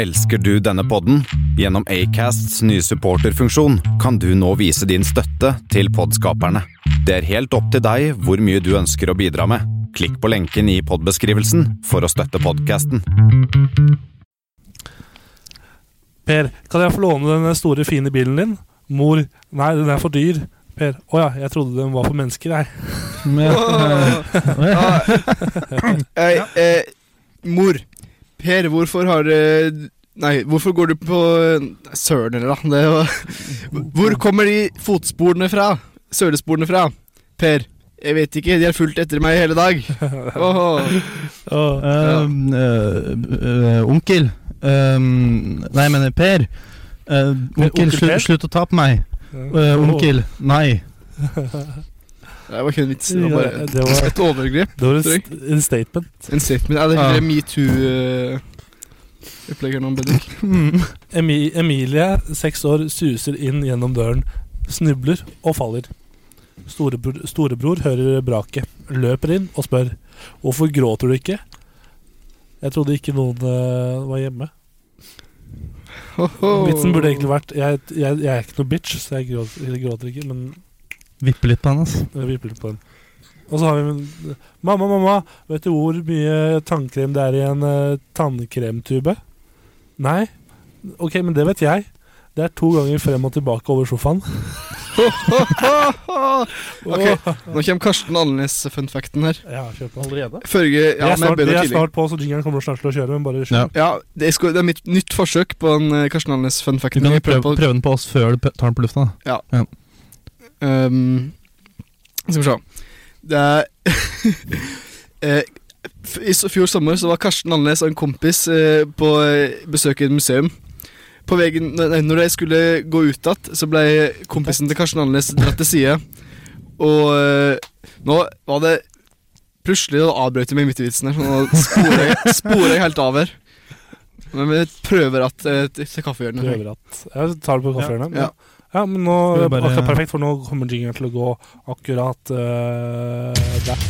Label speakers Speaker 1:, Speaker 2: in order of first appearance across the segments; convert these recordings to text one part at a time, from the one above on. Speaker 1: Elsker du denne podden? Gjennom Acasts nye supporterfunksjon kan du nå vise din støtte til podskaperne. Det er helt opp til deg hvor mye du ønsker å bidra med. Klikk på lenken i podbeskrivelsen for å støtte podkasten.
Speaker 2: Per, kan jeg få låne den store, fine bilen din? Mor, nei, den er for dyr. Per, å ja, jeg trodde den var for mennesker, jeg.
Speaker 3: Ja. Eh, eh, mor, Per, hvorfor har eh, Nei, hvorfor går du på eh, Søren, eller da? Det var, hvor kommer de fotsporene fra? Sølesporene fra? Per, jeg vet ikke, de har fulgt etter meg i hele dag. Åh.
Speaker 2: Å,
Speaker 4: Ehm, eh, eh, onkel Ehm, Nei, jeg mener Per. Eh, onkel,
Speaker 2: onkel
Speaker 4: slu-
Speaker 2: Per?
Speaker 4: slutt å ta på meg.
Speaker 2: ja.
Speaker 4: Eh, onkel, nei.
Speaker 3: Det var ikke en vits, det var
Speaker 2: Ja,
Speaker 3: bare
Speaker 2: det var-
Speaker 3: et overgrep.
Speaker 2: Det var en, st en statement.
Speaker 3: En statement. Ja, det er eh,
Speaker 4: Ja.
Speaker 3: heller metoo-opplegg her nå, Bendik.
Speaker 2: Emi Emilie, seks år, suser inn gjennom døren, snubler og faller. Storebror, storebror hører braket, løper inn og spør hvorfor gråter du ikke? Jeg trodde ikke noen eh, var hjemme.
Speaker 3: Åhå.
Speaker 2: Vitsen burde egentlig vært jeg, jeg, jeg er ikke noe bitch, så jeg gråter, jeg gråter ikke, men
Speaker 4: Vippe litt på han, altså.
Speaker 2: Jeg vipper litt på den. Og så har vi en- Mamma, mamma, vet du hvor mye tannkrem det er i en eh, tannkremtube? Nei? Ok, men det vet jeg. Det er to ganger frem og tilbake over sofaen.
Speaker 3: Ok. Nå kommer Karsten Andenes-funfacten her.
Speaker 2: Ja, kjør på. Allerede?
Speaker 3: Førge,
Speaker 2: Vi
Speaker 3: ja,
Speaker 2: er
Speaker 3: men jeg
Speaker 2: snart,
Speaker 3: begynner
Speaker 2: vi er
Speaker 3: tidlig.
Speaker 2: snart på, så jingeren kommer snart til å kjøre. Men bare kjør.
Speaker 4: Ja.
Speaker 3: Ja, det, skal, det er mitt nytt forsøk på en eh, Karsten Andenes fun fact.
Speaker 4: Du kan
Speaker 3: Vi
Speaker 4: jo
Speaker 3: prøver
Speaker 4: prøve, prøve den på oss før du p- tar den på lufta. da.
Speaker 3: på- Ehm, Skal vi se. Det er eh, f- I s- fjor sommer så var Karsten Andenes og en kompis eh, på eh, besøk i et museum. På veien, nei, når de skulle gå ut igjen, så ble kompisen til Karsten Andenes dratt til side. Og eh, nå var det Plutselig da avbrøt jeg meg midt i vitsen her, så nå sporer jeg, sporer jeg helt av her. Men vi prøver at eh, til- til kaffehjørnet.
Speaker 2: Prøver at Jeg tar det på kaffehjørnet.
Speaker 3: Ja.
Speaker 2: Ja. Ja, men nå
Speaker 4: Skal vi bare-
Speaker 2: akkurat perfekt, for nå kommer jingeren til å gå akkurat eh, der.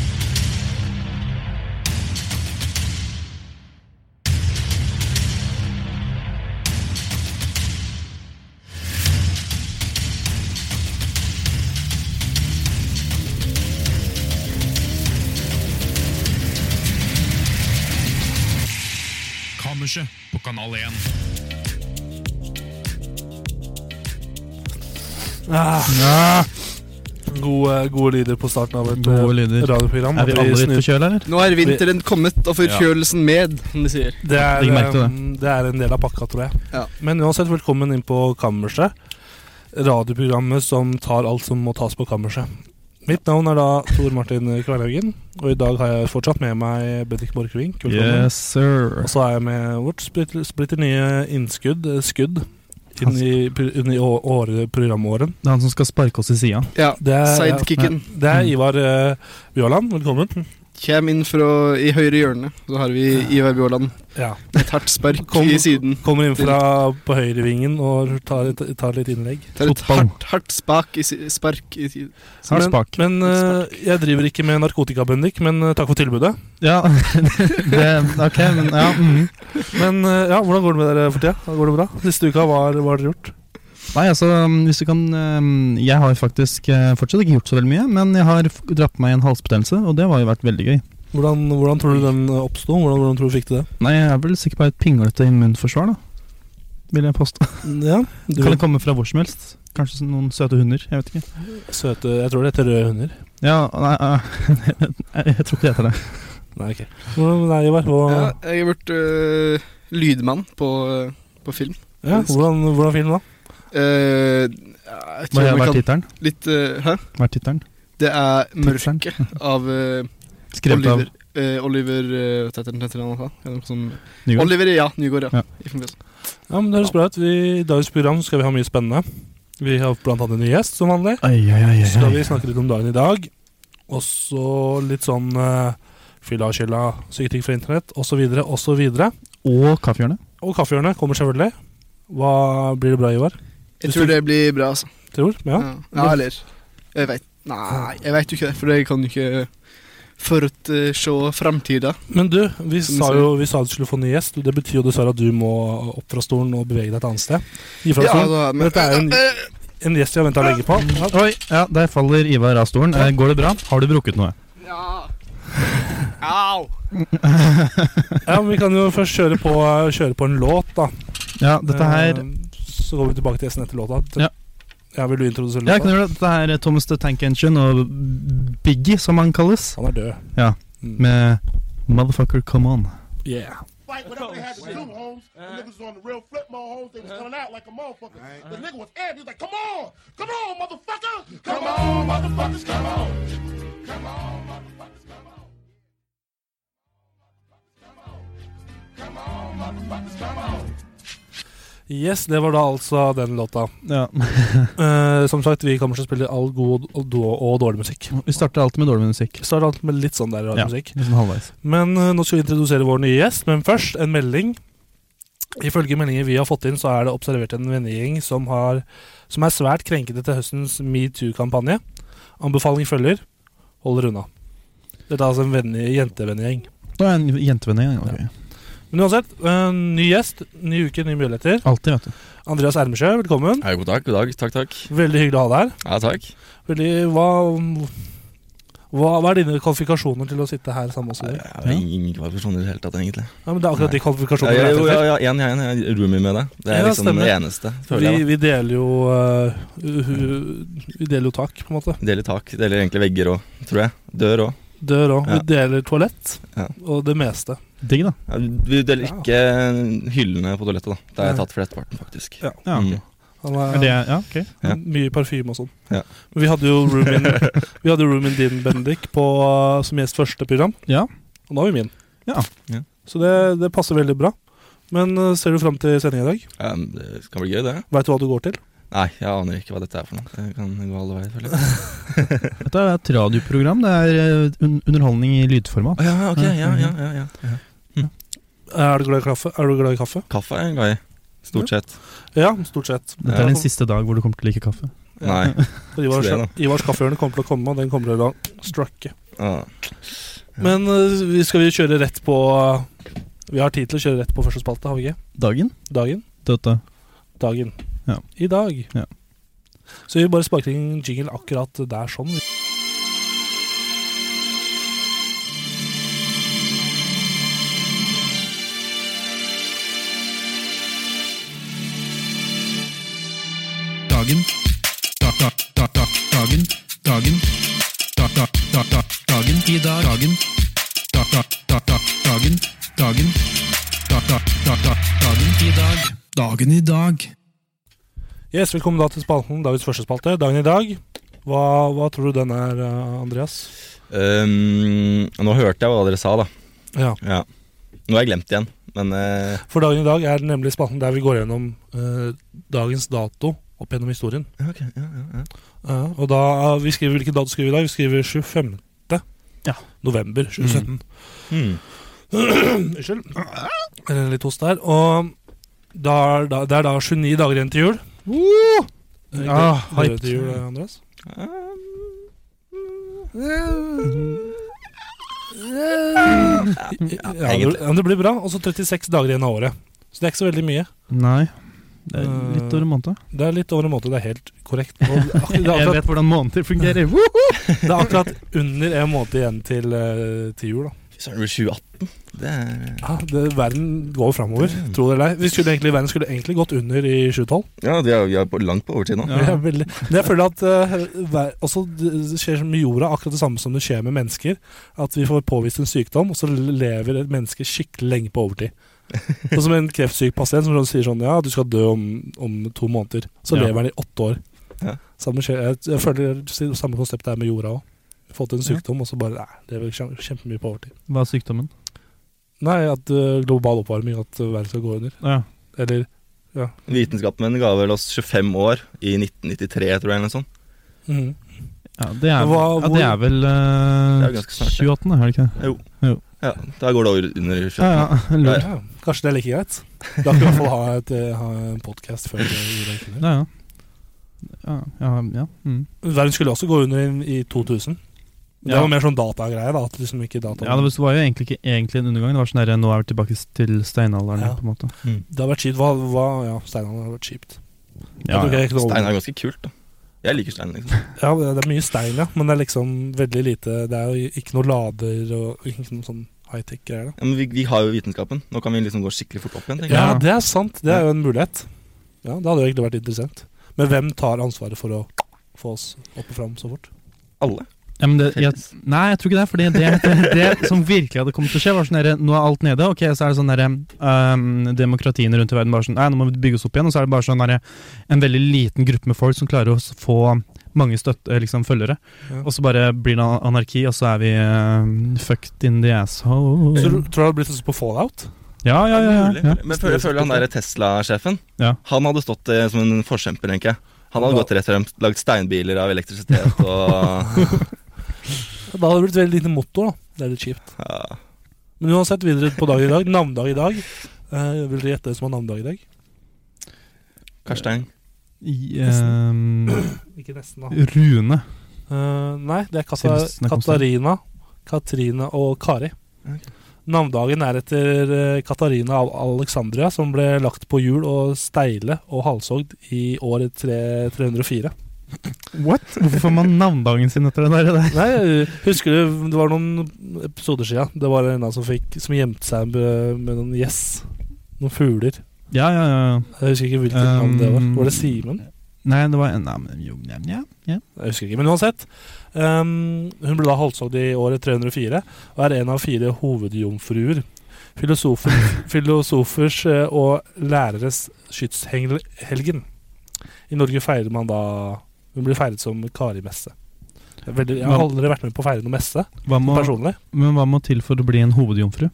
Speaker 5: Kammerset på Kanal 1.
Speaker 2: Ah, gode, gode lyder på starten av et
Speaker 4: Gode
Speaker 2: eh,
Speaker 4: lyder.
Speaker 2: radioprogram.
Speaker 4: Er vi
Speaker 2: At
Speaker 4: alle litt
Speaker 2: snur-
Speaker 4: forkjøla, eller?
Speaker 3: Nå er vinteren kommet og forkjølelsen med, som de sier.
Speaker 2: Det er,
Speaker 4: Legg merke til det.
Speaker 2: um, det er en del av pakka, tror jeg.
Speaker 3: Ja.
Speaker 2: Men uansett, velkommen inn på Kammerset. Radioprogrammet som tar alt som må tas på kammerset. Mitt navn er da Tor Martin Kvernhaugen, og i dag har jeg fortsatt med meg Bendik Borchgrevink. velkommen.
Speaker 4: Yes, sir.
Speaker 2: Og så er jeg med vårt splitter, splitter nye innskudd, eh, skudd, inn i, pr- inn i å- åre, programåren.
Speaker 4: Det er han som skal sparke oss i sida.
Speaker 3: Ja,
Speaker 2: Det er,
Speaker 3: Sidekicken
Speaker 2: det er Ivar eh, Bjåland, velkommen.
Speaker 3: kommer inn fra i høyre hjørne. Så har vi Ivar Bjåland.
Speaker 2: Ja.
Speaker 3: Et hardt spark
Speaker 2: Kom.
Speaker 3: i siden.
Speaker 2: Kommer inn fra på høyrevingen og tar, et- tar litt innlegg.
Speaker 3: Det er et
Speaker 4: Fotball.
Speaker 3: hardt, hardt spak i, si- spark i siden.
Speaker 4: Har
Speaker 2: Men-
Speaker 4: spak.
Speaker 2: Men eh, jeg driver ikke med narkotika, Bendik, men eh, takk for tilbudet.
Speaker 4: Ja, det, ok, men ja. mhm.
Speaker 2: Men eh, ja, hvordan går det med dere for tida? Går det bra? Siste uka, hva har hva har dere gjort?
Speaker 4: Nei, altså, um, hvis du kan um, Jeg har faktisk eh, fortsatt ikke gjort så veldig mye, men jeg har f- dratt på meg en halsbetennelse, og det har jo vært veldig gøy.
Speaker 2: Hvordan, hvordan tror du den eh, oppsto? Hvordan, hvordan tror du fikk du det?
Speaker 4: Nei, jeg er vel sikkert bare et pinglete immunforsvar, da. Vil jeg påstå.
Speaker 2: Mm, Ja, du,
Speaker 4: Kan det komme fra hvor som helst? Kanskje sånn noen søte hunder? Jeg vet ikke.
Speaker 2: søte, jeg tror det heter røde hunder.
Speaker 4: Ja, nei, eh, jeg, jeg tror ikke det heter det.
Speaker 2: Nei, ok. Hvordan, nei, Ivar, hva,
Speaker 3: Ja,
Speaker 2: ja.
Speaker 3: jeg har vært øh, lydmann på, øh, på film.
Speaker 2: hvordan, hvordan film da?
Speaker 3: Eh, jeg
Speaker 4: Hva
Speaker 3: tror
Speaker 4: har
Speaker 3: vi
Speaker 4: vært
Speaker 3: kan
Speaker 4: tittelen?
Speaker 3: litt øh, Hæ?
Speaker 4: Hva er tittelen?
Speaker 3: Det er
Speaker 4: Tittelen?
Speaker 3: 'Mørket' av øh,
Speaker 4: Skrevet av
Speaker 3: Oliver øh, Oliver øh, hva heter han, heter han, hva heter han? Som-
Speaker 4: Nygård?
Speaker 3: Oliver ja, Nygaard, ja.
Speaker 4: Ja.
Speaker 3: I film-
Speaker 2: Ja, men det høres bra ut. Vi, I dagens program skal vi ha mye spennende. Vi har blant annet en ny gjest, som vanlig.
Speaker 4: Oi, oi, oi,
Speaker 2: Så skal
Speaker 4: oi,
Speaker 2: vi
Speaker 4: oi.
Speaker 2: snakke litt om dagen i dag. Og så litt sånn uh, fylla og kylla, syke ting fra internett, osv., osv.
Speaker 4: Og Kaffehjørnet.
Speaker 2: Og kaffehjørnet kommer selvfølgelig. Hva blir det bra, Ivar?
Speaker 3: Jeg tror det blir bra, altså.
Speaker 2: Tror? Ja.
Speaker 3: Ja, eller Jeg vet Nei, jeg vet jo ikke det, for jeg kan jo ikke forutse framtida.
Speaker 2: Men du, vi
Speaker 3: Som
Speaker 2: sa
Speaker 3: du
Speaker 2: jo vi sa du skulle få ny gjest. Det betyr jo dessverre at du må opp fra stolen og bevege deg et annet sted. Gi fra deg stolen.
Speaker 3: da,
Speaker 2: Men dette er jo en, en gjest vi har venta lenge på.
Speaker 4: Oi, ja, der faller Ivar av stolen. Eh, Går det bra? Har du brukket noe?
Speaker 3: Ja. Au!
Speaker 2: Ja, men Vi kan jo først kjøre på, kjøre på en låt, da.
Speaker 4: Ja, dette her
Speaker 2: Eh, Så går vi tilbake til gjesten etter låta.
Speaker 4: Ja.
Speaker 2: ja, Vil du introdusere
Speaker 4: Ja,
Speaker 2: låta?
Speaker 4: kan du gjøre det? Dette er eh, Thomas the Tank Engine og Biggie, som han kalles,
Speaker 2: Han er død.
Speaker 4: Ja.
Speaker 2: Mm.
Speaker 4: med Motherfucker Come On.
Speaker 2: Yeah.
Speaker 5: fight whatever they had to do, Holmes. The niggas was on the real flip mode, Holmes. They was coming out like a motherfucker. The nigga was amped. He was like, come on! Come on, motherfucker! Uh-huh. Come on, motherfuckers, come on! Come on, motherfuckers, come on! Come on, motherfuckers, come on!
Speaker 2: Yes, det var da altså den låta.
Speaker 4: Ja.
Speaker 2: Eh, som sagt, vi kommer til å spille all god og, do- og dårlig musikk.
Speaker 4: Vi starter alltid med dårlig musikk.
Speaker 2: Starter alt med litt sånn der rar
Speaker 4: Ja.
Speaker 2: musikk.
Speaker 4: Litt sånn halvveis.
Speaker 2: Men eh, nå skal vi introdusere vår nye gjest, men først en melding. Ifølge meldinger vi har fått inn, så er det observert en vennegjeng som, har- som er svært krenkete til høstens metoo-kampanje. Anbefaling følger hold dere unna. Dette er altså en venne- jentevennegjeng.
Speaker 4: Da er jeg en jentevenn igjen. ok.
Speaker 2: Men uansett, eh, ny gjest, ny uke, nye muligheter.
Speaker 4: Alltid, vet du.
Speaker 2: Andreas Ermesjø, velkommen.
Speaker 6: Ja, god dag, god dag. Takk, takk.
Speaker 2: Veldig hyggelig å ha deg her.
Speaker 6: Ja, takk.
Speaker 2: Veldig, hva, hva, hva er dine kvalifikasjoner til å sitte her sammen med oss i dag?
Speaker 6: Jeg har ingen kvalifikasjoner i det hele tatt, egentlig.
Speaker 2: Ja, men det er akkurat de
Speaker 6: Ja,
Speaker 2: kvalifikasjonene
Speaker 6: ja,
Speaker 2: jeg er
Speaker 6: jo,
Speaker 2: ute
Speaker 6: ja,
Speaker 2: etter.
Speaker 6: ja, en, ja, en, jeg er roomie med deg. Det er
Speaker 2: Ja,
Speaker 6: liksom
Speaker 2: stemmer.
Speaker 6: det eneste, føler
Speaker 2: Vi,
Speaker 6: jeg.
Speaker 2: vi deler jo eh, hu- hu- Vi deler jo tak, på en måte.
Speaker 6: da Deler tak. Deler egentlig vegger òg, tror jeg. Dør òg.
Speaker 2: Dør òg.
Speaker 6: Ja.
Speaker 2: Vi deler toalett
Speaker 6: Ja.
Speaker 2: og det meste.
Speaker 4: Digg, da.
Speaker 6: Ja, vi deler
Speaker 2: Ja.
Speaker 6: ikke hyllene på toalettet, da. Det har jeg tatt for lettparten, faktisk.
Speaker 2: Ja.
Speaker 4: Ja,
Speaker 6: Mm.
Speaker 4: ok.
Speaker 2: Han
Speaker 4: Er
Speaker 2: er,
Speaker 4: det, ja, ok.
Speaker 6: ja.
Speaker 2: Mye parfyme og sånn.
Speaker 6: Ja.
Speaker 2: Men vi hadde jo roomien Vi hadde roomien din, Bendik, på, eh, som gjest første program.
Speaker 4: Ja.
Speaker 2: Og nå har vi min.
Speaker 4: Ja.
Speaker 6: Ja.
Speaker 2: Så det, det passer veldig bra. Men eh, ser du fram til sending i dag?
Speaker 6: Ja, men det skal bli gøy, det.
Speaker 2: Veit du hva du går til?
Speaker 6: Nei, jeg aner ikke hva dette er for noe. Det kan gå alle veier, føler jeg.
Speaker 4: Dette er et radioprogram. Det er eh, un underholdning i lydformat.
Speaker 6: Å, ja, ok, ja, ja, ja, ja.
Speaker 2: Er du glad i kaffe? Er du glad i kaffe?
Speaker 6: Kaffe er jeg glad i. Stort sett.
Speaker 2: Ja, stort sett.
Speaker 4: Dette er din siste dag hvor du kommer til å like kaffe.
Speaker 6: Nei.
Speaker 2: Ivars,
Speaker 6: Tror jeg
Speaker 2: Ivars kaffehjørne kommer til å komme, og den kommer til å strucke.
Speaker 6: Ah.
Speaker 2: Men eh, vi skal vi kjøre rett på Vi har tid til å kjøre rett på første spalte, har vi ikke?
Speaker 4: Dagen?
Speaker 2: Dagen.
Speaker 4: Dette.
Speaker 2: Dagen.
Speaker 4: Ja.
Speaker 2: I dag.
Speaker 4: Ja.
Speaker 2: Så vi bare sparker inn jingle akkurat der sånn.
Speaker 4: Dagen. dagen. Dagen. dagen. I dag. Dagen. dagen. Dagen. dagen. I dag. Dagen i dag.
Speaker 2: Yes, Velkommen da til spalten. Dagens første spalte. Dagen i dag. Hva, hva tror du den er, eh, Andreas?
Speaker 6: Um, nå hørte jeg hva dere sa, da.
Speaker 2: Ja.
Speaker 6: Ja. Nå har jeg glemt det igjen, men eh,
Speaker 2: For dagen i dag er nemlig spalten der vi går gjennom eh, dagens dato opp gjennom historien.
Speaker 6: ja, ok, ja, ja, ja.
Speaker 2: Ja, og da, eh, vi skriver Hvilken dato skriver vi i dag? Vi skriver 25.
Speaker 4: Ja.
Speaker 2: November 2017.
Speaker 6: Hmm.
Speaker 2: Unnskyld. Eller litt host der. Og da er, da, det er da 29 dager igjen til jul. Uh,
Speaker 4: Ah,
Speaker 2: Gleder du
Speaker 4: hype.
Speaker 2: deg til jul, eh, Andreas? Ja, det,
Speaker 6: egentlig.
Speaker 2: ja, det blir bra. Og så 36 dager igjen av året. Så det er ikke så veldig mye.
Speaker 4: Nei. Det er litt over en måned.
Speaker 2: Det er litt over en måned. Det er helt korrekt. Og ak- det, er
Speaker 4: Jeg
Speaker 2: akkurat,
Speaker 4: vet hvordan måneder fungerer. Woo!
Speaker 2: det er akkurat under en måned igjen til, eh, til jul. Da.
Speaker 6: Fy søren, det blir 2018. Det er eh,
Speaker 2: Ja, det, verden går framover, tro det eller ei. Vi skulle egentlig- Verden skulle egentlig gått under i 2012.
Speaker 6: Ja, vi er, vi er på, langt på overtid nå.
Speaker 4: Ja.
Speaker 2: Det er veldig- Men jeg føler at eh, ver- også, det skjer som med jorda, akkurat det samme som det skjer med mennesker. At vi får påvist en sykdom, og så lever et menneske skikkelig lenge på overtid. Sånn som en kreftsyk pasient som sier sånn Ja, du skal dø om, om to måneder. Så
Speaker 4: Ja.
Speaker 2: lever han i åtte år.
Speaker 6: Ja.
Speaker 2: Samme skjer, jeg, jeg føler det samme konseptet er med jorda òg. Fått en sykdom, og så bare Nei, det lever kjem- kjempemye på overtid.
Speaker 4: Hva er sykdommen?
Speaker 2: Nei, at eh, global oppvarming, at eh, verden skal gå under.
Speaker 4: Ja.
Speaker 2: Eller
Speaker 6: Vitenskapsmenn ga vel oss 25 år i 1993, tror jeg. eller noe sånt.
Speaker 2: mm.
Speaker 4: Ja, det er,
Speaker 2: Hva-
Speaker 4: ja, det er vel
Speaker 6: Det
Speaker 4: eh,
Speaker 6: er jo ganske snart, det.
Speaker 4: 28., er det ikke det?
Speaker 6: Jo.
Speaker 4: Jo.
Speaker 6: Ja, Da går det over under 2018.
Speaker 4: Ja, ja. Lurt.
Speaker 2: ja, Kanskje det er like greit. Da kan vi i hvert fall ha, et, eh, ha en podkast før eh, jorda gikk under.
Speaker 4: Ja, ja. Ja, ja, ja. Mm.
Speaker 2: Verden skulle også gå under i, i 2000. Det
Speaker 4: Ja.
Speaker 2: var mer sånn datagreie, da. At liksom ikke data
Speaker 4: Ja, det var- det var jo egentlig ikke egentlig en undergang. Det var sånn der, Nå er vi tilbake til steinalderen.
Speaker 2: Ja.
Speaker 4: på en måte
Speaker 2: Det har vært kjipt. Hva, hva, ja, Steinene har vært kjipt. jeg
Speaker 4: Ja,
Speaker 2: tror ikke jeg kunne
Speaker 6: Stein
Speaker 2: overlevd.
Speaker 6: er ganske kult, da. Jeg liker stein, liksom.
Speaker 2: Ja, det det er mye stein, ja. Men det er liksom veldig lite Det er jo ikke noe lader og ikke noe sånn high-tech-greier. da.
Speaker 6: Ja, men vi, vi har jo vitenskapen. Nå kan vi liksom gå skikkelig fort opp igjen. tenker jeg.
Speaker 2: Ja,
Speaker 4: Ja.
Speaker 2: det er sant. Det er jo en mulighet. Ja, Det hadde jo egentlig vært interessant. Men hvem tar ansvaret for å få oss opp og fram så fort?
Speaker 6: Alle.
Speaker 4: Ja, men det, jeg, nei, jeg tror ikke det. Fordi det, det, det som virkelig hadde kommet til å skje, var sånn derre Nå er alt nede. Ok, så er det sånn derre ehm, Demokratiene rundt i verden bare sånn Nei, nå må vi bygge oss opp igjen. Og så er det bare sånn derre En veldig liten gruppe med folk som klarer å s- få mange støtte, liksom følgere.
Speaker 2: Ja.
Speaker 4: Og så bare blir det an- anarki, og så er vi ehm, fucked in the asshole.
Speaker 2: Så du tror det hadde blitt sånn som på Fallout?
Speaker 4: Ja, ja, ja.
Speaker 6: Mulig.
Speaker 4: ja, ja.
Speaker 6: Men jeg føler, jeg føler han der Tesla-sjefen
Speaker 4: Ja.
Speaker 6: Han hadde stått eh, som en forkjemper, tenker jeg. Han hadde
Speaker 2: Ja.
Speaker 6: gått rett frem, lagd steinbiler av elektrisitet og
Speaker 2: Da hadde det blitt veldig lite motor, da. Det er litt kjipt.
Speaker 6: ja.
Speaker 2: Men uansett, videre på dagen i dag. Navnedag i dag. Eh, vil dere gjette hvem som har navnedag i dag?
Speaker 6: Karstein.
Speaker 4: I, ehm,
Speaker 2: Ikke nesten, da.
Speaker 4: um, Rune.
Speaker 2: Eh, nei, det er Kata
Speaker 4: Siden-
Speaker 2: Katarina, Katrine og Kari.
Speaker 6: Ok.
Speaker 2: Navnedagen er etter eh, Katarina av Alexandria, som ble lagt på hjul og steile og halshogd i året tre- 304.
Speaker 4: What? Hvorfor får man navndagen sin etter det der? Det er-
Speaker 2: Nei, eh, husker du det var noen episoder sia? Det var en eller annen som, fikk- som gjemte seg med, med noen gjess. Noen fugler.
Speaker 4: Ja, ja, ja.
Speaker 2: Jeg husker ikke hvilket navn det var.
Speaker 4: Um,
Speaker 2: Var det Simen?
Speaker 4: Nei, det var en Nei, men jo, ja, ja, ja.
Speaker 2: Jeg husker ikke, men uansett. ehm, hun ble da halshogd i året 304 og er en av fire hovedjomfruer. Filosofer, filosofers eh, og læreres skytshelgen. I Norge feirer man da Hun blir feiret som Kari-messe. Det er veldig- Jeg har aldri vært med på å feire noen messe,
Speaker 4: Hva må,
Speaker 2: personlig.
Speaker 4: men hva må til for å bli en hovedjomfru?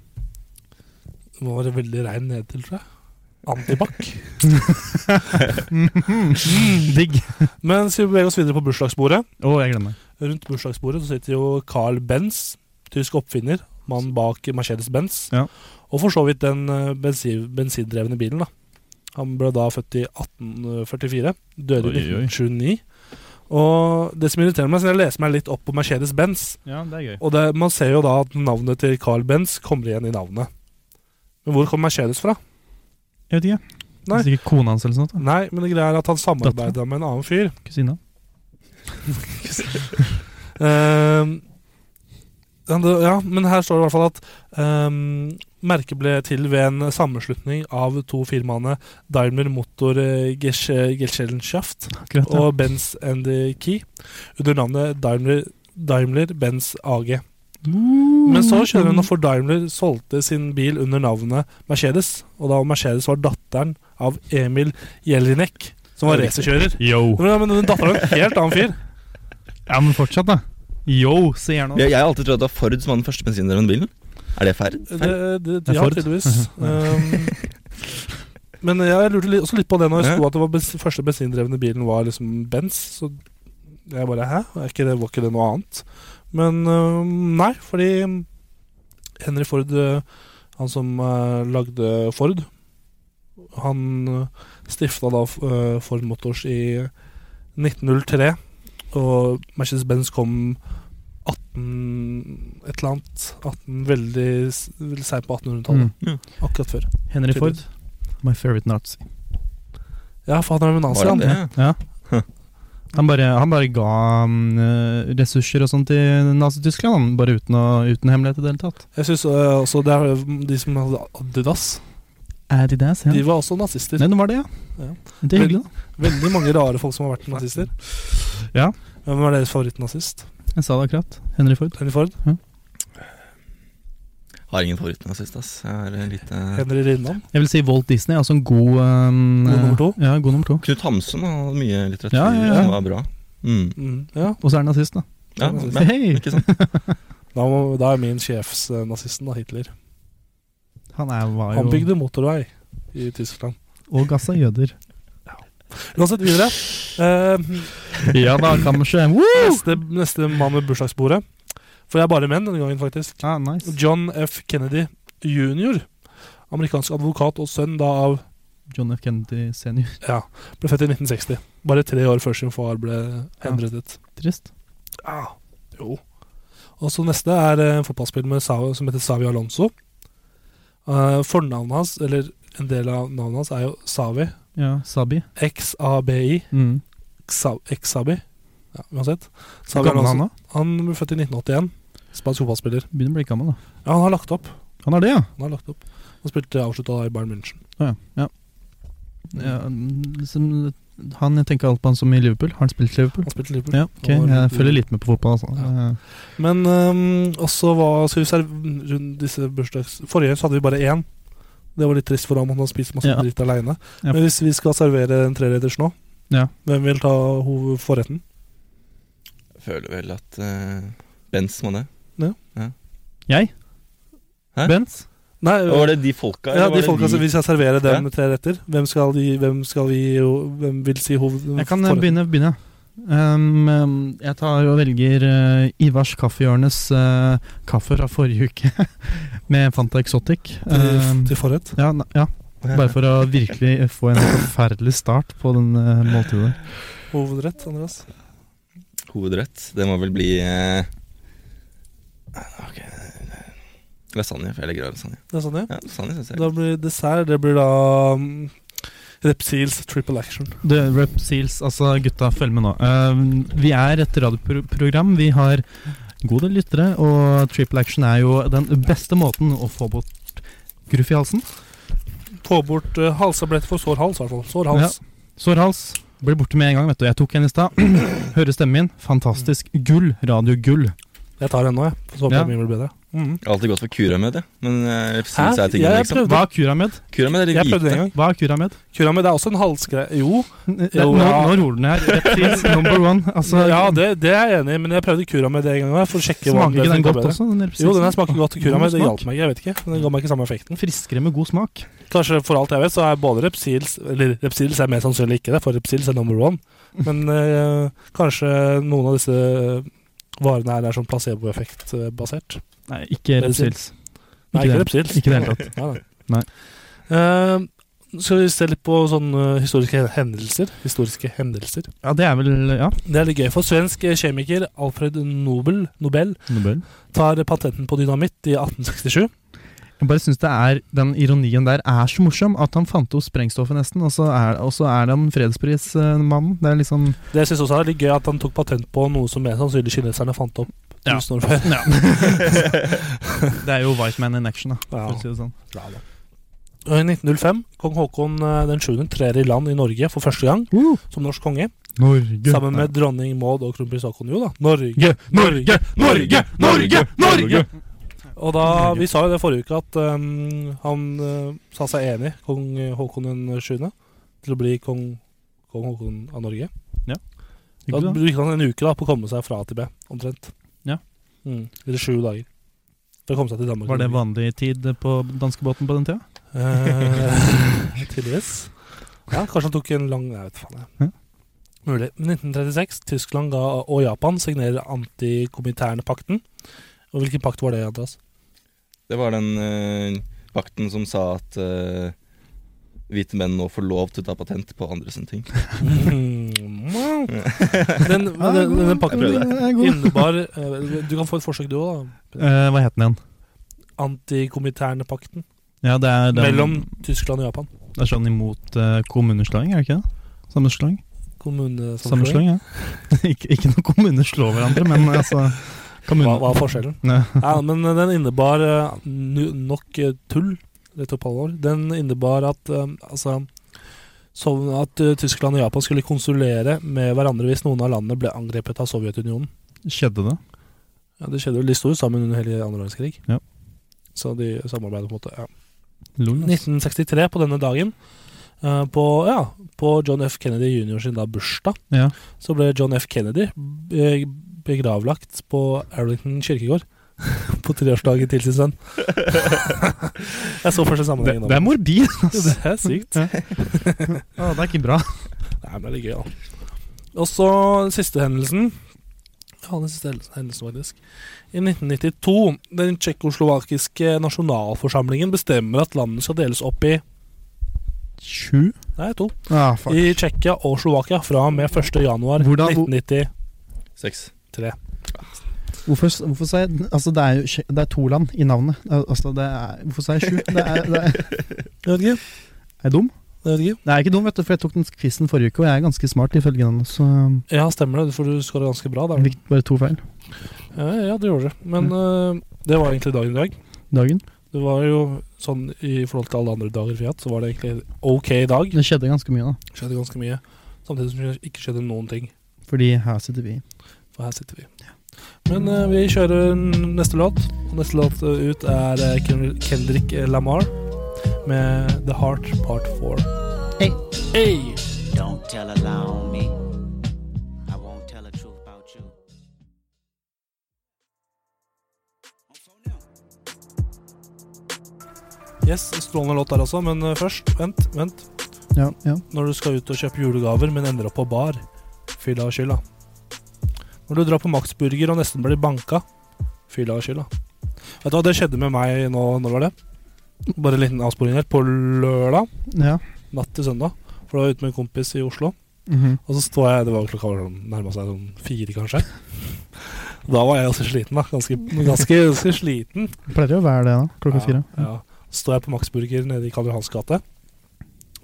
Speaker 2: Nå var det veldig regn ned til, tror jeg. Antibac.
Speaker 4: Digg.
Speaker 2: Men skal vi bevege oss videre på bursdagsbordet.
Speaker 4: Å, jeg glemmer.
Speaker 2: Rundt bursdagsbordet så sitter jo Carl Benz, tysk oppfinner, mannen bak Mercedes-Benz.
Speaker 4: Ja.
Speaker 2: Og for så vidt den eh, bensin, bensindrevne bilen. da. Han ble da født i 1844, døde i
Speaker 4: Oi, oi.
Speaker 2: 1929. Og det som irriterer meg, så jeg leser meg litt opp på Mercedes-Benz.
Speaker 4: Ja, det er gøy.
Speaker 2: Og det, man ser jo da at navnet til Carl Benz kommer igjen i navnet. Men hvor kom Mercedes fra?
Speaker 4: Jeg vet ikke.
Speaker 2: Nei.
Speaker 4: Nei. Sikkert kona hans eller sånt. da.
Speaker 2: Nei, men det greia er at han samarbeida med en annen fyr.
Speaker 4: Kusina.
Speaker 2: Ehm, ja, det- ja, men her står det i hvert fall at ehm, merket ble til ved en sammenslutning av to firmaene Daimler Motor eh, Gesch- Gesellschaft
Speaker 4: Akkurat, ja.
Speaker 2: og Benz and the Key under navnet Daimler, Daimler Benz AG. Men så skjønner hun at for Daimler solgte sin bil under navnet Mercedes, og da Mercedes var datteren av Emil Jelinek, som var racerkjører.
Speaker 4: Yo.
Speaker 2: Men men den datteren var en helt annen fyr.
Speaker 4: Ja, men fortsatt, da. Yo, sier han.
Speaker 6: Jeg, jeg har alltid trodd at det var Ford som var den første bensindrevne bilen. Er det feil? feil?
Speaker 2: Det, det,
Speaker 4: Det er
Speaker 2: ja,
Speaker 4: Ford. Mhm.
Speaker 2: tydeligvis. Um, men eh, jeg lurte litt, også litt på det når jeg
Speaker 6: Ja.
Speaker 2: sto at det var bens, første bensindrevne bilen var liksom Benz. Så jeg bare Hæ? Er ikke det, var ikke det noe annet? Men um, nei, fordi Henry Ford, uh, han som uh, lagde Ford Han uh, stifta da uh, Ford Motors i 1903, og Mercedes-Benz kom 18 et eller annet. 18, veldig s- veldig seint på 1800-tallet.
Speaker 4: Mm.
Speaker 2: Akkurat før.
Speaker 4: Henry Ford.
Speaker 2: Tydeligvis.
Speaker 4: My favorite Nazi.
Speaker 2: Ja, for han er jo en nazi,
Speaker 6: Var han
Speaker 2: han.
Speaker 6: det?
Speaker 4: Ja. Han bare, han bare ga mm, eh, ressurser og sånt til Nazi-Tyskland, han, bare uten, å, uten hemmelighet i det hele tatt.
Speaker 2: Jeg synes øh, også det er øh, de som hadde Adidas.
Speaker 4: Adidas, ja.
Speaker 2: De var også nazister.
Speaker 4: Nei, det var det, ja.
Speaker 2: Ja.
Speaker 4: Det er hyggelig, da.
Speaker 2: Veldig mange rare folk som har vært nazister.
Speaker 4: Ja.
Speaker 2: Hvem var deres favorittnazist?
Speaker 4: Jeg sa det akkurat. Henry Ford.
Speaker 2: Henry Ford?
Speaker 6: Har ingen favorittnazist, ass. Jeg har en lite
Speaker 2: Henry Rinnan?
Speaker 4: Jeg vil si Walt Disney, altså en god um,
Speaker 2: God nummer to?
Speaker 4: Ja, god nummer to.
Speaker 6: Knut Hamsun han hadde mye litteratur
Speaker 4: Ja, ja, ja.
Speaker 6: som var bra. Mm.
Speaker 2: Mm, ja.
Speaker 4: Og så er han nazist, da.
Speaker 6: Ja,
Speaker 2: Nazist.
Speaker 6: men,
Speaker 4: Hei!
Speaker 6: ikke sant?
Speaker 2: Da, må, da er min sjefsnazisten, da, Hitler.
Speaker 4: Han er, var jo
Speaker 2: Han bygde motorvei i Tyskland.
Speaker 4: Og gassa jøder.
Speaker 2: Uansett videre. Eh,
Speaker 4: ja da, kanskje.
Speaker 2: neste, neste mann ved bursdagsbordet. For jeg er bare menn denne gangen, faktisk.
Speaker 4: Ah, nice.
Speaker 2: John F. Kennedy jr., amerikansk advokat og sønn da av
Speaker 4: John F. Kennedy senior.
Speaker 2: Ja, ble født i 1960. Bare tre år før sin far ble henrettet.
Speaker 4: Trist.
Speaker 2: Ja, jo. Og så neste er eh, en fotballspiller med Sao, som heter Savi Alonso. Eh, fornavnet hans, eller en del av navnet hans, er jo Savi.
Speaker 4: Ja, Sabi.
Speaker 2: X-A-B-I.
Speaker 4: Mm.
Speaker 2: Xa- X-Sabi. Ja, uansett.
Speaker 4: Hvor
Speaker 2: Savi
Speaker 4: gammel er han
Speaker 2: Alonso.
Speaker 4: da?
Speaker 2: Han ble født i 1981. Spansk fotballspiller.
Speaker 4: Begynner å bli gammel, da.
Speaker 2: Ja, han har lagt opp.
Speaker 4: Han er det, ja?
Speaker 2: Han har lagt opp. Han spilte avslutta i Bayern München.
Speaker 4: Å, ja. ja. ja mm, som, han jeg tenker alt på han som i Liverpool. Har han spilt i Liverpool?
Speaker 2: Han spilte i Liverpool.
Speaker 4: Ja, ok.
Speaker 2: Han var
Speaker 4: Jeg
Speaker 2: litt-
Speaker 4: følger litt med på fotball, altså.
Speaker 2: Ja.
Speaker 4: Eh,
Speaker 2: Men ehm, øhm, også hva skal vi serve rundt disse bursdags... Forrige så hadde vi bare én. Det var litt trist for ham, han har spist masse
Speaker 4: Ja.
Speaker 2: dritt aleine.
Speaker 4: Ja.
Speaker 2: Men hvis vi skal servere en treretters nå,
Speaker 4: Ja.
Speaker 2: hvem vil ta hov- forretten?
Speaker 6: Jeg føler vel at eh, Benz må det.
Speaker 4: Jeg?
Speaker 6: Hæ?
Speaker 4: Bent?
Speaker 2: Nei,
Speaker 6: Og Var det de folka?
Speaker 2: ja,
Speaker 6: eller var
Speaker 2: de
Speaker 6: det
Speaker 2: folka som vi skal servere dem
Speaker 6: Ja.
Speaker 2: tre retter. Hvem skal gi, hvem skal gi og hvem vil si hov...
Speaker 4: Jeg kan eh,
Speaker 2: forretten?
Speaker 4: begynne. begynne. Um, um, jeg tar og velger eh, Ivars Kaffehjørnes eh, kaffe fra forrige uke med Fanta Exotic.
Speaker 2: Til,
Speaker 4: Um,
Speaker 2: til forrett?
Speaker 4: ja, ne- ja, bare for å virkelig få en forferdelig start på den eh, måltidet.
Speaker 2: Hovedrett, Andreas?
Speaker 6: Hovedrett. Det må vel bli eh, Ok Lasagne. For jeg legger av lasagne.
Speaker 2: Det er sånn, ja.
Speaker 6: Ja, lasagne synes jeg
Speaker 2: Da blir dessert Det blir da um, Repsils Triple Action.
Speaker 4: The Rep Seals, altså gutta, følg med nå. Um, vi er et radioprogram. Vi har gode lyttere, og Triple Action er jo den beste måten å få bort gruff i halsen.
Speaker 2: Få bort uh, halstabletter for sår hals, i hvert fall. Sår hals.
Speaker 4: Ja. Sår hals. Blir borte med en gang, vet du. Jeg tok en i stad. Hører stemmen min. Fantastisk. Gull. Radiogull.
Speaker 2: Jeg tar den nå, jeg. Så håper
Speaker 4: Ja.
Speaker 2: jeg mye blir bedre. Mhm.
Speaker 6: Jeg har alltid gått for Curamed, jeg. Men eh, synes jeg er
Speaker 2: Jeg
Speaker 6: tingene, liksom.
Speaker 2: prøvde-
Speaker 4: Hva er Curamed?
Speaker 6: Curamed er de
Speaker 2: Jeg prøvde
Speaker 6: hvite.
Speaker 2: en gang.
Speaker 4: Hva er Curamed?
Speaker 2: Kuramed det er også en halsgreie. Jo,
Speaker 4: Nå,
Speaker 2: Jo,
Speaker 4: nå
Speaker 2: ja.
Speaker 4: nå roler den her. Reptils number one. Altså,
Speaker 2: ja, det, det er jeg enig i, men jeg prøvde Kuramed en gang også, for å sjekke om det
Speaker 4: smaker ikke den
Speaker 2: funker
Speaker 4: godt
Speaker 2: bedre.
Speaker 4: også? Den reptils?
Speaker 2: Jo, den her smaker godt. Kuramed det
Speaker 4: God
Speaker 2: hjalp
Speaker 4: smak.
Speaker 2: meg ikke, jeg vet ikke. men Den ga meg ikke samme effekten.
Speaker 4: Friskere med god smak.
Speaker 2: Kanskje for alt jeg vet, så er både Repsils Eller Repsils er mer sannsynlig ikke det, for Repsils er number one. Men eh, kanskje noen av disse varene her er sånn placeboeffektbasert.
Speaker 4: Nei, ikke
Speaker 2: Medisin.
Speaker 4: reptils.
Speaker 2: Nei,
Speaker 4: Ikke
Speaker 2: ikke
Speaker 4: det.
Speaker 2: Repsils.
Speaker 4: Ikke i det hele tatt.
Speaker 2: Nei, nei.
Speaker 4: Nei.
Speaker 2: Eh, skal vi se litt på sånne historiske hendelser? Historiske hendelser.
Speaker 4: Ja, det er vel Ja.
Speaker 2: Det er litt gøy, for svensk eh, kjemiker Alfred Nobel, Nobel
Speaker 4: Nobel.
Speaker 2: tar patenten på dynamitt i 1867.
Speaker 4: Jeg bare syns den ironien der er så morsom, at han fant opp sprengstoffet nesten, og så er, og så er han fredsprismannen. Det er liksom
Speaker 2: Det jeg synes også er litt gøy at han tok patent på noe som mest sannsynlig kineserne fant opp
Speaker 4: Ja.
Speaker 2: tusen år før.
Speaker 4: Det er jo White Man in action, da.
Speaker 2: Ja.
Speaker 4: For å si det sånn.
Speaker 2: Og I 1905 kong Haakon eh, den 7. trer i land i Norge for første gang som norsk konge,
Speaker 4: Norge.
Speaker 2: sammen med dronning Maud og kronprins Haakon. Jo da, Norge!
Speaker 4: Norge, Norge, Norge, Norge, Norge!
Speaker 2: Og da, Vi sa jo det forrige uke, at eh, han eh, sa seg enig, kong Haakon den 7., til å bli kong, kong Haakon av Norge. Da brukte han en uke da på å komme seg fra til B, omtrent.
Speaker 4: Ja.
Speaker 2: Mm, eller sju dager. For å komme seg til Danmark.
Speaker 4: Var det vanlig tid på danskebåten på den tida?
Speaker 2: Eh, tydeligvis. Ja, kanskje han tok en lang Jeg vet faen,
Speaker 4: Ja.
Speaker 2: jeg. Mulig. 1936. Tyskland ga, og Japan signerer antikominternpakten. Og hvilken pakt var det, Andreas?
Speaker 6: Det var den eh, vakten som sa at eh, hvite menn nå får lov til å ta patent på andre sine ting.
Speaker 2: Mm, wow. den, men den, den, den pakten
Speaker 6: Jeg
Speaker 2: innebar eh, Du kan få et forsøk, du òg, da.
Speaker 4: Eh, hva het den igjen?
Speaker 2: Antikominternpakten
Speaker 4: Ja, det er den,
Speaker 2: mellom Tyskland og Japan.
Speaker 4: Det er sånn imot eh, kommuneslåing, er det ikke det? Sammenslåing?
Speaker 2: Kommunesammenslåing.
Speaker 4: Sammenslåing, ja. ikke, ikke når kommuner slår hverandre, men altså kommune...
Speaker 2: Hva, hva er forskjellen?
Speaker 4: Nei.
Speaker 2: Ja, men den innebar eh, nu- nok eh, tull, rett og alvor. Den innebar at eh, altså sånn at eh, Tyskland og Japan skulle konsulere med hverandre hvis noen av landene ble angrepet av Sovjetunionen.
Speaker 4: Skjedde det?
Speaker 2: Ja, det skjedde vel, De sto jo sammen under hele andre verdenskrig.
Speaker 4: Ja.
Speaker 2: Så de samarbeidet på en måte. ja.
Speaker 4: Lol, altså.
Speaker 2: 1963 på denne dagen, eh, på, ja, på John F. Kennedy jr. sin da bursdag,
Speaker 4: Ja.
Speaker 2: så ble John F. Kennedy eh, begravlagt på Arlington kirkegård på treårsdagen til sin sønn. Jeg så først en
Speaker 4: Det,
Speaker 2: sammenheng. nå.
Speaker 4: det er morbid, altså.
Speaker 2: Det er sykt.
Speaker 4: Ja. Å, det er ikke bra.
Speaker 2: Nei, men det er litt gøy, da. Og så den siste hendelsen. Ja, den siste hendelsen- hendelsen, faktisk. I 1992. Den tsjekkoslovakiske nasjonalforsamlingen bestemmer at landet skal deles opp i
Speaker 4: Sju?
Speaker 2: Nei, to.
Speaker 4: Ah, fuck.
Speaker 2: i Tsjekkia og Slovakia fra og med 1. januar
Speaker 4: Hvordan-
Speaker 2: 1993.
Speaker 6: Seks.
Speaker 4: Hvorfor, hvorfor sa jeg Altså, det er jo Tsje- det er to land i navnet. Altså, det er, hvorfor sa jeg sju? Det er, det er,
Speaker 2: Jeg vet ikke.
Speaker 4: er jeg dum?
Speaker 2: Jeg vet ikke.
Speaker 4: Det er ikke dum, vet du, for jeg tok den quizen forrige uke, og jeg er ganske smart ifølge den. Så
Speaker 2: Ja, stemmer det, for du skåra ganske bra der.
Speaker 4: fikk bare to feil
Speaker 2: Ja, ja, det gjorde du. Men eh, det var egentlig dagen i dag.
Speaker 4: dagen.
Speaker 2: Det var jo sånn i forhold til alle andre dager vi har hatt, så var det egentlig en ok dag.
Speaker 4: Det skjedde ganske mye, da.
Speaker 2: Skjedde ganske mye. Samtidig som det ikke skjedde noen ting.
Speaker 4: Fordi her sitter vi.
Speaker 2: For her sitter vi. Men eh, vi kjører n- neste låt. Og neste låt eh, ut er eh, Ken- Kendrick Lamar med The Heart Part 4.
Speaker 4: Hey.
Speaker 2: Hey.
Speaker 7: Don't tell a lie on me. I won't tell the truth about you.
Speaker 2: Yes, strålende låt der også, men eh, først, vent, vent.
Speaker 4: Ja, ja.
Speaker 2: Når du skal ut og kjøpe julegaver, men ender opp på bar. Fylla og skylda. Når du drar på Max Burger og nesten blir banka. Fylla og skylda. Vet du hva, det skjedde med meg nå, når var det? Bare en liten avsporing her. På lørdag
Speaker 4: ja.
Speaker 2: natt til søndag, for da var jeg ute med en kompis i Oslo.
Speaker 4: Mhm.
Speaker 2: Og så står jeg, det var klokka var sånn- nærma seg sånn fire, kanskje. Da var jeg også sliten, da. Ganske, ganske, ganske sliten.
Speaker 4: Det Pleier jo å være det, da. Klokka fire.
Speaker 2: Ja, ja. Så står jeg på Max Burger nede i Karl Johans gate.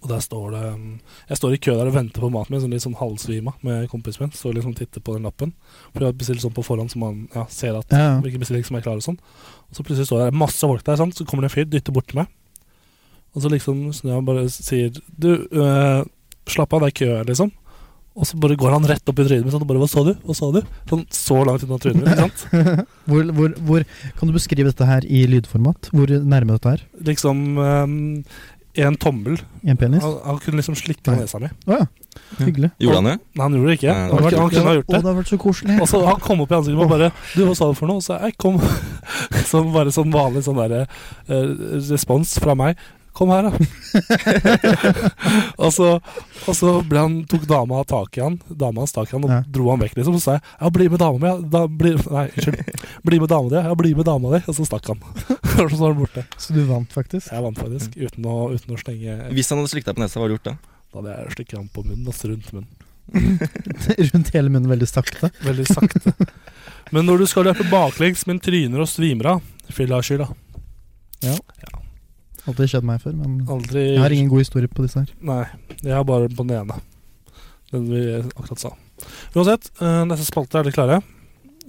Speaker 2: Og der står det um, Jeg står i kø der og venter på maten min, sånn litt sånn halvsvima med kompisen min. Står liksom og titter på den lappen. For jeg har bestilt sånn på forhånd, så man ja, ser at
Speaker 4: Ja, ja.
Speaker 2: hvilke bestillinger som er klare og sånn. Og så plutselig står det masse folk der, sant? så kommer det en fyr, dytter bort til meg. Og så liksom snur jeg og bare sier Du, øh, slapp av, det er kø her, liksom. Og så bare går han rett opp i trynet mitt sånn, og bare Hva sa du? Hva sa du? Sånn så langt unna trynet mitt. ikke sant?
Speaker 4: Hvor, hvor, hvor Kan du beskrive dette her i lydformat? Hvor nærme dette er?
Speaker 2: Liksom øhm, en tommel.
Speaker 4: En penis?
Speaker 2: Han, han kunne liksom slikke
Speaker 4: Nei.
Speaker 2: nesa mi.
Speaker 4: Å ja. Hyggelig.
Speaker 6: Gjorde han det?
Speaker 2: Nei, han gjorde det ikke.
Speaker 6: Nei,
Speaker 2: Han,
Speaker 6: det
Speaker 2: han kunne ha gjort
Speaker 4: Å,
Speaker 2: det.
Speaker 4: det har vært så koselig.
Speaker 2: Og så han kom opp i ansiktet mitt og bare 'Du, hva sa du for noe?' Og så jeg kom Som bare sånn vanlig sånn derre eh, respons fra meg. 'Kom her, da'. og, så, og så ble han, tok dama tak i han Dama hans tak i han og
Speaker 4: Ja.
Speaker 2: dro han vekk, liksom. Og så sa jeg 'Ja, bli med dama mi', ja. Da, bli, nei, unnskyld. 'Bli med dama di', ja. ja. 'Bli med dama di'. Og så stakk han. og så var han borte.
Speaker 4: Så du vant, faktisk.
Speaker 2: Jeg vant faktisk, uten å, uten å slenge
Speaker 6: Hvis han hadde slikta på nesa, hva hadde du gjort da?
Speaker 2: Da hadde jeg slikket han på munnen, altså rundt munnen.
Speaker 4: Rundt hele munnen veldig sakte.
Speaker 2: Veldig sakte. Men når du skal løpe baklengs, men tryner og svimer av Fylla skylda.
Speaker 4: Aldri skjedd meg før, men
Speaker 2: Aldri
Speaker 4: jeg har ingen god historie på disse her.
Speaker 2: Nei, jeg har bare på den ene. Den vi akkurat sa. Uansett, eh, neste spalte er dere klare.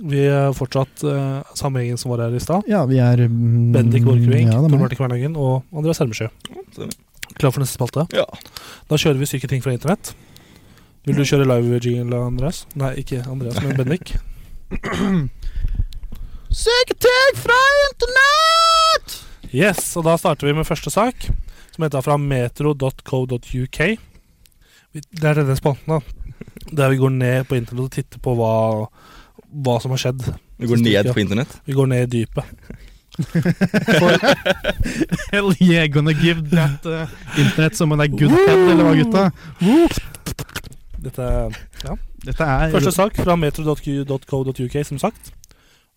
Speaker 2: Vi er fortsatt eh, samme gjengen som var her i stad.
Speaker 4: Ja, vi er mm,
Speaker 2: Bendik Borchgrevink,
Speaker 4: Ja, det
Speaker 2: Tor
Speaker 4: er meg.
Speaker 2: Martin Kvernhagen og Andreas Hermesjø.
Speaker 6: stemmer.
Speaker 2: Klar for neste spalte?
Speaker 6: Ja.
Speaker 2: Da kjører vi syke ting fra internett. Vil du kjøre live-jingle, Andreas? Nei, ikke Andreas, men Bendik.
Speaker 4: Syketek fra internett!
Speaker 2: Yes, og da starter vi med første sak, som heter fra metro.co.uk. Vi- Det er denne spalten, da. Der vi går ned på internett og titter på hva, hva som har skjedd.
Speaker 6: Du går ned på internett?
Speaker 2: Vi går ned i dypet.
Speaker 4: Hell yeah, gonna give that uh, internett som en er good head, eller hva, gutta?
Speaker 2: Dette er
Speaker 4: Dette er
Speaker 2: første sak fra metro.co.uk, som sagt.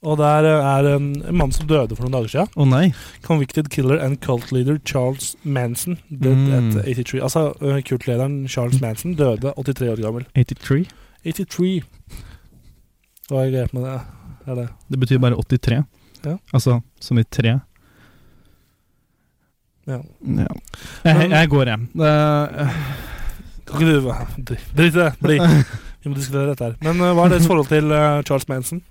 Speaker 2: Og der eh, er en, en mann som døde for noen dager siden.
Speaker 4: Å nei.
Speaker 2: Convicted killer and cult leader Charles Manson død
Speaker 4: Mm.
Speaker 2: at 83. Altså, eh, kultlederen Charles Manson døde 83 år gammel.
Speaker 4: 83.
Speaker 2: 83. Hva er greit med det? Er det?
Speaker 4: Det betyr bare 83.
Speaker 2: Ja.
Speaker 4: Altså som i tre.
Speaker 2: Ja.
Speaker 4: Ja. Jeg, jeg går, jeg. Det-
Speaker 2: Kan ikke du dri- Drit i det. Bli. Vi må diskutere dette her. Men eh, hva er deres forhold til eh, Charles Manson?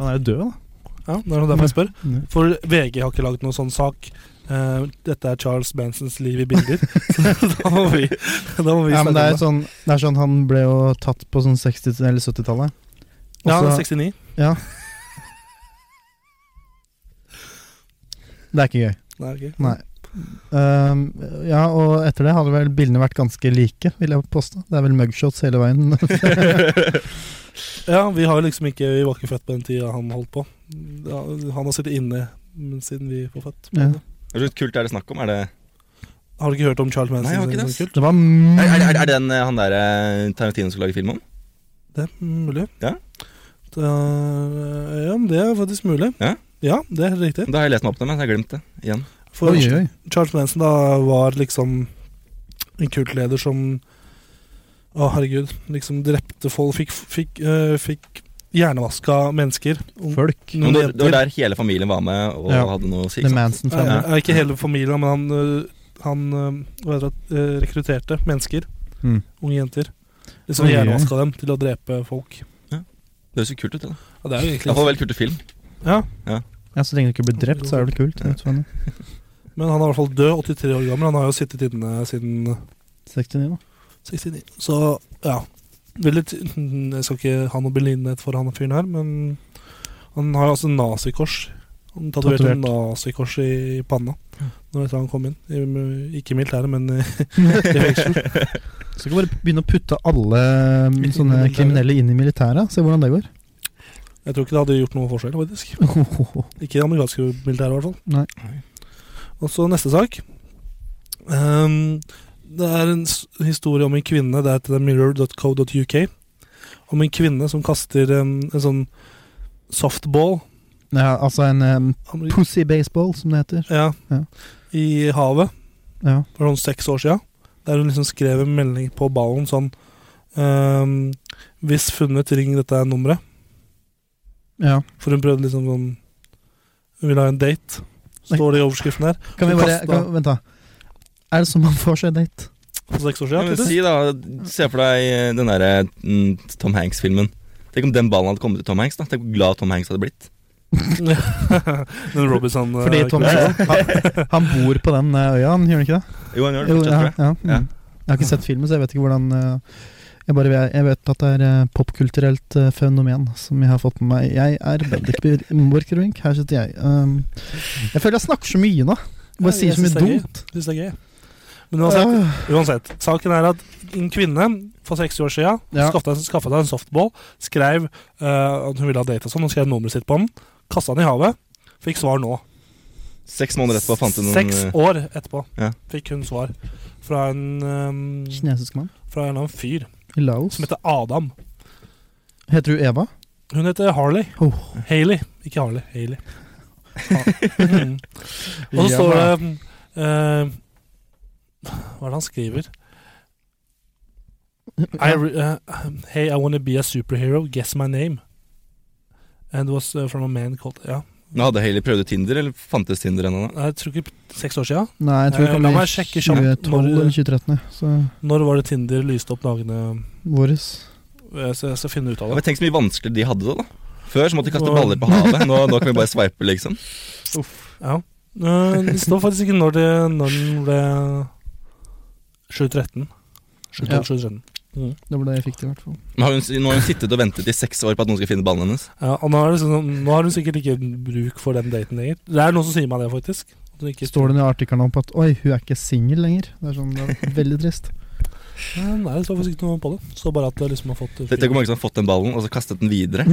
Speaker 4: han er jo død, da.
Speaker 2: Ja, det er noe derfor jeg spør.
Speaker 4: Ja.
Speaker 2: For VG har ikke laget noen sånn sak. Eh, dette er Charles Mansons liv i bilder. Så da må vi, da må vi
Speaker 4: Ja, men det er
Speaker 2: snakke om det.
Speaker 4: sånn, det er sånn han ble jo tatt på sånn 60- eller 70-tallet. Og
Speaker 2: Ja, han er
Speaker 4: så-
Speaker 2: 69.
Speaker 4: Det er ikke gøy.
Speaker 2: Nei, ok.
Speaker 4: Nei. Ehm, ja, og etter det hadde vel bildene vært ganske like, vil jeg påstå. Det er vel mugshots hele veien.
Speaker 2: Ja, vi har jo liksom ikke Vi var ikke født på den tida han holdt på. Ja, han har sittet inne mm, siden vi var født.
Speaker 4: Ja.
Speaker 6: Hva slags kult er det snakk om? Er det,
Speaker 2: Har du ikke hørt om Charles Manson?
Speaker 6: Nei, jeg har ikke
Speaker 2: sin
Speaker 6: det, ass.
Speaker 2: kult?
Speaker 4: Det var
Speaker 6: er, er, er det den eh, han der eh, Tarantino skulle lage film om?
Speaker 2: Det er mulig.
Speaker 6: Ja.
Speaker 2: Det er, ja, men det er faktisk mulig.
Speaker 6: Ja?
Speaker 2: det er helt riktig.
Speaker 6: Da har jeg lest meg opp til det, men jeg har glemt det igjen.
Speaker 2: For
Speaker 4: Oi, oi.
Speaker 2: Charles Manson da var liksom en kultleder som Å, herregud. Liksom drepte folk Fikk, fikk, eh, fikk hjernevaska mennesker. Ung-
Speaker 4: Folk.
Speaker 2: noen
Speaker 6: Men det, det var
Speaker 2: jenter.
Speaker 6: der hele familien var med og
Speaker 4: Ja.
Speaker 6: hadde noe å si. liksom.
Speaker 4: The Manson
Speaker 6: ikke sant?
Speaker 2: Ja,
Speaker 4: family.
Speaker 2: ja, Eh, ikke hele familien, men han, øh, han øh, hva heter det, øh, rekrutterte mennesker.
Speaker 4: Mm.
Speaker 2: Unge jenter. Liksom
Speaker 4: Oi, oi.
Speaker 2: hjernevaska dem til å drepe folk.
Speaker 6: Det høres jo kult ut. da
Speaker 2: Ja, det er jo
Speaker 6: Iallfall
Speaker 2: egentlig
Speaker 6: veldig kult i film.
Speaker 2: ja,
Speaker 4: Ja, Så lenge du ikke blir drept, så er det kult. jeg vet hva det er.
Speaker 2: Men han er i hvert fall død, 83 år gammel. Han har jo sittet inne siden
Speaker 4: 69, da.
Speaker 2: 69. Så ja Veldig t Jeg skal ikke ha noe belindenhet for han fyren her, men han har jo altså nazikors. Han tatoverte
Speaker 4: Tatovert.
Speaker 2: nazikors i panna Når etter han kom inn. I- Ikke i militæret, men i i fengsel.
Speaker 4: Så kan vi bare begynne å putte alle mm, sånne
Speaker 2: militæret.
Speaker 4: kriminelle inn i militæret. Se hvordan det går.
Speaker 2: Jeg tror ikke det hadde gjort noe forskjell, faktisk. Ikke i det amerikanske militæret, i hvert fall.
Speaker 4: Nei.
Speaker 2: Og så neste sak. Ehm, det er en s- historie om en kvinne. Det er til mirror.co.uk. Om en kvinne som kaster em, en sånn softball
Speaker 4: Ja, altså en em, pussy baseball, som det heter.
Speaker 2: ja,
Speaker 4: Ja.
Speaker 2: i havet
Speaker 4: Ja.
Speaker 2: for sånn seks år siden. Der hun liksom skrev en melding på ballen sånn ehm, Hvis funnet, ring dette er nummeret.
Speaker 4: ja.
Speaker 2: For hun prøvde liksom sånn Hun ville ha en date, står det i overskriften der.
Speaker 4: Kan vi
Speaker 2: Så
Speaker 4: bare
Speaker 2: kast, da.
Speaker 4: kan, Vent, da. Er det sånn man får seg date?
Speaker 2: For seks år
Speaker 6: Ja,
Speaker 2: siden.
Speaker 6: men
Speaker 2: tydeligvis.
Speaker 6: si da, Se for deg eh, den derre mm, Tom Hanks-filmen. Tenk om den ballen hadde kommet til Tom Hanks. da Tenk hvor glad Tom Hanks hadde blitt.
Speaker 2: Den Robinson eh,
Speaker 4: Fordi Tom
Speaker 2: kvelden.
Speaker 4: han, han bor på den eh, øya, han gjør han ikke det?
Speaker 6: Jo, han gjør det
Speaker 4: Jo,
Speaker 6: fortsatt,
Speaker 4: ja,
Speaker 6: tror jeg.
Speaker 4: ja.
Speaker 6: Ja.
Speaker 4: Mm. Jeg har ikke sett filmen, så jeg vet ikke hvordan eh, jeg, bare, jeg vet at det er eh, popkulturelt eh, fenomen som jeg har fått med meg. Jeg er Bendik Bir- Borchgrevink, her sitter jeg. Um, jeg føler jeg snakker så mye nå. Jeg
Speaker 2: Ja,
Speaker 4: bare sier
Speaker 2: jeg
Speaker 4: så
Speaker 2: synes
Speaker 4: mye
Speaker 2: det er gøy.
Speaker 4: dumt.
Speaker 2: Synes det er gøy. Men uansett,
Speaker 4: Øh,
Speaker 2: uansett, saken er at en kvinne for 60 år siden
Speaker 4: Ja.
Speaker 2: skaffet, skaffet seg en softball, skrev eh, at hun ville ha date og sånn, hun skrev nummeret sitt på den, kasta den i havet, fikk svar nå.
Speaker 6: Seks måneder etterpå fant hun noen
Speaker 2: Seks
Speaker 6: eh,
Speaker 2: år etterpå
Speaker 6: Ja.
Speaker 2: fikk hun svar fra en, eh,
Speaker 4: kinesisk mann
Speaker 2: fra en eller annen fyr
Speaker 4: i Laos.
Speaker 2: som heter Adam.
Speaker 4: Heter du Eva?
Speaker 2: Hun heter Harley.
Speaker 4: Oh.
Speaker 2: Haley, ikke Harley. Haley. Mm. Og så står det eh, Hva er det han skriver? I, re- eh, hey, I wanna be a superhero. Guess my name. And it was eh, from a man called Ja,
Speaker 6: Nå Hadde Haley prøvd ut Tinder, eller fantes Tinder ennå? da?
Speaker 2: Nei, jeg tror ikke seks år siden.
Speaker 4: Nei, jeg tror det
Speaker 2: Eh,
Speaker 4: kom
Speaker 2: la
Speaker 4: i
Speaker 2: meg sjekke kjapt
Speaker 4: 2012
Speaker 2: når-
Speaker 4: eller 2013. Så
Speaker 2: Når var det Tinder lyste opp dagene?
Speaker 4: våres.
Speaker 2: Eh, Så jeg skal finne ut
Speaker 6: Ja,
Speaker 2: av
Speaker 6: men
Speaker 2: det.
Speaker 6: Tenk så mye vanskeligere de hadde det, da. Før så måtte de kaste
Speaker 2: Nå-
Speaker 6: baller på havet. Nå, nå kan vi bare sveipe, liksom.
Speaker 2: Ja. Eh, Det står faktisk ikke når, det, når den ble 2013. 2012,
Speaker 4: Ja.
Speaker 2: 2013.
Speaker 4: Det var det jeg fikk til, i hvert fall.
Speaker 6: Men har hun, nå har hun sittet og ventet i seks år på at noen skal finne ballen hennes.
Speaker 2: Ja, og nå, er det sånn, nå har hun sikkert ikke bruk for den daten lenger. Det er noen som sier meg det, faktisk. At hun ikke
Speaker 4: Står det noe i artikkelen om på at Oi, hun er ikke singel lenger? Det er sånn, det er veldig trist.
Speaker 2: Ja, Nei, det står faktisk ikke noe på det. Det står bare at det liksom har fått eh,
Speaker 6: Tenk hvor mange som har fått den ballen, og så kastet den videre.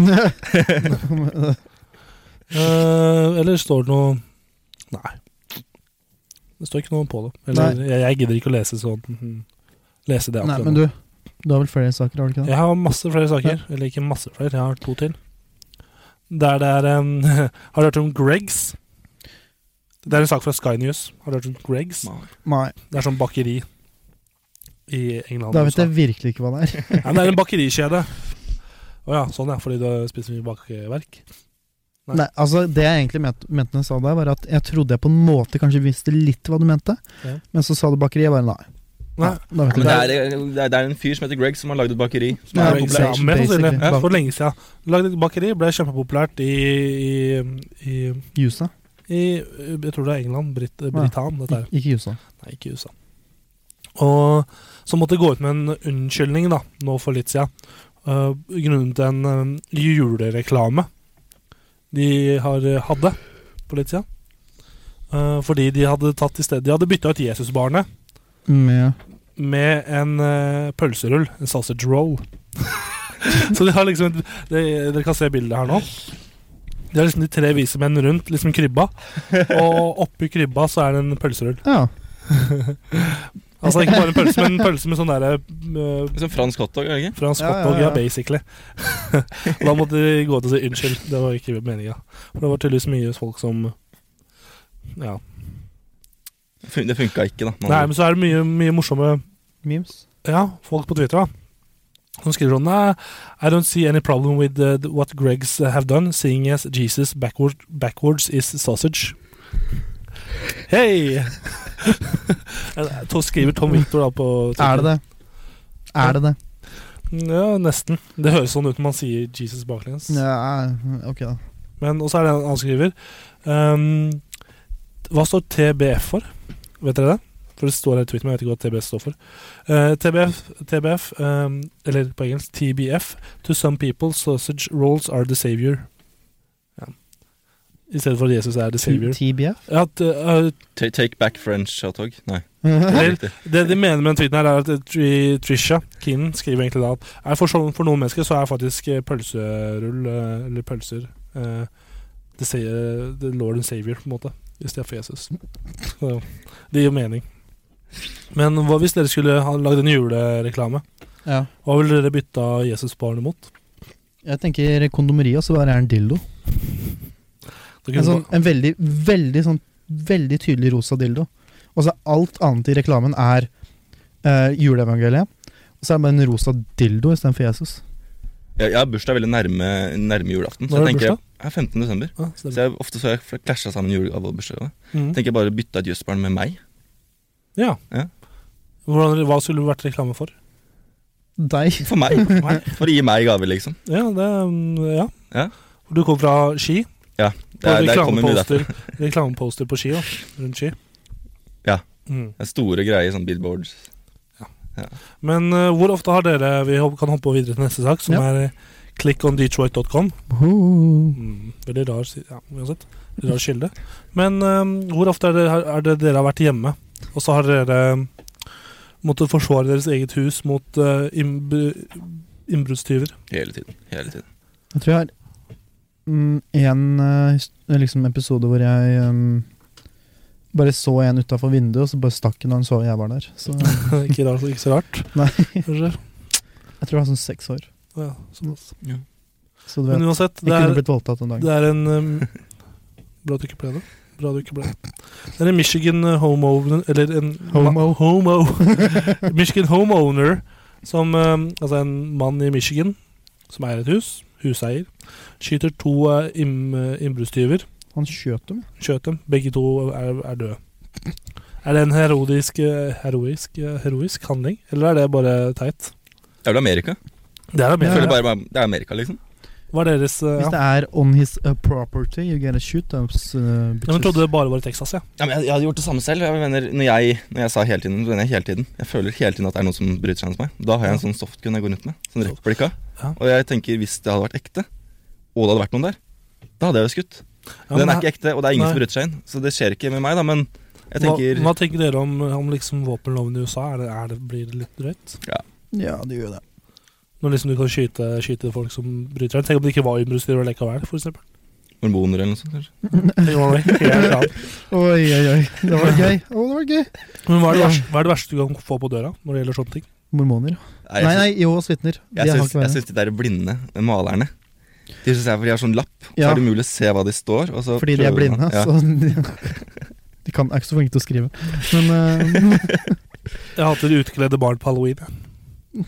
Speaker 2: Eh, Eller står det noe Nei. Det står ikke noe på det. Eller, jeg, jeg gidder ikke å lese sånn mm, Lese det
Speaker 4: Nei,
Speaker 2: akkurat
Speaker 4: men
Speaker 2: nå.
Speaker 4: du, du har vel flere saker, har du ikke det?
Speaker 2: Jeg har masse flere saker. Eller ikke masse flere, jeg har to til. Der det er em, Har du hørt om Gregs? Det er en sak fra Sky News. Har du hørt om Gregs?
Speaker 4: Nei,
Speaker 2: Det er sånn bakeri i England.
Speaker 4: da
Speaker 2: og
Speaker 4: vet jeg virkelig ikke hva det er.
Speaker 2: Ja, men det er en bakerikjede. Å ja, sånn ja, fordi du spiser mye bakeverk. Nei.
Speaker 4: Nei, altså Det jeg egentlig ment, mente når jeg sa det, var at jeg trodde jeg på en måte kanskje visste litt hva du mente,
Speaker 2: Ja.
Speaker 4: men så sa du bakeri, jeg bare nei.
Speaker 2: Nei.
Speaker 4: Da vet jeg
Speaker 6: Men det
Speaker 4: det.
Speaker 6: er, det, er, det er en fyr som heter Greg, som har lagd et bakeri. Som
Speaker 4: Ja,
Speaker 6: er
Speaker 2: Ja,
Speaker 4: Greg.
Speaker 6: veldig populært.
Speaker 2: ja, mer sannsynlig.
Speaker 4: Basically.
Speaker 2: For lagde lenge siden. Lagde et bakeri, ble kjempepopulært i, i, i,
Speaker 4: Jusa.
Speaker 2: i Jeg tror det er England. Brit, Britan, dette her.
Speaker 4: Ikke Jusa.
Speaker 2: Nei, ikke USA. Og så måtte jeg gå ut med en unnskyldning da, nå for litt siden. Eh, grunnet en eh, julereklame de har eh, hadde på litt siden. Eh, fordi de hadde tatt i stedet De hadde bytta ut Jesusbarnet
Speaker 4: Med
Speaker 2: med en eh, pølserull, en sausage roll. så de har liksom et, det, Dere kan se bildet her nå. Det er liksom de tre vise menn rundt liksom krybba, og oppi krybba så er det en pølserull.
Speaker 4: Ja.
Speaker 2: Altså ikke bare en pølse, men en pølse med sånn derre eh,
Speaker 6: Sånn fransk hotdog, er det ikke?
Speaker 2: fransk
Speaker 4: Ja, ja,
Speaker 2: hotdog, ja,
Speaker 4: ja.
Speaker 2: basically. og da måtte de gå ut og si unnskyld, det var ikke meninga. For det var tydeligvis mye folk som Ja.
Speaker 6: Fun- Det funka ikke, da. Man-
Speaker 2: Nei, men så er det mye, mye morsomme
Speaker 4: Memes.
Speaker 2: Ja, folk på Twitter da Han skriver sånn «Nah, I don't see any problem with uh, th- what Gregs have done, seeing as Jesus backward, backwards is sausage. Hei! Eh, to skriver Tom Victor da på Mm,
Speaker 4: Er det det? Er det det?
Speaker 2: Ja, nesten. Det høres sånn ut når man sier Jesus baklengs.
Speaker 4: Ja, ok, da.
Speaker 2: Men også er det en han skriver ehm, Hva står TBF for? Vet dere det? For det står her i Twitter, men jeg vet ikke hva TBF står for. Eh, TBF, TBF ehm, eller på engelsk TBF To some people sausage rolls are the savior. Ja. I stedet for at Jesus er the savior.
Speaker 4: TBF?
Speaker 2: Ja, at, eh,
Speaker 6: Ta- Take back French hot dog? Nei. det er
Speaker 2: Eller,
Speaker 6: riktig.
Speaker 2: det de mener med den tweeten her, er at eh, Tri- Trisha Keenan skriver egentlig da at er for, sånn, for noen mennesker så er faktisk eh, pølserull, eh, eller pølser, eh, the, sa- eh, the Lord and Savior, på en måte, i stedet for Jesus. Så, det gir jo mening. Men hva hvis dere skulle ha lagd en julereklame?
Speaker 4: Ja.
Speaker 2: Hva ville dere bytta Jesusbarnet mot?
Speaker 4: Jeg tenker kondomeri, og så bare er en dildo.
Speaker 2: Det
Speaker 4: En,
Speaker 2: kunne
Speaker 4: sånn, en veldig, veldig sånn Veldig tydelig rosa dildo. Og så alt annet i reklamen er eh, juleevangeliet. Og så er det bare en rosa dildo istedenfor Jesus.
Speaker 6: Jeg, jeg har bursdag veldig nærme, nærme julaften. Så
Speaker 2: Når
Speaker 6: jeg
Speaker 2: er det
Speaker 6: tenker jeg er 15. desember.
Speaker 2: bare- Ah,
Speaker 6: Så
Speaker 2: stemmer.
Speaker 6: jeg, ofte så har jeg klasja sammen julegave og bursdag.
Speaker 2: Mhm.
Speaker 6: Tenker jeg bare bytta et jøssbarn med meg.
Speaker 2: ja.
Speaker 6: Ja.
Speaker 2: Hvordan, hva skulle det vært reklame for?
Speaker 4: Deg.
Speaker 6: For meg. For å gi meg gave, liksom.
Speaker 2: Ja, det mm, Ja.
Speaker 6: Ja.
Speaker 2: Du kom fra Ski?
Speaker 6: Det,
Speaker 2: På
Speaker 6: er- det kommer mye derfor.
Speaker 2: reklameposter, reklameposter på ski, da. Rundt ski.
Speaker 6: Ja.
Speaker 2: Mm.
Speaker 6: Det er store greier, sånn billboards.
Speaker 2: Men eh, hvor ofte har dere Vi hop- kan hoppe videre til neste sak, som
Speaker 4: Ja.
Speaker 2: er eh, clickondetroit.com.
Speaker 4: Oh.
Speaker 2: Mm. Veldig rar, si- ja, uansett. Veldig rar kilde. Men eh, hvor ofte er det, er det dere har vært hjemme, og så har dere eh, måttet forsvare deres eget hus mot uh, innbruddstyver?
Speaker 6: Hele tiden. hele tiden
Speaker 4: Jeg tror jeg har mm, en eh, his- liksom episode hvor jeg mm, bare så en utafor vinduet, og så bare stakk hun, og hun så jeg var der. Så eh, jeg
Speaker 2: ikke, rart, ikke så rart,
Speaker 4: Nei.
Speaker 2: kanskje.
Speaker 4: tror jeg var sånn seks år.
Speaker 2: Ja, sånn. såpass.
Speaker 4: Så du vet,
Speaker 2: Men uansett,
Speaker 4: jeg
Speaker 2: det er
Speaker 4: kunne blitt voldtatt den dagen.
Speaker 2: Det er en um, Bra at du ikke ble det. Bra at du ikke ble det. Det er en Michigan uh, homeowner Eller en
Speaker 4: Homo.
Speaker 2: ma- homo Michigan homeowner, som um, Altså en mann i Michigan som eier et hus, huseier, skyter to uh, inn- innbruddstyver.
Speaker 4: Han skjøt dem.
Speaker 2: Skjøt dem. Begge to er, er døde. Er det en herodisk, uh, heroisk, uh, heroisk handling, eller er det bare teit?
Speaker 6: Det er vel Amerika?
Speaker 2: Det er
Speaker 6: Jeg
Speaker 4: Ja, ja.
Speaker 6: føler
Speaker 2: Amerika.
Speaker 6: bare, bare Det er Amerika, liksom.
Speaker 2: Hva er deres uh,
Speaker 4: Hvis
Speaker 2: ja.
Speaker 4: det er on his uh, property, you gotta shoot those uh,
Speaker 2: Ja, men
Speaker 4: bitches.
Speaker 2: trodde det bare var i Texas, ja.
Speaker 6: Ja, men jeg, jeg hadde gjort det samme selv. Jeg mener, når, jeg, når jeg sa hele tiden, så mener jeg hele tiden. Jeg føler hele tiden at det er noen som bryter seg inn hos meg. Da har jeg en sånn softgun jeg går rundt med. Sånn replika.
Speaker 2: Ja.
Speaker 6: Og jeg tenker, hvis det hadde vært ekte, og det hadde vært noen der, da hadde jeg jo skutt.
Speaker 2: ja
Speaker 6: Den
Speaker 2: men
Speaker 6: er ikke ekte, og det er ingen
Speaker 2: Nei.
Speaker 6: som bryter seg inn. Så det skjer ikke med meg, da, men jeg tenker
Speaker 2: hva, hva tenker dere om, om liksom våpenloven i USA? Er det, er det, blir det litt drøyt?
Speaker 4: Ja, det gjør det.
Speaker 2: Når liksom du kan skyte, skyte folk som bryter deg? Tenk om det ikke var innbruddsstyver likevel, for eksempel.
Speaker 6: hormoner eller noe sånt, kanskje.
Speaker 2: Tenk om det var helt annet.
Speaker 4: Oi, oi, oi. Det var gøy. Å, det var gøy.
Speaker 2: Men hva er, det verste, hva er det verste du kan få på døra når det gjelder sånne ting?
Speaker 4: Mormoner.
Speaker 6: Nei,
Speaker 4: nei,
Speaker 6: jeg,
Speaker 4: nei, Jehovas vitner.
Speaker 6: syns-
Speaker 4: De har
Speaker 6: jeg,
Speaker 4: ikke
Speaker 6: syns- jeg
Speaker 4: vært
Speaker 6: syns de der blinde de malerne De syns jeg for de har sånn lapp, så
Speaker 4: Ja.
Speaker 6: er det umulig å se hva de står. Og så
Speaker 4: Fordi de er
Speaker 6: prøver
Speaker 4: blinde,
Speaker 6: man- ja.
Speaker 4: så de, de kan, er ikke så flinke til å skrive. Men eh,
Speaker 2: Jeg hater utkledde barn på halloween. jeg.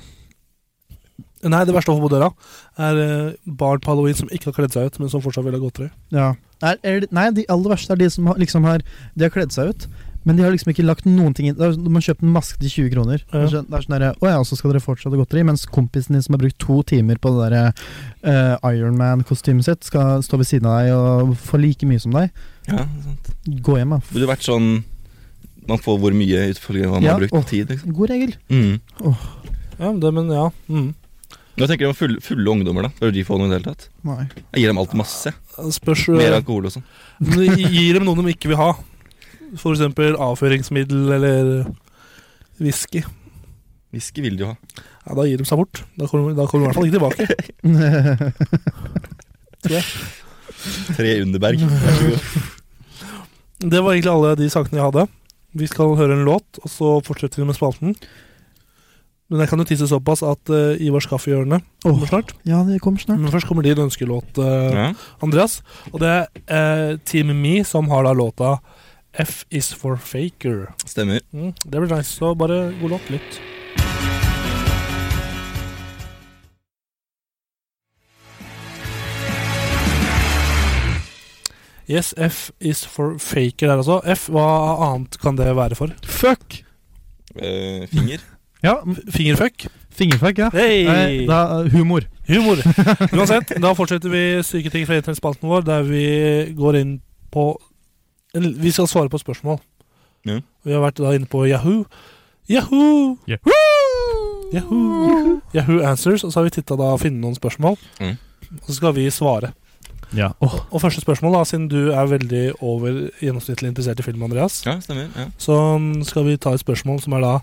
Speaker 2: Nei, det verste å få på døra er eh, barn på halloween som ikke har kledd seg ut, men som fortsatt vil ha godteri.
Speaker 4: ja. Er, er, det- nei, de aller verste er de som har, liksom har De har kledd seg ut, men de har liksom ikke lagt noen ting inn. Det er sånn- De har kjøpt en maske til 20 kroner.
Speaker 2: Ja.
Speaker 4: Det er sånn- det er sånn derre Å ja, og så skal dere fortsatt ha godteri, mens kompisen din som har brukt to timer på det derre eh, Iron Ironman-kostymet sitt, skal stå ved siden av deg og få like mye som deg.
Speaker 6: Ja, sant.
Speaker 4: Gå hjem, da.
Speaker 6: Det burde vært sånn Man får hvor mye utfølgelig man
Speaker 4: Ja,
Speaker 6: har brukt
Speaker 4: åh.
Speaker 6: tid, liksom.
Speaker 4: God regel.
Speaker 6: Mm.
Speaker 2: Ja, men det, men ja. Mm.
Speaker 6: Nå tenker jeg om fulle, fulle ungdommer, da. Bør de få noe i det hele tatt?
Speaker 4: Nei.
Speaker 6: Jeg gir dem alt masse.
Speaker 2: Spørs eh,
Speaker 6: Mer alkohol og sånn.
Speaker 2: Men gi- Gir dem noe de ikke vil ha. For eksempel avføringsmiddel eller eh, whisky.
Speaker 6: Whisky vil de jo ha.
Speaker 2: Ja, da gir de seg bort. Da kommer, da kommer de i hvert fall ikke tilbake.
Speaker 6: Tre Underberg.
Speaker 2: Det var egentlig alle de sakene jeg hadde. Vi skal høre en låt, og så fortsetter vi med spalten. Men jeg kan jo tisse såpass at eh, Ivars kaffehjørne kommer snart.
Speaker 4: ja, det kommer snart.
Speaker 2: Men først kommer din ønskelåt, eh,
Speaker 6: Ja.
Speaker 2: Andreas. Og det er eh, Team Me som har da låta F Is For Faker.
Speaker 6: Stemmer.
Speaker 2: Mm, det blir nice, så bare god låt. Lytt. Yes, F is for faker der altså. F, hva annet kan det være for?
Speaker 4: Fuck!
Speaker 6: Eh, finger.
Speaker 4: Ja,
Speaker 2: Fingerfuck?
Speaker 4: fingerfuck, ja. Nei, da, humor.
Speaker 2: Humor. Uansett, da fortsetter vi Syke ting fra internettspalten vår, der vi går inn på en, Vi skal svare på spørsmål.
Speaker 6: Ja.
Speaker 2: Vi har vært da inne på Yahoo. Yahoo!
Speaker 4: Yahoo!
Speaker 2: Yahoo, Yahoo Answers. Og så har vi titta da og funnet noen spørsmål.
Speaker 6: Mm.
Speaker 2: Og så skal vi svare.
Speaker 4: Ja. Åh,
Speaker 2: Og første spørsmål, da, siden du er veldig over gjennomsnittlig interessert i film, Andreas,
Speaker 6: Ja, stemmer. Ja.
Speaker 2: så mm, skal vi ta et spørsmål som er da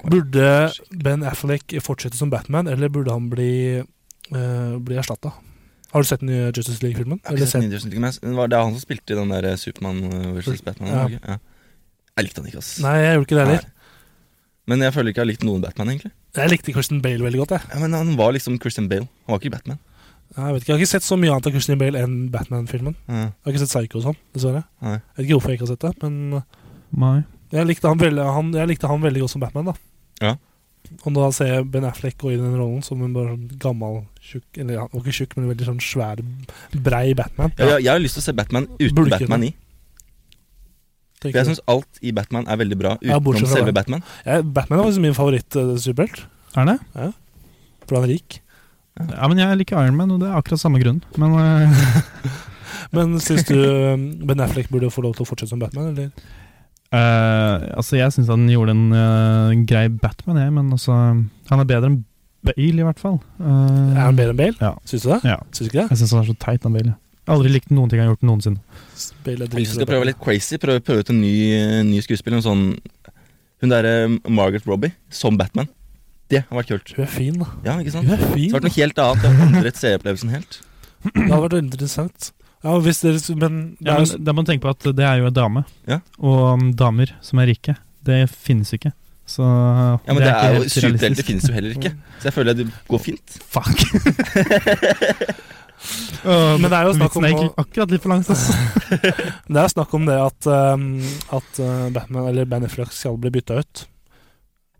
Speaker 2: Burde Ben Affleck fortsette som Batman, eller burde han bli, uh, bli erstatta? Har du sett den nye Justice League-filmen?
Speaker 6: Jeg har
Speaker 2: Eller
Speaker 6: ikke sett
Speaker 2: sett-
Speaker 6: den Indian Sneaker, men jeg- det var- det er han som spilte i den der eh, Supermann versus Batman.
Speaker 2: Ja.
Speaker 6: Ja. Ja. Jeg likte han ikke, ass.
Speaker 2: Nei, jeg gjorde ikke det heller.
Speaker 6: Nei. Men jeg føler ikke jeg har likt noen Batman, egentlig.
Speaker 2: Jeg likte Christian Bale veldig godt. Jeg
Speaker 6: Ja, men Han var liksom Christian Bale. Han var ikke Batman.
Speaker 2: Jeg vet ikke, jeg har ikke sett så mye annet av Christian Bale enn Batman-filmen.
Speaker 6: Ja.
Speaker 2: Jeg har ikke sett Psycho og sånn, dessverre.
Speaker 6: Nei.
Speaker 2: Jeg vet ikke hvorfor jeg ikke har sett det, men
Speaker 4: nei.
Speaker 2: jeg likte han veldig, han, jeg likte han veldig godt som Batman, da.
Speaker 6: Ja.
Speaker 2: Og da ser jeg Ben Affleck gå inn i den rollen som en bare sånn gammel, tjukk Eller han var ikke tjukk, men veldig sånn svær, brei Batman.
Speaker 6: Ja, jeg, jeg har lyst til å se Batman uten
Speaker 2: Burde ikke
Speaker 6: Batman
Speaker 2: det.
Speaker 6: i. For
Speaker 2: tenker
Speaker 6: jeg
Speaker 2: jeg.
Speaker 6: syns alt i Batman er veldig bra
Speaker 2: Ja,
Speaker 6: utenom
Speaker 2: bortsett fra
Speaker 6: selve
Speaker 2: det.
Speaker 6: Batman.
Speaker 2: Jeg- Batman er faktisk min favoritt-superhelt,
Speaker 4: Er det?
Speaker 2: for han er rik.
Speaker 4: Ja, men jeg liker Iron Man, og det er akkurat samme grunn. Men eh,
Speaker 2: Men syns du eh, Ben Affleck burde få lov til å fortsette som Batman, eller?
Speaker 4: eh, altså, jeg syns han gjorde en eh, grei Batman, jeg, men altså Han er bedre enn Bale, i hvert fall. Eh,
Speaker 2: Er han bedre enn Bale?
Speaker 4: Ja.
Speaker 2: Syns du det?
Speaker 4: Ja.
Speaker 2: Syns du ikke det?
Speaker 4: Jeg syns han er så teit, han Bale. Jeg har aldri likt noen ting han har gjort noensinne.
Speaker 2: Bale er
Speaker 6: Jeg
Speaker 2: dritbra
Speaker 6: skal prøve
Speaker 2: Batman.
Speaker 6: litt crazy. Prøve, prøve ut en ny, eh, ny skuespiller. En sånn Hun derre eh, Margaret Robbie som Batman. Det har vært kult.
Speaker 2: Hun er fin, da.
Speaker 6: Ja, ikke sant?
Speaker 2: Hun
Speaker 6: Det
Speaker 2: er fin.
Speaker 6: har
Speaker 2: da.
Speaker 6: vært noe helt annet. Jeg har endret seeropplevelsen helt.
Speaker 2: Det hadde vært veldig interessant. Ja, hvis dere Men, det
Speaker 4: Ja,
Speaker 2: er jo
Speaker 4: men da må man tenke på at det er jo en dame,
Speaker 6: Ja.
Speaker 4: og um, damer som er rike, det finnes ikke. Så
Speaker 6: Ja, men det er, jo
Speaker 4: helt
Speaker 6: Superhelter
Speaker 4: realistisk.
Speaker 6: finnes jo heller ikke. Så jeg føler at det går fint.
Speaker 4: Fuck! Uh,
Speaker 2: Men det er jo snakk om
Speaker 4: Vitsen gikk akkurat litt for langt, ass.
Speaker 2: det er snakk om det at, ehm, at eh, Batman eller Ben Affleck skal bli bytta ut.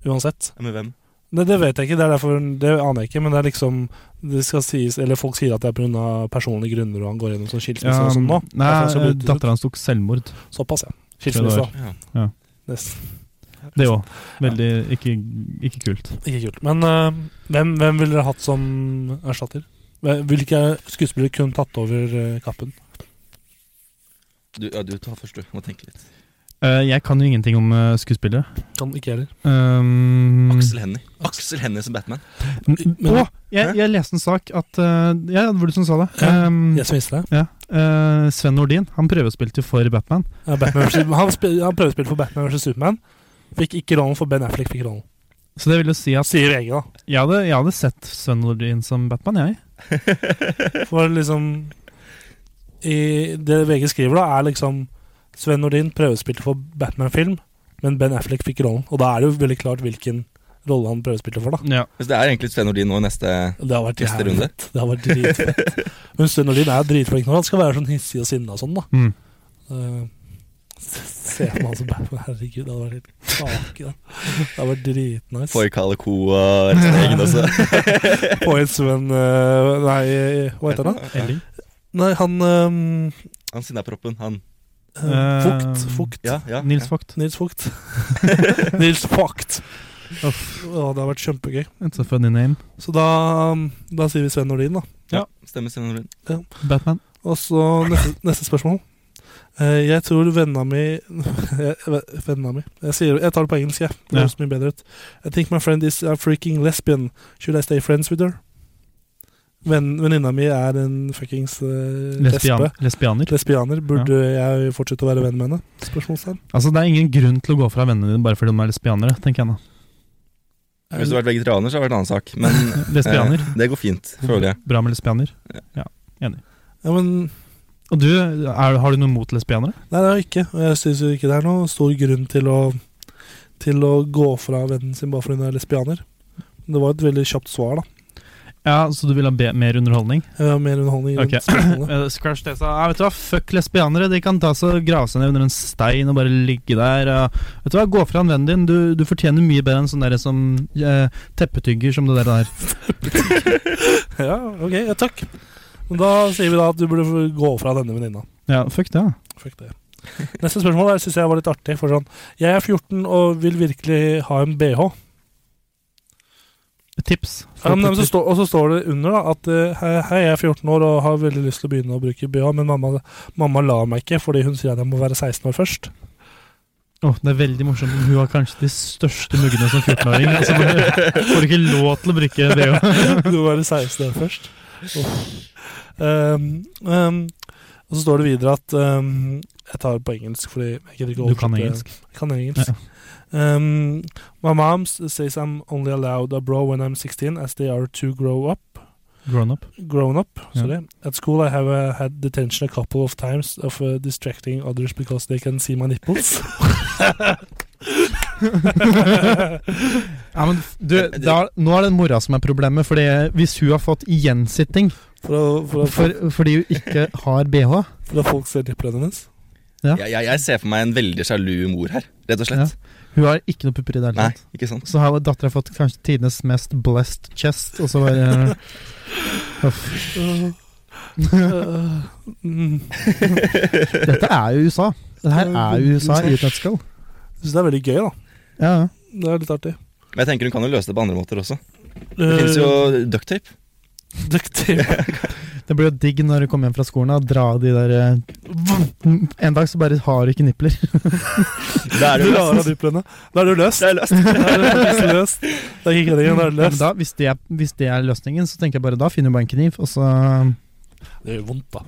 Speaker 2: Uansett.
Speaker 6: Ja, men hvem?
Speaker 2: Det, det vet jeg ikke, det er derfor Det aner jeg ikke, men det er liksom det skal sies, Eller folk sier at det er pga. personlige grunner og han går gjennom sånn skilsmisse og sånn nå.
Speaker 4: nei,
Speaker 2: Derfor han skal bli byttet ut.
Speaker 4: dattera hans tok selvmord.
Speaker 2: Såpass, ja. Skilsmisse, da.
Speaker 6: Ja.
Speaker 2: Nesten.
Speaker 4: Det òg. Veldig ikke, ikke kult.
Speaker 2: Ikke kult. Men eh, hvem, hvem ville dere hatt som erstatter? Hvem- Hvilke skuespillere kunne tatt over eh, kappen?
Speaker 6: Du, ja, du tar først, du. Må tenke litt.
Speaker 4: Uh, jeg kan jo ingenting om uh, skuespillere.
Speaker 2: Kan ikke heller. Mm.
Speaker 4: Um,
Speaker 6: Aksel Hennie. Aksel Hennie som Batman.
Speaker 4: N-
Speaker 2: Men-
Speaker 4: Å, jeg, jeg leste en sak at uh, Ja, det var du som sa det.
Speaker 2: Ja.
Speaker 4: Um,
Speaker 2: Jeg som visste det.
Speaker 4: ja. Uh, Sven Nordin han prøvespilte jo for Batman.
Speaker 2: Ja, Batman versus, han, spil, han prøvespilte for Batman vs. Superman. Fikk ikke rollen, for Ben Affleck fikk rollen.
Speaker 4: Så det vil jo si at
Speaker 2: Sier VG, da.
Speaker 4: jeg hadde, jeg hadde sett Sven Nordin som Batman, jeg.
Speaker 2: For liksom i, Det VG skriver, da, er liksom Sven Nordin prøvespilte for Batman-film, men Ben Affleck fikk rollen. Og da er det jo veldig klart hvilken rolle han prøvespilte for, da.
Speaker 4: Ja.
Speaker 6: Så det er egentlig Sven Nordin nå i neste
Speaker 2: Det har vært
Speaker 6: Neste
Speaker 2: jævlig
Speaker 6: runde.
Speaker 2: fett. Det har vært dritfett. Men Sven Nordin er dritflink når han skal være sånn hissig og sinna og sånn, da.
Speaker 4: Mm.
Speaker 2: Eh, Se på han som Batman, herregud, det hadde vært helt kake. da. Det hadde vært dritnice.
Speaker 6: Foy Kalakoa og uh, resten av gjengen også.
Speaker 2: Poets Sven eh, Nei, hva heter han? da?
Speaker 4: Elling.
Speaker 2: Nei, han ehm,
Speaker 6: Han sinnaproppen, han.
Speaker 2: eh, Fukt.
Speaker 4: Eh,
Speaker 2: Fukt.
Speaker 6: Ja, ja.
Speaker 4: Nils
Speaker 6: ja.
Speaker 4: Vogt.
Speaker 2: Nils Fukt. Nils Fukt.
Speaker 4: Uff.
Speaker 2: Ja, det har vært kjempegøy.
Speaker 4: It's a funny name.
Speaker 2: Så da, ehm, da sier vi Sven Nordin, da.
Speaker 6: ja. Stemmer Sven Nordin.
Speaker 4: Batman.
Speaker 2: Og så neste, neste spørsmål. Eh, jeg tror venna mi jeg- Venna mi jeg, sier, jeg tar det på engelsk, jeg. Det
Speaker 4: Ja.
Speaker 2: høres mye bedre ut. I think my friend is a freaking lesbian. Should I stay friends with her? Ven, venninna mi er en fuckings eh,
Speaker 4: Lesbian,
Speaker 2: lesbe.
Speaker 4: lesbianer.
Speaker 2: Lesbianer. Burde jeg fortsette å være venn med henne? Spørsmålstegn.
Speaker 4: Altså, det er ingen grunn til å gå fra vennene dine bare fordi de er lesbianere, tenker jeg da.
Speaker 6: Hvis du hadde vært vegetarianer, så hadde det vært en annen sak. Men
Speaker 4: Lesbianer.
Speaker 6: eh, det går fint, føler jeg.
Speaker 4: Bra med lesbianer.
Speaker 2: Ja, men
Speaker 4: Og du, er, har du noe mot lesbianere?
Speaker 2: Nei, det har jeg ikke. Og jeg syns ikke det er noen stor grunn til å, til å gå fra vennen sin bare fordi hun er lesbianer. Det var et veldig kjapt svar, da.
Speaker 4: Ja, så du vil ha be mer underholdning?
Speaker 2: Jeg vil ha mer underholdning rundt
Speaker 4: Ok.
Speaker 2: spørsmålet.
Speaker 4: Eh, Scratch det sa ja, Vet du hva, fuck lesbianere. De kan ta seg og grave seg ned under en stein og bare ligge der. og- vet du hva, Gå fra en vennen din. Du, du fortjener mye bedre enn sånn derre som eh, teppetygger som det der der.
Speaker 2: Ja, ok, ja, takk. Men da sier vi da at du burde gå fra denne venninna.
Speaker 4: Ja, fuck det. da.
Speaker 2: Fuck det. Neste spørsmål syns jeg var litt artig. For sånn, jeg er 14 og vil virkelig ha en bh.
Speaker 4: Tips.
Speaker 2: Ja, men, så står- og så står det under da at eh, hei, hei, jeg er 14 år og har veldig lyst til å begynne å bruke BH, men mamma, mamma lar meg ikke fordi hun sier at jeg må være 16 år først.
Speaker 4: Åh, det er veldig morsomt. Hun har kanskje de største muggene som 14-åring. Altså, bare- får ikke lov til å bruke BH.
Speaker 2: Du må være 16 år først. Um, um, og så står det videre at um, Jeg tar det på engelsk fordi jeg gidder ikke å
Speaker 4: Du kan
Speaker 2: oversette-
Speaker 4: engelsk.
Speaker 2: Jeg kan engelsk. Um, my mom s- says I'm only allowed abroad when I'm 16 as they are to grow up.
Speaker 4: Grown up.
Speaker 2: grown up.
Speaker 4: Yeah.
Speaker 2: Sorry. At school, I have uh, had detention a couple of times of uh, distracting others because they can see my nipples.
Speaker 4: Ja, men f- du, da, nå er det mora som er problemet, Fordi hvis hun har fått gjensitting
Speaker 2: for, å, for, å,
Speaker 4: for, fordi hun ikke har BH
Speaker 2: for at folk ser nipplene hennes.
Speaker 4: Ja.
Speaker 6: Jeg, jeg, jeg ser for meg en veldig sjalu mor her, rett og slett.
Speaker 4: Hun har ikke noe pupper i det hele
Speaker 6: Nei,
Speaker 4: tatt.
Speaker 6: ikke sant?
Speaker 4: Så har dattera fått kanskje tidenes mest blessed chest, og så bare Uff.
Speaker 2: Uh, uh, mm.
Speaker 4: Dette er jo USA. Det her er jo USA i et nøtteskall.
Speaker 2: Jeg synes det er veldig gøy, da.
Speaker 4: Ja, ja.
Speaker 2: Det er litt artig.
Speaker 6: Men jeg tenker hun kan jo løse det på andre måter også. Det finnes jo
Speaker 2: Uh,
Speaker 4: Eh,
Speaker 6: ducktape.
Speaker 2: Eh, Dyktig.
Speaker 4: Det blir jo digg når du kommer hjem fra skolen og dra de der eh, En dag så bare har du ikke nipler.
Speaker 6: Da er
Speaker 2: Du
Speaker 6: det jo
Speaker 2: lar av
Speaker 6: løst.
Speaker 2: nipplene. Da er du løst.
Speaker 6: Det er løst.
Speaker 2: Da er du løst. Da gikk jeg igjen, da er du
Speaker 4: Men
Speaker 2: løst.
Speaker 4: da, hvis, det er, hvis det er løsningen, så tenker jeg bare da finner du bare en kniv, og så
Speaker 2: Det gjør vondt, da.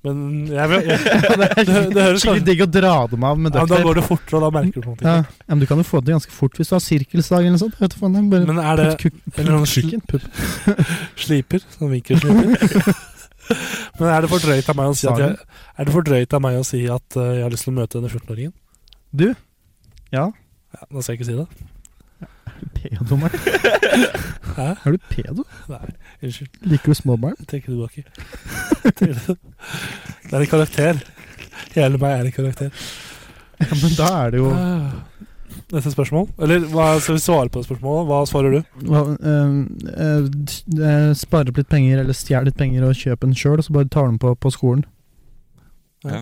Speaker 2: Men jeg, vil- jeg, det, det høres
Speaker 4: Skikkelig
Speaker 2: kanskje
Speaker 4: digg å dra dem av
Speaker 2: ja,
Speaker 4: med
Speaker 2: men Da
Speaker 4: ducktape.
Speaker 2: går det fortere, og da merker du noe.
Speaker 4: Ja, ja, men du kan jo få det ganske fort hvis du har sirkelsdag eller noe sånt. Vet du, faen, det er bare
Speaker 2: Men er det
Speaker 4: putt kuk-
Speaker 2: eller noen
Speaker 4: putt kukken, putt.
Speaker 2: Sliper. Sånn vinkelsliper. Men er det for drøyt av meg å si at jeg, er det for drøyt av meg å si at eh, jeg har lyst til å møte denne 14-åringen?
Speaker 4: Du? Ja?
Speaker 2: Ja, nå skal jeg ikke si det.
Speaker 4: Pedo, Martin.
Speaker 2: Hæ?
Speaker 4: Er du pedo?
Speaker 2: Nei, unnskyld.
Speaker 4: Liker du små barn?
Speaker 2: Jeg Tenker tilbake. Tenker- Det er en karakter. Hele meg er en karakter.
Speaker 4: Ja, men da er det jo
Speaker 2: Ah. Neste spørsmål? Eller hva skal vi svare på det spørsmålet? Hva svarer du?
Speaker 4: hva, eh, eh, d- eh, Spare opp litt penger, eller stjel litt penger og kjøp en sjøl, og så bare tar du den på på skolen.
Speaker 6: Nei,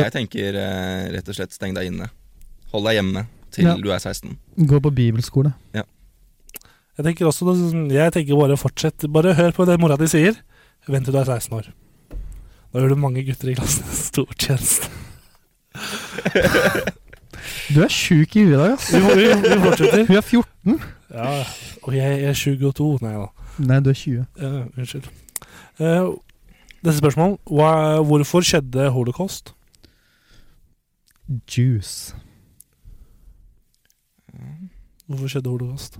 Speaker 6: jeg tenker eh, rett og slett steng deg inne. Hold deg hjemme til
Speaker 4: Ja.
Speaker 6: du er 16.
Speaker 4: Gå på bibelskole.
Speaker 2: Jeg tenker også det, sånn- jeg tenker bare fortsett. Bare hør på det mora di sier. Vent til du er 16 år. Da gjør du mange gutter i klassen en stor tjeneste.
Speaker 4: Du er sjuk i huet i dag, ass.
Speaker 2: Vi, vi, vi fortsetter.
Speaker 4: Hun er 14.
Speaker 2: Ja, og jeg, jeg er 22. Nei da.
Speaker 4: Nei, du er 20.
Speaker 2: Eh, unnskyld. Eh, neste spørsmål. Hva, hvorfor skjedde holocaust?
Speaker 4: Juice.
Speaker 2: Hvorfor skjedde holocaust?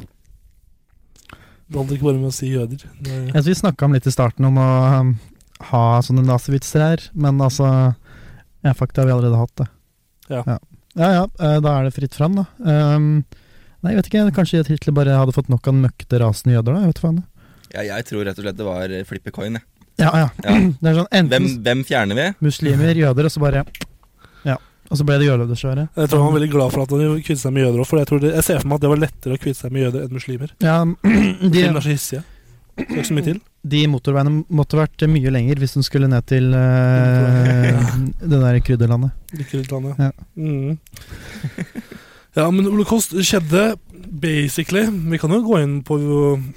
Speaker 2: Det holdt ikke bare med å si jøder. Det-
Speaker 4: Altså, vi snakka om litt i starten om å um, ha sånne nazivitser her, men altså Ja, fuck, det har vi allerede hatt, det.
Speaker 2: Ja.
Speaker 4: ja. Ja, ja, eh, da er det fritt fram, da. Ehm, nei, jeg vet ikke. Kanskje Hitler bare hadde fått nok av den møkkete rasen jøder, da. Jeg vet faen.
Speaker 6: Jeg, jeg tror rett og slett det var eh, flippe coin. jeg.
Speaker 4: Ja, ja.
Speaker 6: Ja.
Speaker 4: Det er sånn enten
Speaker 6: Hvem, hvem fjerner vi?
Speaker 4: muslimer, jøder, og så bare Ja. Og så ble det jøder, dessverre.
Speaker 2: Jeg tror han var veldig glad for at han kvitte seg med jøder òg, for jeg, tror det, jeg ser for meg at det var lettere å kvitte seg med jøder enn muslimer.
Speaker 4: Ja, de,
Speaker 2: Muslimer er så hissige. Det er ikke så mye til.
Speaker 4: de motorveiene måtte vært mye lenger hvis hun skulle ned til eh, det der krydderlandet.
Speaker 2: Liker litt landet.
Speaker 4: Ja.
Speaker 2: Mm. ja, men holocaust skjedde basically Vi kan jo gå inn på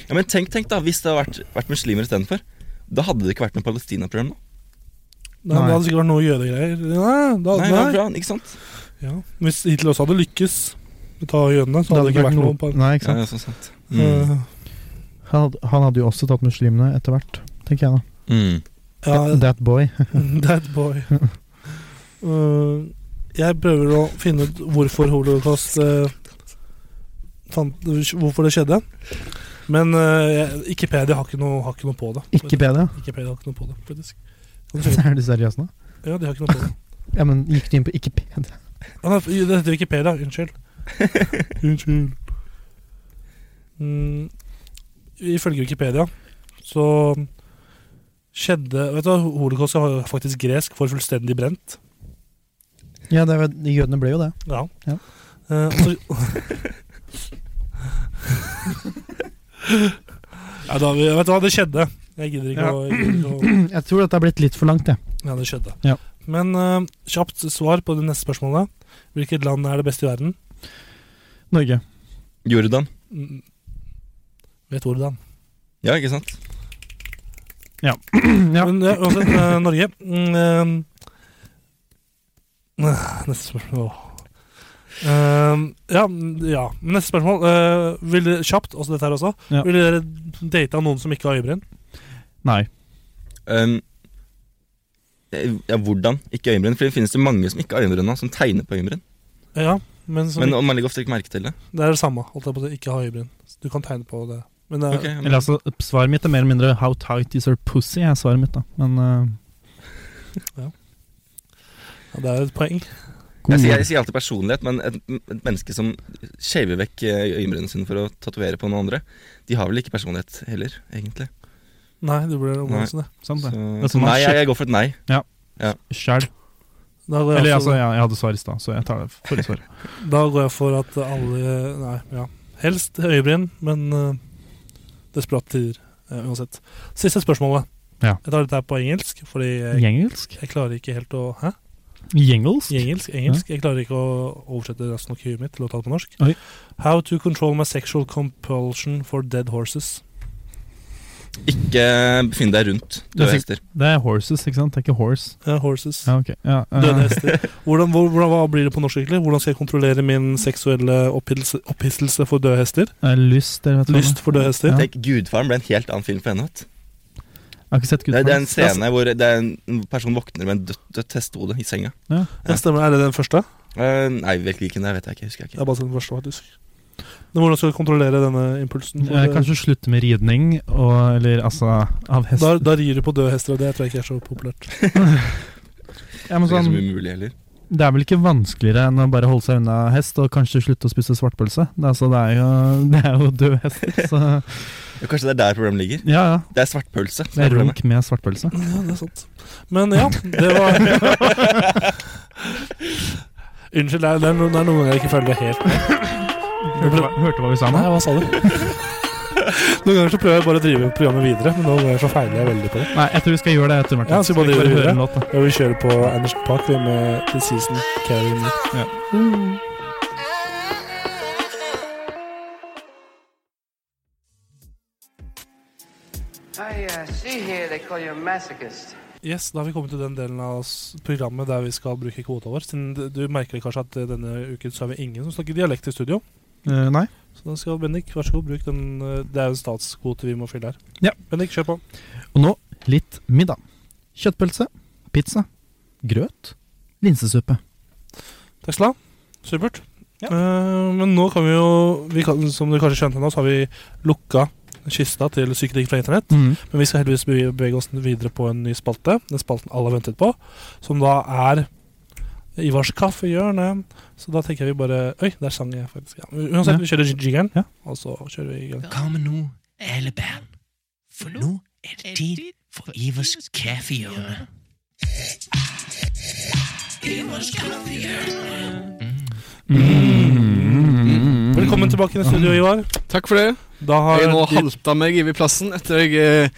Speaker 6: Ja, men tenk, tenk da, hvis det hadde vært, vært muslimer istedenfor. Da hadde det ikke vært noe Palestina-program nå.
Speaker 2: Nei,
Speaker 4: Nei.
Speaker 2: Det hadde sikkert vært noe jødegreier. Nei, da,
Speaker 6: Nei,
Speaker 2: nei.
Speaker 6: ja, bra, ikke sant?
Speaker 2: Ja. Hvis Hitler også hadde lykkes med å ta jødene, så hadde det ikke vært noe på
Speaker 4: Nei, ikke sant.
Speaker 6: Ja, så sant. Mm.
Speaker 2: Eh,
Speaker 4: Han, hadde- han hadde jo også tatt muslimene etter hvert, tenker jeg da.
Speaker 6: Mm.
Speaker 2: Ja,
Speaker 4: That boy.
Speaker 2: that boy. Eh, jeg prøver å finne ut hvorfor holocaust eh, fant, Hvorfor det skjedde. Men uh, Ikkepedia har ikke, noe, har ikke noe på det.
Speaker 4: Ikke bedre.
Speaker 2: Wikipedia har ikke noe på det, faktisk. Kan du sjekke?
Speaker 4: Er du seriøs nå?
Speaker 2: Ja, de har ikke noe på det.
Speaker 4: Ja, men gikk du inn på ikke bedre?
Speaker 2: Ah, nei, det heter Wikipedia. Unnskyld. Unnskyld. Mm, ifølge Wikipedia så skjedde Vet du, hva, Holocaust er faktisk gresk for fullstendig brent.
Speaker 4: Ja, det var, de jødene ble jo det.
Speaker 2: Ja.
Speaker 4: Ja.
Speaker 2: Eh, og så- ja, da, har vi- vet du hva, det skjedde. Jeg gidder ikke å, jeg gidder ikke å
Speaker 4: Jeg tror dette har blitt litt for langt, jeg.
Speaker 2: Ja, det skjedde.
Speaker 4: Ja.
Speaker 2: Men eh, kjapt svar på det neste spørsmålet. Hvilket land er det beste i verden?
Speaker 4: Norge.
Speaker 6: Jordan.
Speaker 2: Mm, Vet hvordan.
Speaker 6: Ja, ikke sant?
Speaker 4: Ja.
Speaker 2: Men ja, uansett, eh, Norge mm, eh, Neste spørsmål Åh. Eh, ja, mm, ja, men neste spørsmål. eh, vil dere, kjapt, også dette her også.
Speaker 4: Ja.
Speaker 2: Ville dere data noen som ikke har øyebryn?
Speaker 4: Nei.
Speaker 6: Ehm, ja, hvordan? Ikke øyenbryn. For det finnes det mange som ikke har øyenbryn nå, som tegner på øyenbryn.
Speaker 2: Ja, men, som,
Speaker 6: Men man legger ofte ikke merke til det.
Speaker 2: det er det samme. Holdt jeg på å si. Ikke ha øyebryn. Du kan tegne på det. Men eh, det er-
Speaker 6: Ok, ja, men-
Speaker 4: Eller altså, svaret mitt er mer eller mindre 'how tight is your pussy'? er svaret mitt da Men eh,
Speaker 2: ja, det er et poeng.
Speaker 6: jeg, sier, jeg sier alltid personlighet, men et, et menneske som shaver vekk eh, øyenbrynene sine for å tatovere på noen andre, de har vel ikke personlighet heller, egentlig.
Speaker 2: Nei, det blir omgåelsen, det.
Speaker 4: sant
Speaker 6: Så,
Speaker 4: Sånn det. er
Speaker 6: så
Speaker 4: som
Speaker 6: nei,
Speaker 4: man
Speaker 6: jeg, jeg går for et nei.
Speaker 4: Sjæl.
Speaker 2: Da går jeg
Speaker 4: Eller
Speaker 2: også-
Speaker 4: altså, jeg, jeg hadde svar i stad, så jeg tar det forrige svar.
Speaker 2: Da går jeg for at alle Nei, ja. Helst øyebryn, men uh, desperat tider eh, uansett. Siste spørsmålet.
Speaker 4: Ja.
Speaker 2: Jeg tar dette her på engelsk, fordi jeg,
Speaker 4: Gjengelsk?
Speaker 2: jeg klarer ikke helt å Hæ?
Speaker 4: Gjengelsk?
Speaker 2: Engelsk? engelsk. Jeg klarer ikke å oversette resten av kuet mitt til å ta det på norsk.
Speaker 4: Oi.
Speaker 2: How to control my sexual compulsion for dead horses.
Speaker 6: Ikke eh, befinn deg rundt
Speaker 4: Det er
Speaker 6: døde hester.
Speaker 4: Det er horses, ikke sant? Det er ikke horse.
Speaker 2: Eh, horses.
Speaker 4: Ja, ok. Ja, eh,
Speaker 2: Døde hester. Hvordan, hvor, hvordan, hva blir det på norsk egentlig? Hvordan skal jeg kontrollere min seksuelle opphisselse opphisselse for døde hester?
Speaker 4: eh, lyst, eller vet du hva
Speaker 2: Lyst for døde hester?
Speaker 4: Ja.
Speaker 6: Tenk, Gudfaren ble en helt annen film for henne. vet du.
Speaker 4: Jeg har ikke sett
Speaker 6: Det,
Speaker 4: Gudfaren.
Speaker 6: det er en scene hvor det er en- en person våkner med en dødt dødt hestehode i senga.
Speaker 2: Ja, stemmer. Er det den første?
Speaker 6: Eh, nei, vel, hvilken det er, vet jeg ikke. husker jeg
Speaker 2: Det er
Speaker 6: ikke
Speaker 2: bare den første, faktisk. Men hvordan skal du kontrollere denne impulsen?
Speaker 4: Eh, Kanskje slutte med ridning, og, eller altså av hest.
Speaker 2: Da, da rir du på døde hester, og det tror jeg ikke er så populært.
Speaker 4: ja, men
Speaker 6: Det er ikke så
Speaker 4: sånn,
Speaker 6: umulig heller.
Speaker 4: det er vel ikke vanskeligere enn å bare holde seg unna hest, og kanskje slutte å spise svartpølse. Det er, altså, det er, jo, det er jo død hest, så
Speaker 6: Ja, kanskje det er der problemet ligger.
Speaker 4: ja ja.
Speaker 6: Det er svartpølse. som
Speaker 4: Det
Speaker 6: er
Speaker 4: er
Speaker 6: problemet.
Speaker 4: runk med svartpølse.
Speaker 2: Ja, det er sant. Men ja, det var Unnskyld, det er, det er noen det er noen ganger jeg ikke følger helt med.
Speaker 4: Hørte, hva- hørte hva vi sa
Speaker 2: Nei,
Speaker 4: nå?
Speaker 2: hva sa du? Noen ganger så prøver jeg bare å drive programmet videre, men noen ganger så feiler jeg veldig på det.
Speaker 4: Nei, jeg tror vi skal gjøre det etter, Martin.
Speaker 2: Ja, så vi bare
Speaker 4: vi
Speaker 2: driver
Speaker 4: høre
Speaker 2: videre?
Speaker 4: en låt, da?
Speaker 2: Jeg vil kjøre på Andersen Park vi, med The Season Carrying Me.
Speaker 8: I uh, see here they call you a masochist.
Speaker 2: Yes, da har vi kommet til den delen av s- programmet der vi skal bruke kvota vår. Siden du- du merker kanskje at eh, denne uken så er vi ingen som snakker dialekt i studio.
Speaker 4: Eh, nei.
Speaker 2: Så da skal Bendik, vær så god, bruk den eh, Det er jo en statskvote vi må fylle her.
Speaker 4: Ja.
Speaker 2: Bendik, kjør på.
Speaker 4: Og nå litt middag. Kjøttpølse, pizza, grøt, linsesuppe.
Speaker 2: Tesla, supert. Eh, men nå kan vi jo vi kan, Som du kanskje skjønte nå, så har vi lukka kista til psykedelik fra internett. Men vi skal heldigvis beve- bevege oss videre på en ny spalte. Den spalten alle har ventet på, som da er Ivars kaffehjørne. Så da tenker jeg vi bare Oi, der sang jeg faktisk. Ja. Uansett,
Speaker 4: Ja.
Speaker 2: vi kjører jig- jiggeren,
Speaker 4: Ja.
Speaker 2: og så kjører vi i gang.
Speaker 9: Kom nå, alle barn, for nå er det tid for Ivers kaffehjørne.
Speaker 2: Mm. Velkommen tilbake til studio, Ivar.
Speaker 3: Takk for det.
Speaker 2: Da har
Speaker 3: Jeg nå
Speaker 2: de-
Speaker 3: halta meg over plassen etter jeg eh,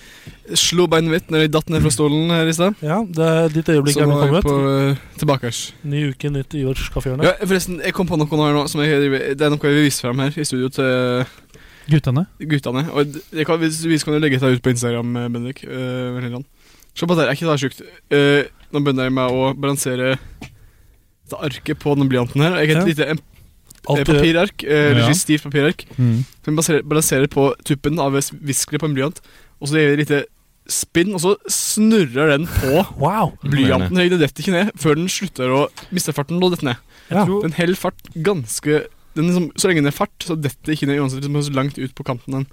Speaker 3: slo beinet mitt når jeg datt ned fra stolen her i stad.
Speaker 2: ja, det er ditt øyeblikk
Speaker 3: Så
Speaker 2: er
Speaker 3: nå er jeg
Speaker 2: velkommet.
Speaker 3: på eh, tilbakers.
Speaker 2: Ny uke, nytt Ivars kaffehjørne.
Speaker 3: Ja, forresten, jeg kom på noe nå, her nå som jeg, det er noe jeg vil vise frem her i studio til
Speaker 4: Guttene.
Speaker 3: guttene. Og d- jeg kan, hvis du vil, så kan du legge dette ut på Instagram, eh, Bendik. eh, Vernland. Se på dette, er ikke det her sjukt? Eh, nå begynner jeg med å balansere dette arket på den blyanten her. Jeg har et lite em- eh,
Speaker 2: Alt du gjør.
Speaker 3: papirark, eh,
Speaker 4: Ja.
Speaker 3: eller stivt papirark. Som balanserer, balanserer på tuppen av et viskle på en blyant, og så gjør jeg et lite spinn, og så snurrer den på
Speaker 2: Wow!
Speaker 6: Imponerende.
Speaker 3: blyanten. Høyde detter ikke ned før den slutter å miste farten og detter ned.
Speaker 2: Ja.
Speaker 3: Den holder fart ganske den liksom, Så lenge den er fart, så detter ikke ned uansett liksom, så langt ut på kanten. Den.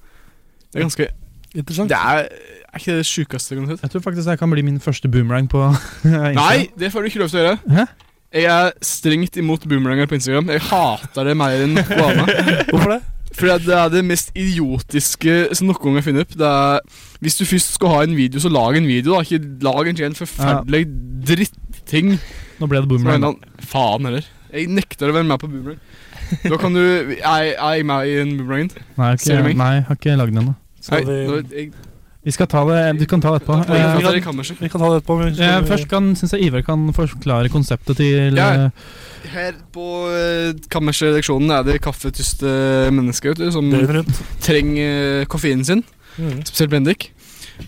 Speaker 3: Det er ganske
Speaker 2: Interessant.
Speaker 3: Det er, er ikke det sjukeste jeg kan si.
Speaker 4: Jeg tror faktisk det kan bli min første boomerang på Instagram.
Speaker 3: Nei, det får du ikke lov til å gjøre.
Speaker 4: Hæ?
Speaker 3: Jeg er strengt imot boomeranger på Instagram. Jeg hater det mer enn noe annet.
Speaker 2: Hvorfor det?
Speaker 3: For det er det mest idiotiske som noen gang har funnet opp. Det er, hvis du først skal ha en video, så lag en video. da Ikke lag en, en forferdelig dritting.
Speaker 4: Nå ble det
Speaker 3: Som en
Speaker 4: boomerang.
Speaker 3: eller annen Faen heller. Jeg nekter å være med på boomerang. Da kan du Er er jeg med i en boomerang?
Speaker 4: Nei, jeg har
Speaker 3: Ser du
Speaker 4: ikke,
Speaker 3: meg?
Speaker 4: nei, jeg har ikke lagd den ennå.
Speaker 2: Skal
Speaker 3: Nei,
Speaker 2: vi-
Speaker 3: nå- jeg-
Speaker 4: Vi skal ta det, Du kan ta det etterpå.
Speaker 3: Poenget
Speaker 4: Eh,
Speaker 3: for dere i kammerset.
Speaker 2: Vi kan ta det etterpå. men-
Speaker 4: eh, først kan, synes jeg Ivar kan forklare konseptet til
Speaker 3: Ja.
Speaker 4: eh,
Speaker 3: Her på eh, kammersredaksjonen er det kaffetyste mennesker vet du, som
Speaker 2: Mm. Døgnet rundt.
Speaker 3: trenger eh, koffeinen sin.
Speaker 2: Mm.
Speaker 3: Spesielt Bendik.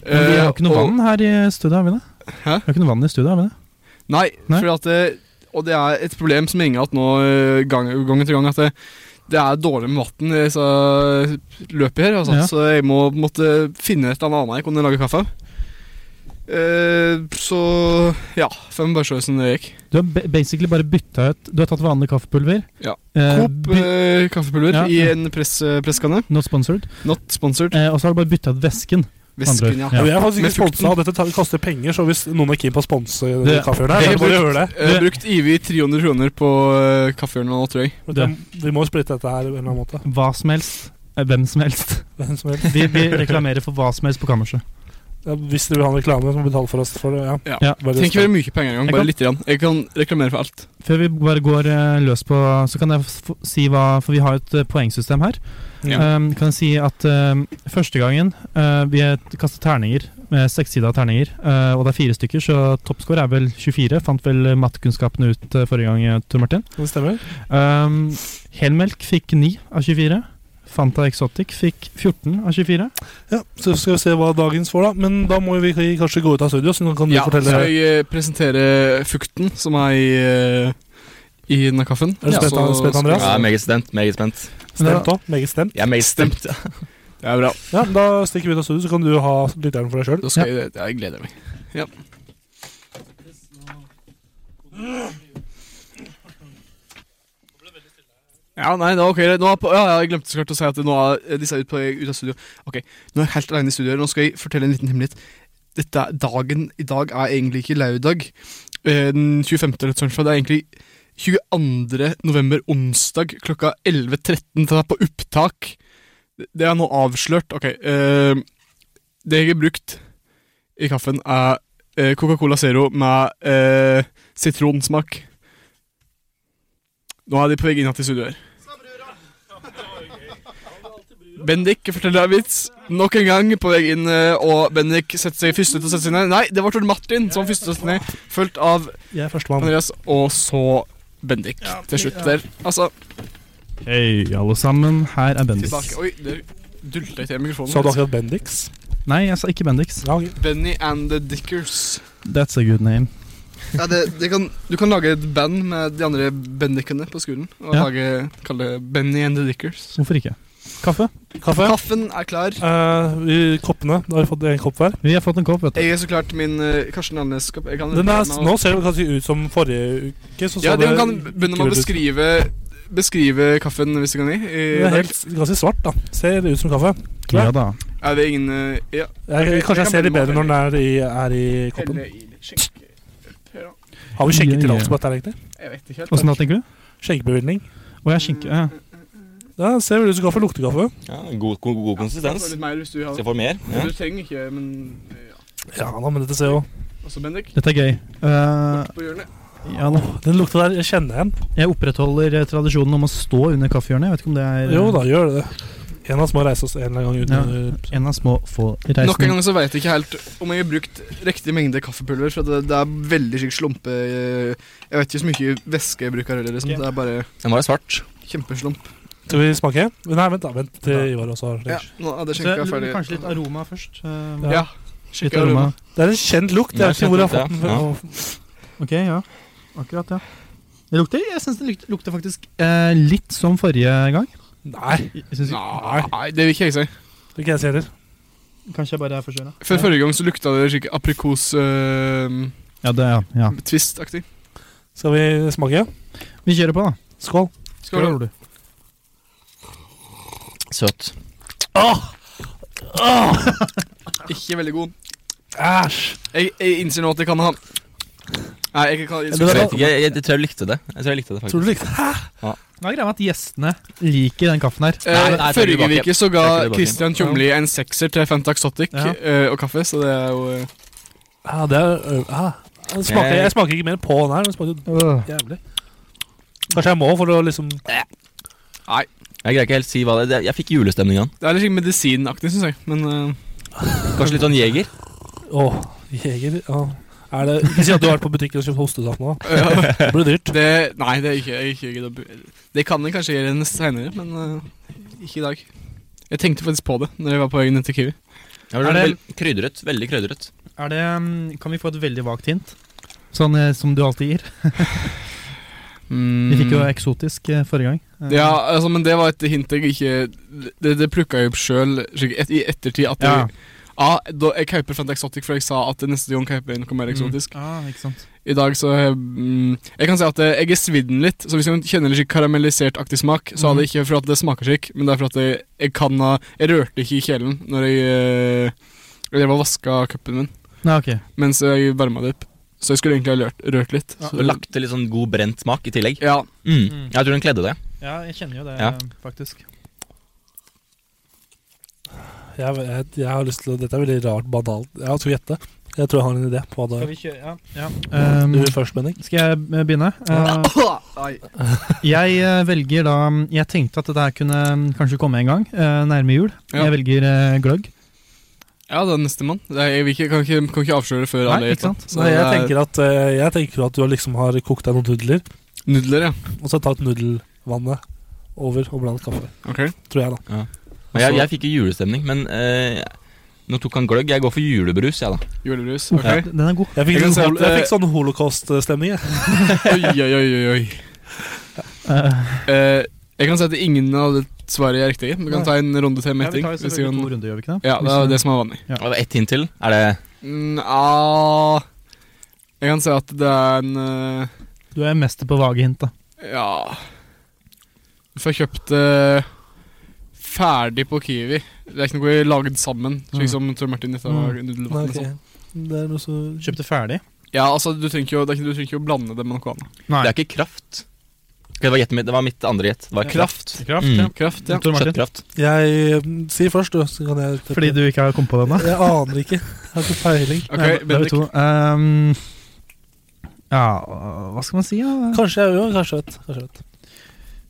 Speaker 4: men Vi har
Speaker 3: Eh,
Speaker 4: ikke noe
Speaker 3: og-
Speaker 4: vann her i studio, har vi det?
Speaker 3: Hæ?
Speaker 4: Vi har ikke noe vann i studio, har vi det?
Speaker 3: Nei,
Speaker 4: Nei?
Speaker 3: fordi at det, og det er et problem som henger igjen nå eh, gang, gang etter gang, at det, det er dårlig med vann i disse løpet her. Altså,
Speaker 4: Ja.
Speaker 3: Så jeg må måtte finne et eller annet jeg kunne lage kaffe av. Eh, så ja. Fem børsøysen det gikk.
Speaker 4: Du har ba- basically bare bytta ut Du har tatt vanlig kaffepulver.
Speaker 3: Ja.
Speaker 4: Eh,
Speaker 3: Coop
Speaker 4: by-
Speaker 3: eh, kaffepulver
Speaker 4: ja,
Speaker 3: i
Speaker 4: ja.
Speaker 3: en press, eh, presskanne.
Speaker 4: not sponsored.
Speaker 3: Not sponsored.
Speaker 4: Eh, og så har du bare bytta ut væsken. andre
Speaker 3: Vesken,
Speaker 4: ord.
Speaker 3: ja.
Speaker 2: Ja.
Speaker 4: Ja.
Speaker 2: Vi er faktisk
Speaker 3: Med
Speaker 2: ikke sponsa, og dette tar, koster penger, så hvis noen er keen på å sponse denne
Speaker 4: Det-
Speaker 2: kaffehjørnet, her, så er
Speaker 3: det er
Speaker 2: det bare å
Speaker 3: brukt.
Speaker 2: gjøre det.
Speaker 3: Jeg har brukt Ivi 300 kroner på uh, kaffehjørnet nå, tror jeg.
Speaker 2: Vi- Vi må jo splitte dette her på en eller annen måte.
Speaker 4: Hva som helst. Eh, Hvem som helst.
Speaker 2: Hvem som helst.
Speaker 4: Vi, vi reklamerer for hva som helst på kammerset.
Speaker 2: Ja, Hvis dere vil ha en reklame, så må vi betale for oss for det. Ja.
Speaker 3: Ja.
Speaker 4: Ja.
Speaker 2: Bare sånn.
Speaker 3: Trenger ikke
Speaker 2: stopp.
Speaker 3: være mye penger engang,
Speaker 4: Jeg
Speaker 3: bare
Speaker 4: kan-
Speaker 3: lite grann. Jeg kan reklamere for alt.
Speaker 4: Før vi bare går eh, løs på Så kan jeg f si hva For vi har jo et eh, poengsystem her.
Speaker 3: Ja.
Speaker 4: Um, kan jeg si at um, første gangen uh, vi kastet terninger, med sekssida terninger, uh, og det er fire stykker, så toppscore er vel 24. Fant vel mattekunnskapene ut uh, forrige gang, Tor Martin.
Speaker 2: Det stemmer.
Speaker 4: Um, Helmelk fikk 9 av 24. Fanta Exotic fikk 14 av 24.
Speaker 2: Ja, så skal vi se hva dagens får, da. Men da må vi kanskje gå ut av studio, så nå kan du
Speaker 3: Ja,
Speaker 2: fortelle
Speaker 3: skal jeg eh, presentere fukten som er i, eh, i denne kaffen.
Speaker 2: Er du spent,
Speaker 3: så-
Speaker 2: spent, Andreas?
Speaker 6: Jeg er meget spent. meget spent
Speaker 4: Men
Speaker 2: Stemt òg. Meget stemt.
Speaker 6: Jeg er meget stemt.
Speaker 3: Det er bra.
Speaker 2: Ja, men da stikker vi ut av studio, så kan du ha lytteren for deg sjøl.
Speaker 3: Da skal jeg, jeg gleder meg. Ja. Ja, nei, det var ok. Nå er på, ja, ja, jeg glemte så klart å si at nå er disse er ut, på, ut av studio. Ok, Nå er jeg helt alene i studio. her. Nå skal jeg fortelle en liten hemmelighet. Dette er dagen i dag er egentlig ikke lørdag. eh, Den 25. eller noe sånt, for Det er egentlig 22. november, onsdag klokka 11.13. Det er på opptak. Det- Det er nå avslørt. Ok. eh, det jeg har brukt i kaffen, er eh, Coca-Cola Zero med eh, sitronsmak. Nå er de på vei inn til studioet her. Bendik forteller en vits nok en gang på vei inn, eh, og Bendik setter seg første til å sette seg ned. Nei, det var Tor Martin som var første til å sette seg ned, fulgt av
Speaker 2: Jeg er førstemann.
Speaker 3: Andreas, og så Bendik til slutt der. Altså,
Speaker 4: Hei, alle sammen. Her er Bendix.
Speaker 3: tilbake. Oi, der dulta jeg til mikrofonen.
Speaker 2: Sa du akkurat Bendix?
Speaker 4: Nei, jeg sa ikke Bendix.
Speaker 2: Ja, ok.
Speaker 3: Benny and the Dickers.
Speaker 4: That's a good name.
Speaker 3: Ja, det, det kan, du kan lage et band med de andre bendikene på skolen. Og
Speaker 4: Ja.
Speaker 3: lage, kalle det Benny and the Dickers.
Speaker 4: Hvorfor ikke? Kaffe?
Speaker 2: Kaffe.
Speaker 3: Kaffen er klar.
Speaker 2: Eh, vi- koppene. Da har vi fått en kopp hver.
Speaker 4: Vi har fått en kopp, vet du.
Speaker 3: Jeg er så klart min eh, Karsten Alnes-kopp. Jeg kan-
Speaker 2: Den er,
Speaker 3: kan-
Speaker 2: nå ser det kanskje ut som forrige uke. Så
Speaker 3: Ja,
Speaker 2: så
Speaker 3: du
Speaker 2: det
Speaker 3: kan begynne med å
Speaker 2: kul ut.
Speaker 3: beskrive, beskrive kaffen, hvis du kan gi.
Speaker 2: Den
Speaker 3: i
Speaker 2: er
Speaker 3: dag.
Speaker 2: helt, ganske svart, da. Ser ut som kaffe.
Speaker 4: Ja da.
Speaker 3: Er det ingen eh, Ja.
Speaker 2: Jeg,
Speaker 3: Ok,
Speaker 2: kanskje
Speaker 3: jeg
Speaker 2: jeg ser
Speaker 3: kan
Speaker 2: litt bedre
Speaker 3: begynne
Speaker 2: når den
Speaker 3: med
Speaker 2: er i, er i koppen.
Speaker 3: Eller i skjenke... Ja,
Speaker 2: Har vi
Speaker 4: Ja, ja.
Speaker 2: skjenketillatelse på dette, her, egentlig?
Speaker 3: Jeg vet ikke helt.
Speaker 4: Åssen da, tenker du?
Speaker 2: Skjenkebevilgning.
Speaker 4: Å, jeg skinker. Ja.
Speaker 2: Ja, ser vel ut som kaffe. Lukter kaffe.
Speaker 6: Ja, god, god, god
Speaker 3: Jeg får
Speaker 6: konsistens.
Speaker 3: litt mer hvis du har
Speaker 6: Så jeg får mer.
Speaker 3: Men
Speaker 6: Ja.
Speaker 4: Mm.
Speaker 3: Du trenger ikke, men eh, ja.
Speaker 2: Ja, da, men dette ser jo
Speaker 3: Også Bendik.
Speaker 4: Dette er gøy. Eh,
Speaker 3: På hjørnet.
Speaker 4: ja da.
Speaker 2: Den lukta der jeg kjenner igjen.
Speaker 4: Jeg opprettholder eh, tradisjonen om å stå under kaffehjørnet. Jeg vet ikke om det er eh,
Speaker 2: Jo da, gjør det. En av oss må reise oss en eller annen gang
Speaker 4: Ja.
Speaker 2: uten eh,
Speaker 4: eh, en av små få reisende.
Speaker 3: Nok en gang så veit jeg ikke helt om jeg har brukt riktig mengde kaffepulver. For det, det er veldig slik slumpe eh, Jeg vet ikke så mye væske jeg bruker heller. Liksom. Det er bare
Speaker 6: Den var svart.
Speaker 3: kjempeslump.
Speaker 2: Skal vi smake? Nei, vent da, vent til Ivar også har
Speaker 3: Ja,
Speaker 2: det.
Speaker 3: nå er det
Speaker 4: Så,
Speaker 3: skjenka ferdig.
Speaker 4: kanskje litt aroma først. eh,
Speaker 2: Ja.
Speaker 3: Ja.
Speaker 4: Litt
Speaker 3: skjenka
Speaker 4: aroma.
Speaker 3: aroma.
Speaker 2: Det er en kjent lukt. Jeg
Speaker 6: Det er
Speaker 2: vet ikke hvor jeg har fått
Speaker 6: kjent
Speaker 2: den
Speaker 6: lukt, ja.
Speaker 2: fra.
Speaker 4: Ok, ja. Akkurat, ja. Det lukter, jeg syns det lukter, lukter faktisk eh, litt som forrige gang.
Speaker 2: Nei,
Speaker 4: Jeg synes,
Speaker 3: Nei, det vil ikke jeg si.
Speaker 2: det er ikke jeg ser heller.
Speaker 4: Kanskje jeg bare er forkjøla.
Speaker 3: For Forrige gang så lukta det skikkelig eh, aprikos-twist-aktig.
Speaker 4: Ja, det, ja, ja.
Speaker 3: Mm.
Speaker 2: Skal vi smake?
Speaker 4: Vi kjører på, da.
Speaker 2: Skål.
Speaker 3: Skål.
Speaker 4: Skål, du.
Speaker 6: Søt.
Speaker 3: Ikke veldig god.
Speaker 2: Æsj.
Speaker 3: Jeg, jeg innser nå at jeg kan ha Nei, jeg
Speaker 2: det
Speaker 3: kan
Speaker 6: Jeg
Speaker 2: var-
Speaker 3: innser,
Speaker 6: vet ikke, jeg, jeg, jeg tror jeg likte det. Jeg tror jeg likte det
Speaker 2: Tror
Speaker 6: faktisk.
Speaker 2: du likte det? Hæ?
Speaker 4: Nå er greia med at gjestene liker den kaffen her.
Speaker 6: Nei, nei,
Speaker 3: eh,
Speaker 6: jeg trekker
Speaker 3: Forrige
Speaker 6: tilbake.
Speaker 3: uke så ga
Speaker 6: Trekker tilbake.
Speaker 3: Christian Tjomli en sekser til Fantaxotic
Speaker 4: Ja.
Speaker 3: eh, og kaffe, så det er jo eh,
Speaker 2: Ja, det er ø, ja. Den smaker, Jeg smaker ikke mer på den her. Den smaker jo jævlig. Kanskje jeg må for å liksom
Speaker 6: Jeg greier ikke helt si hva det er. Jeg fikk julestemninga.
Speaker 3: Det er litt slik medisinaktig, syns jeg. Men eh,
Speaker 6: Kanskje litt sånn jeger?
Speaker 2: Åh, jeger. Ja. Er det, ikke si at du har vært på butikken og kjøpt hostesaft nå. da. Det blir dyrt.
Speaker 3: eh, Det, nei, det er ikke, jeg ikke gidder å bu- Det kan jeg kanskje gjøre en senere, men eh, ikke i dag. Jeg tenkte faktisk på det når jeg var på vei ned til Kiwi.
Speaker 6: Ja, det
Speaker 4: Er
Speaker 6: er
Speaker 4: det-
Speaker 6: vel- krydret. Veldig krydret.
Speaker 4: Er det, um, kan vi få et veldig vagt hint? Sånn eh, som du alltid gir. Vi fikk jo eksotisk eh, forrige gang. Eh,
Speaker 3: Mm. Ja, altså, men det var et hint jeg ikke Det, det plukka jeg opp sjøl et, i ettertid. At
Speaker 4: Ja.
Speaker 3: jeg, ja, da, jeg kauper fant Exotic, for jeg sa at neste gang kauper jeg noe mer eksotisk.
Speaker 4: Ah, ikke sant.
Speaker 3: I dag så har jeg, mm, Jeg kan si at eh, jeg er svidd den litt. Så hvis jeg kjenner litt karamellisert-aktig smak,
Speaker 4: Mm.
Speaker 3: så er det ikke for at det smaker skikk, men det er for at jeg, jeg kan ha Jeg rørte ikke i kjelen når jeg eh, Jeg drev og vaska cupen min
Speaker 4: Nei, ok.
Speaker 3: mens jeg varma det opp. Så jeg skulle egentlig ha rørt, rørt litt.
Speaker 4: Ja.
Speaker 6: Og lagt til litt sånn god brent smak i tillegg.
Speaker 3: Ja,
Speaker 6: Mm. Jeg tror den kledde det.
Speaker 4: Ja, jeg kjenner jo det,
Speaker 6: Ja.
Speaker 4: faktisk.
Speaker 2: Jeg, jeg, jeg har lyst til å, Dette er veldig rart banalt. Jeg skal gjette. Jeg tror jeg har en idé på hva det
Speaker 4: Skal
Speaker 2: er.
Speaker 4: vi kjøre Ja. ja.
Speaker 2: Du
Speaker 4: Um,
Speaker 2: først, Benning.
Speaker 4: skal jeg eh, begynne? Eh, jeg eh, velger da Jeg tenkte at dette her kunne mm, kanskje komme en gang, eh, nærme jul.
Speaker 3: Ja.
Speaker 4: Jeg velger eh, gløgg.
Speaker 3: ja det er nestemann. Det er- Jeg vil ikke, kan, ikke, kan ikke avsløre før alle
Speaker 4: Nei,
Speaker 3: gjetter.
Speaker 4: ikke sant?
Speaker 3: Så
Speaker 2: Nei, jeg,
Speaker 3: det er
Speaker 2: tenker at, eh, jeg tenker at du har liksom har kokt deg noen nudler,
Speaker 3: Nudler, ja.
Speaker 2: og så tatt nudelvannet over og blandet kaffe.
Speaker 3: Ok.
Speaker 2: Tror jeg, da.
Speaker 6: Men jeg, jeg fikk jo julestemning, men eh, nå tok han gløgg. Jeg går for julebrus, jeg, da.
Speaker 3: Julebrus.
Speaker 4: Oh,
Speaker 3: Ok.
Speaker 4: ja, Den er god.
Speaker 2: Jeg fikk,
Speaker 3: Jeg kan
Speaker 2: sånn,
Speaker 3: si at,
Speaker 2: hol- jeg
Speaker 3: eh,
Speaker 2: fikk sånn holocaust-stemning. jeg.
Speaker 3: Oi, oi, oi, oi, oi.
Speaker 4: Eh,
Speaker 3: Eh, jeg kan si at ingen av de svarene er riktige. Vi kan
Speaker 4: Nei.
Speaker 3: ta en runde til med
Speaker 4: ja, vi
Speaker 3: etting.
Speaker 4: tar jo
Speaker 3: hvis vi
Speaker 4: selvfølgelig
Speaker 3: kan-
Speaker 4: to runder, gjør vi ikke det?
Speaker 3: Ja, det
Speaker 4: Hvis,
Speaker 3: er
Speaker 4: eh,
Speaker 3: det som er vanlig.
Speaker 6: Og ett hint til. Er det
Speaker 3: Nja Jeg kan si at det er en eh,
Speaker 4: Du er mester på vage hint, da.
Speaker 3: Ja Du får kjøpt det eh, ferdig på Kiwi. Det er ikke noe lagd sammen, slik
Speaker 4: Mm.
Speaker 3: som Tor Martin dette
Speaker 4: Mm.
Speaker 3: var nudelvann. og sånn.
Speaker 2: Det er noe så
Speaker 4: Kjøpte ferdig?
Speaker 3: Ja, altså, du trenger, ikke, å- det er ikke, du trenger ikke å blande det med noe annet.
Speaker 4: Nei.
Speaker 6: Det er ikke kraft. Ok, det, var gjettet mitt, det var mitt andre gjett. Det var kraft.
Speaker 4: Kraft,
Speaker 6: Mm.
Speaker 4: ja.
Speaker 3: Kraft, ja.
Speaker 4: Tor Martin?
Speaker 6: Kjøttkraft.
Speaker 2: Jeg mm, Si først, du, så kan jeg
Speaker 4: Fordi du ikke har kommet på den, da?
Speaker 2: Jeg aner ikke. Jeg har ikke peiling.
Speaker 3: Ok,
Speaker 4: Nei, da er vi
Speaker 3: Bendik.
Speaker 4: Eh, to. Ehm, ja, hva skal man si, da?
Speaker 2: Kanskje jeg jo, kanskje jeg vet. Kanskje jeg vet.